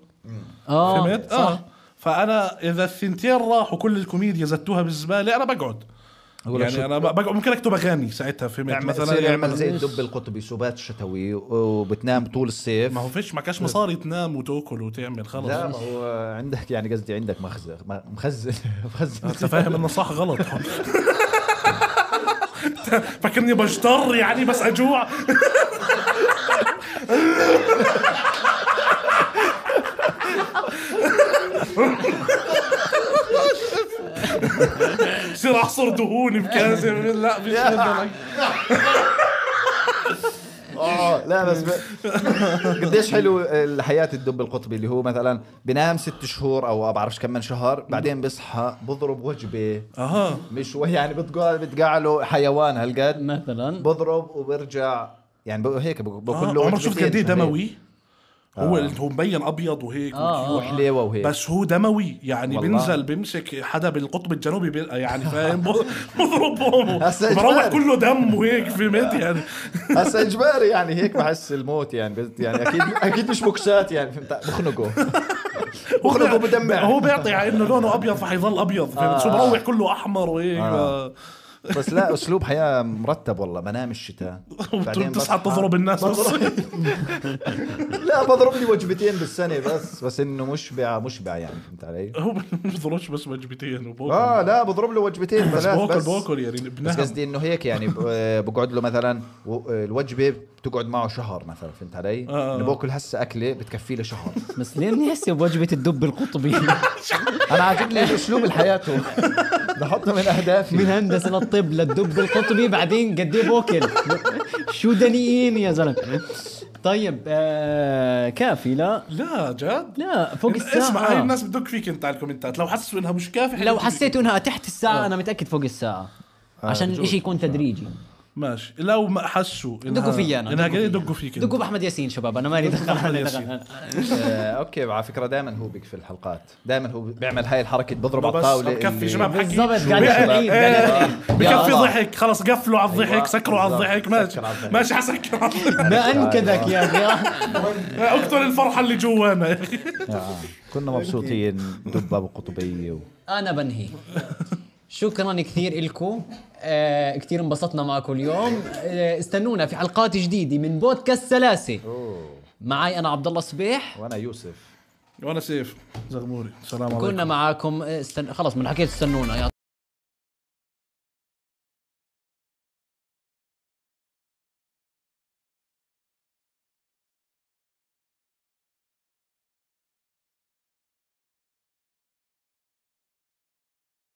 Speaker 1: آه،
Speaker 3: اه
Speaker 2: فهمت؟ اه فانا اذا الثنتين راحوا كل الكوميديا زتوها بالزباله انا بقعد
Speaker 1: أقول لك شو-
Speaker 2: يعني انا بقعد ممكن اكتب اغاني ساعتها فهمت
Speaker 1: يعمل
Speaker 2: مثلا
Speaker 1: مثلا يعمل
Speaker 2: يعني
Speaker 1: زي الدب القطبي سبات شتوي وبتنام طول الصيف
Speaker 2: ما هو فيش ما كاش مصاري تنام وتاكل وتعمل خلص
Speaker 1: لا ما هو عندك يعني قصدي عندك مخزن ما- مخزن مخزن
Speaker 2: انت فاهم انه صح غلط فكرني بجتر يعني بس اجوع بصير احصر دهون بكاسه لا مش هيك.
Speaker 1: آه، لا بس ب... قديش حلو الحياة الدب القطبي اللي هو مثلا بنام ست شهور او بعرفش كم من شهر بعدين بصحى بضرب وجبة
Speaker 2: اها
Speaker 1: مش وهي يعني بتقال بتقعله حيوان هالقد
Speaker 3: مثلا
Speaker 1: بضرب وبرجع يعني ب- هيك ب- باكل له
Speaker 2: آه، عمرك
Speaker 1: وجبتين
Speaker 2: شفت قد ايه
Speaker 1: فهمت؟
Speaker 2: دموي؟ آه. هو هو مبين ابيض وهيك
Speaker 3: آه،
Speaker 2: وكيوت.
Speaker 1: وحليوه وهيك
Speaker 2: بس هو دموي يعني
Speaker 1: والله.
Speaker 2: بينزل بيمسك حدا بالقطب الجنوبي بي- يعني فاهم ب- بضربهم
Speaker 1: هسا
Speaker 2: بروح
Speaker 1: إجباري.
Speaker 2: كله دم وهيك فهمت يعني
Speaker 1: هسا اجباري يعني هيك بحس الموت يعني بس يعني اكيد اكيد مش بوكسات يعني فهمت بخنقه بخنقه
Speaker 2: هو
Speaker 1: بدمع
Speaker 2: بيعطي على انه لونه ابيض فحيظل ابيض فهمت شو بروح كله احمر وهيك
Speaker 1: آه. بس لا اسلوب حياه مرتب والله بنام الشتاء بعدين آه.
Speaker 2: بتصحى
Speaker 1: بصحى.
Speaker 2: تضرب الناس
Speaker 1: لا بضرب لي وجبتين بالسنه بس بس انه مشبع مشبع يعني فهمت علي؟
Speaker 2: هو بيضربش بس وجبتين وبوكل
Speaker 1: اه لا بضرب له وجبتين
Speaker 2: بس
Speaker 1: ثلاث
Speaker 2: بوكل
Speaker 1: بس
Speaker 2: بوكل يعني
Speaker 1: بس
Speaker 2: بنهم
Speaker 1: قصدي انه هيك يعني ب- بقعد له مثلا و- الوجبه بتقعد معه شهر مثلا فهمت علي؟
Speaker 2: آه.
Speaker 1: انه باكل هسه اكله بتكفيه لشهر
Speaker 3: بس ليه نحسب بوجبه الدب القطبي
Speaker 1: انا عاجبني اسلوب حياته بحطه من اهدافي
Speaker 3: من هندسه للطب للدب القطبي بعدين قد ايه بوكل شو دنيين يا زلمه طيب آه كافي لا
Speaker 2: لا جد
Speaker 3: لا فوق
Speaker 2: اسمع هاي
Speaker 3: الساعه
Speaker 2: الناس بدك فيك انت على الكومنتات لو حسوا انها مش كافيه
Speaker 3: لو
Speaker 2: حيدوك.
Speaker 3: حسيتوا انها تحت
Speaker 2: آه.
Speaker 3: الساعه انا متاكد فوق الساعه عشان
Speaker 1: بجوز.
Speaker 3: الاشي يكون تدريجي
Speaker 2: ماشي لو ما حسوا إنها-
Speaker 3: دقوا فيي أنا،
Speaker 2: انها
Speaker 3: دقوا
Speaker 2: قليل
Speaker 3: فيي.
Speaker 2: دقوا فيك
Speaker 3: دقوا باحمد ياسين شباب انا مالي دخل
Speaker 2: بأحمد
Speaker 3: أنا
Speaker 2: ياسين.
Speaker 3: دخل.
Speaker 1: آه، اوكي على فكره دائما هو بيك في الحلقات دائما هو بيعمل هاي الحركه بضرب على
Speaker 2: بس
Speaker 1: الطاوله
Speaker 2: بكفي
Speaker 1: اللي- يعني
Speaker 2: شباب حكي
Speaker 3: بالضبط،
Speaker 2: شو
Speaker 3: قاعد
Speaker 2: بي-
Speaker 3: يحكي.
Speaker 2: إيه،
Speaker 3: قاعد
Speaker 2: بكفي
Speaker 1: يلا.
Speaker 2: ضحك خلاص قفلوا على الضحك
Speaker 1: أيوة.
Speaker 2: سكروا على
Speaker 1: بالضبط،
Speaker 2: الضحك
Speaker 1: سكر
Speaker 2: ماشي
Speaker 1: على الضحك.
Speaker 2: ماشي حسكر على الضحك
Speaker 3: ما انكدك يا اخي
Speaker 2: اقتل الفرحه اللي جوانا يا اخي
Speaker 1: آه. كنا مبسوطين دب ابو قطبيه و...
Speaker 3: انا بنهي شكرا كثير لكم آه كثير انبسطنا معكم اليوم آه استنونا في حلقات جديده من بودكاست سلاسه معي انا عبد الله صبيح
Speaker 1: وانا يوسف
Speaker 2: وانا سيف زغموري سلام عليكم
Speaker 3: كنا معاكم استن... آه، خلص من حكيت استنونا يا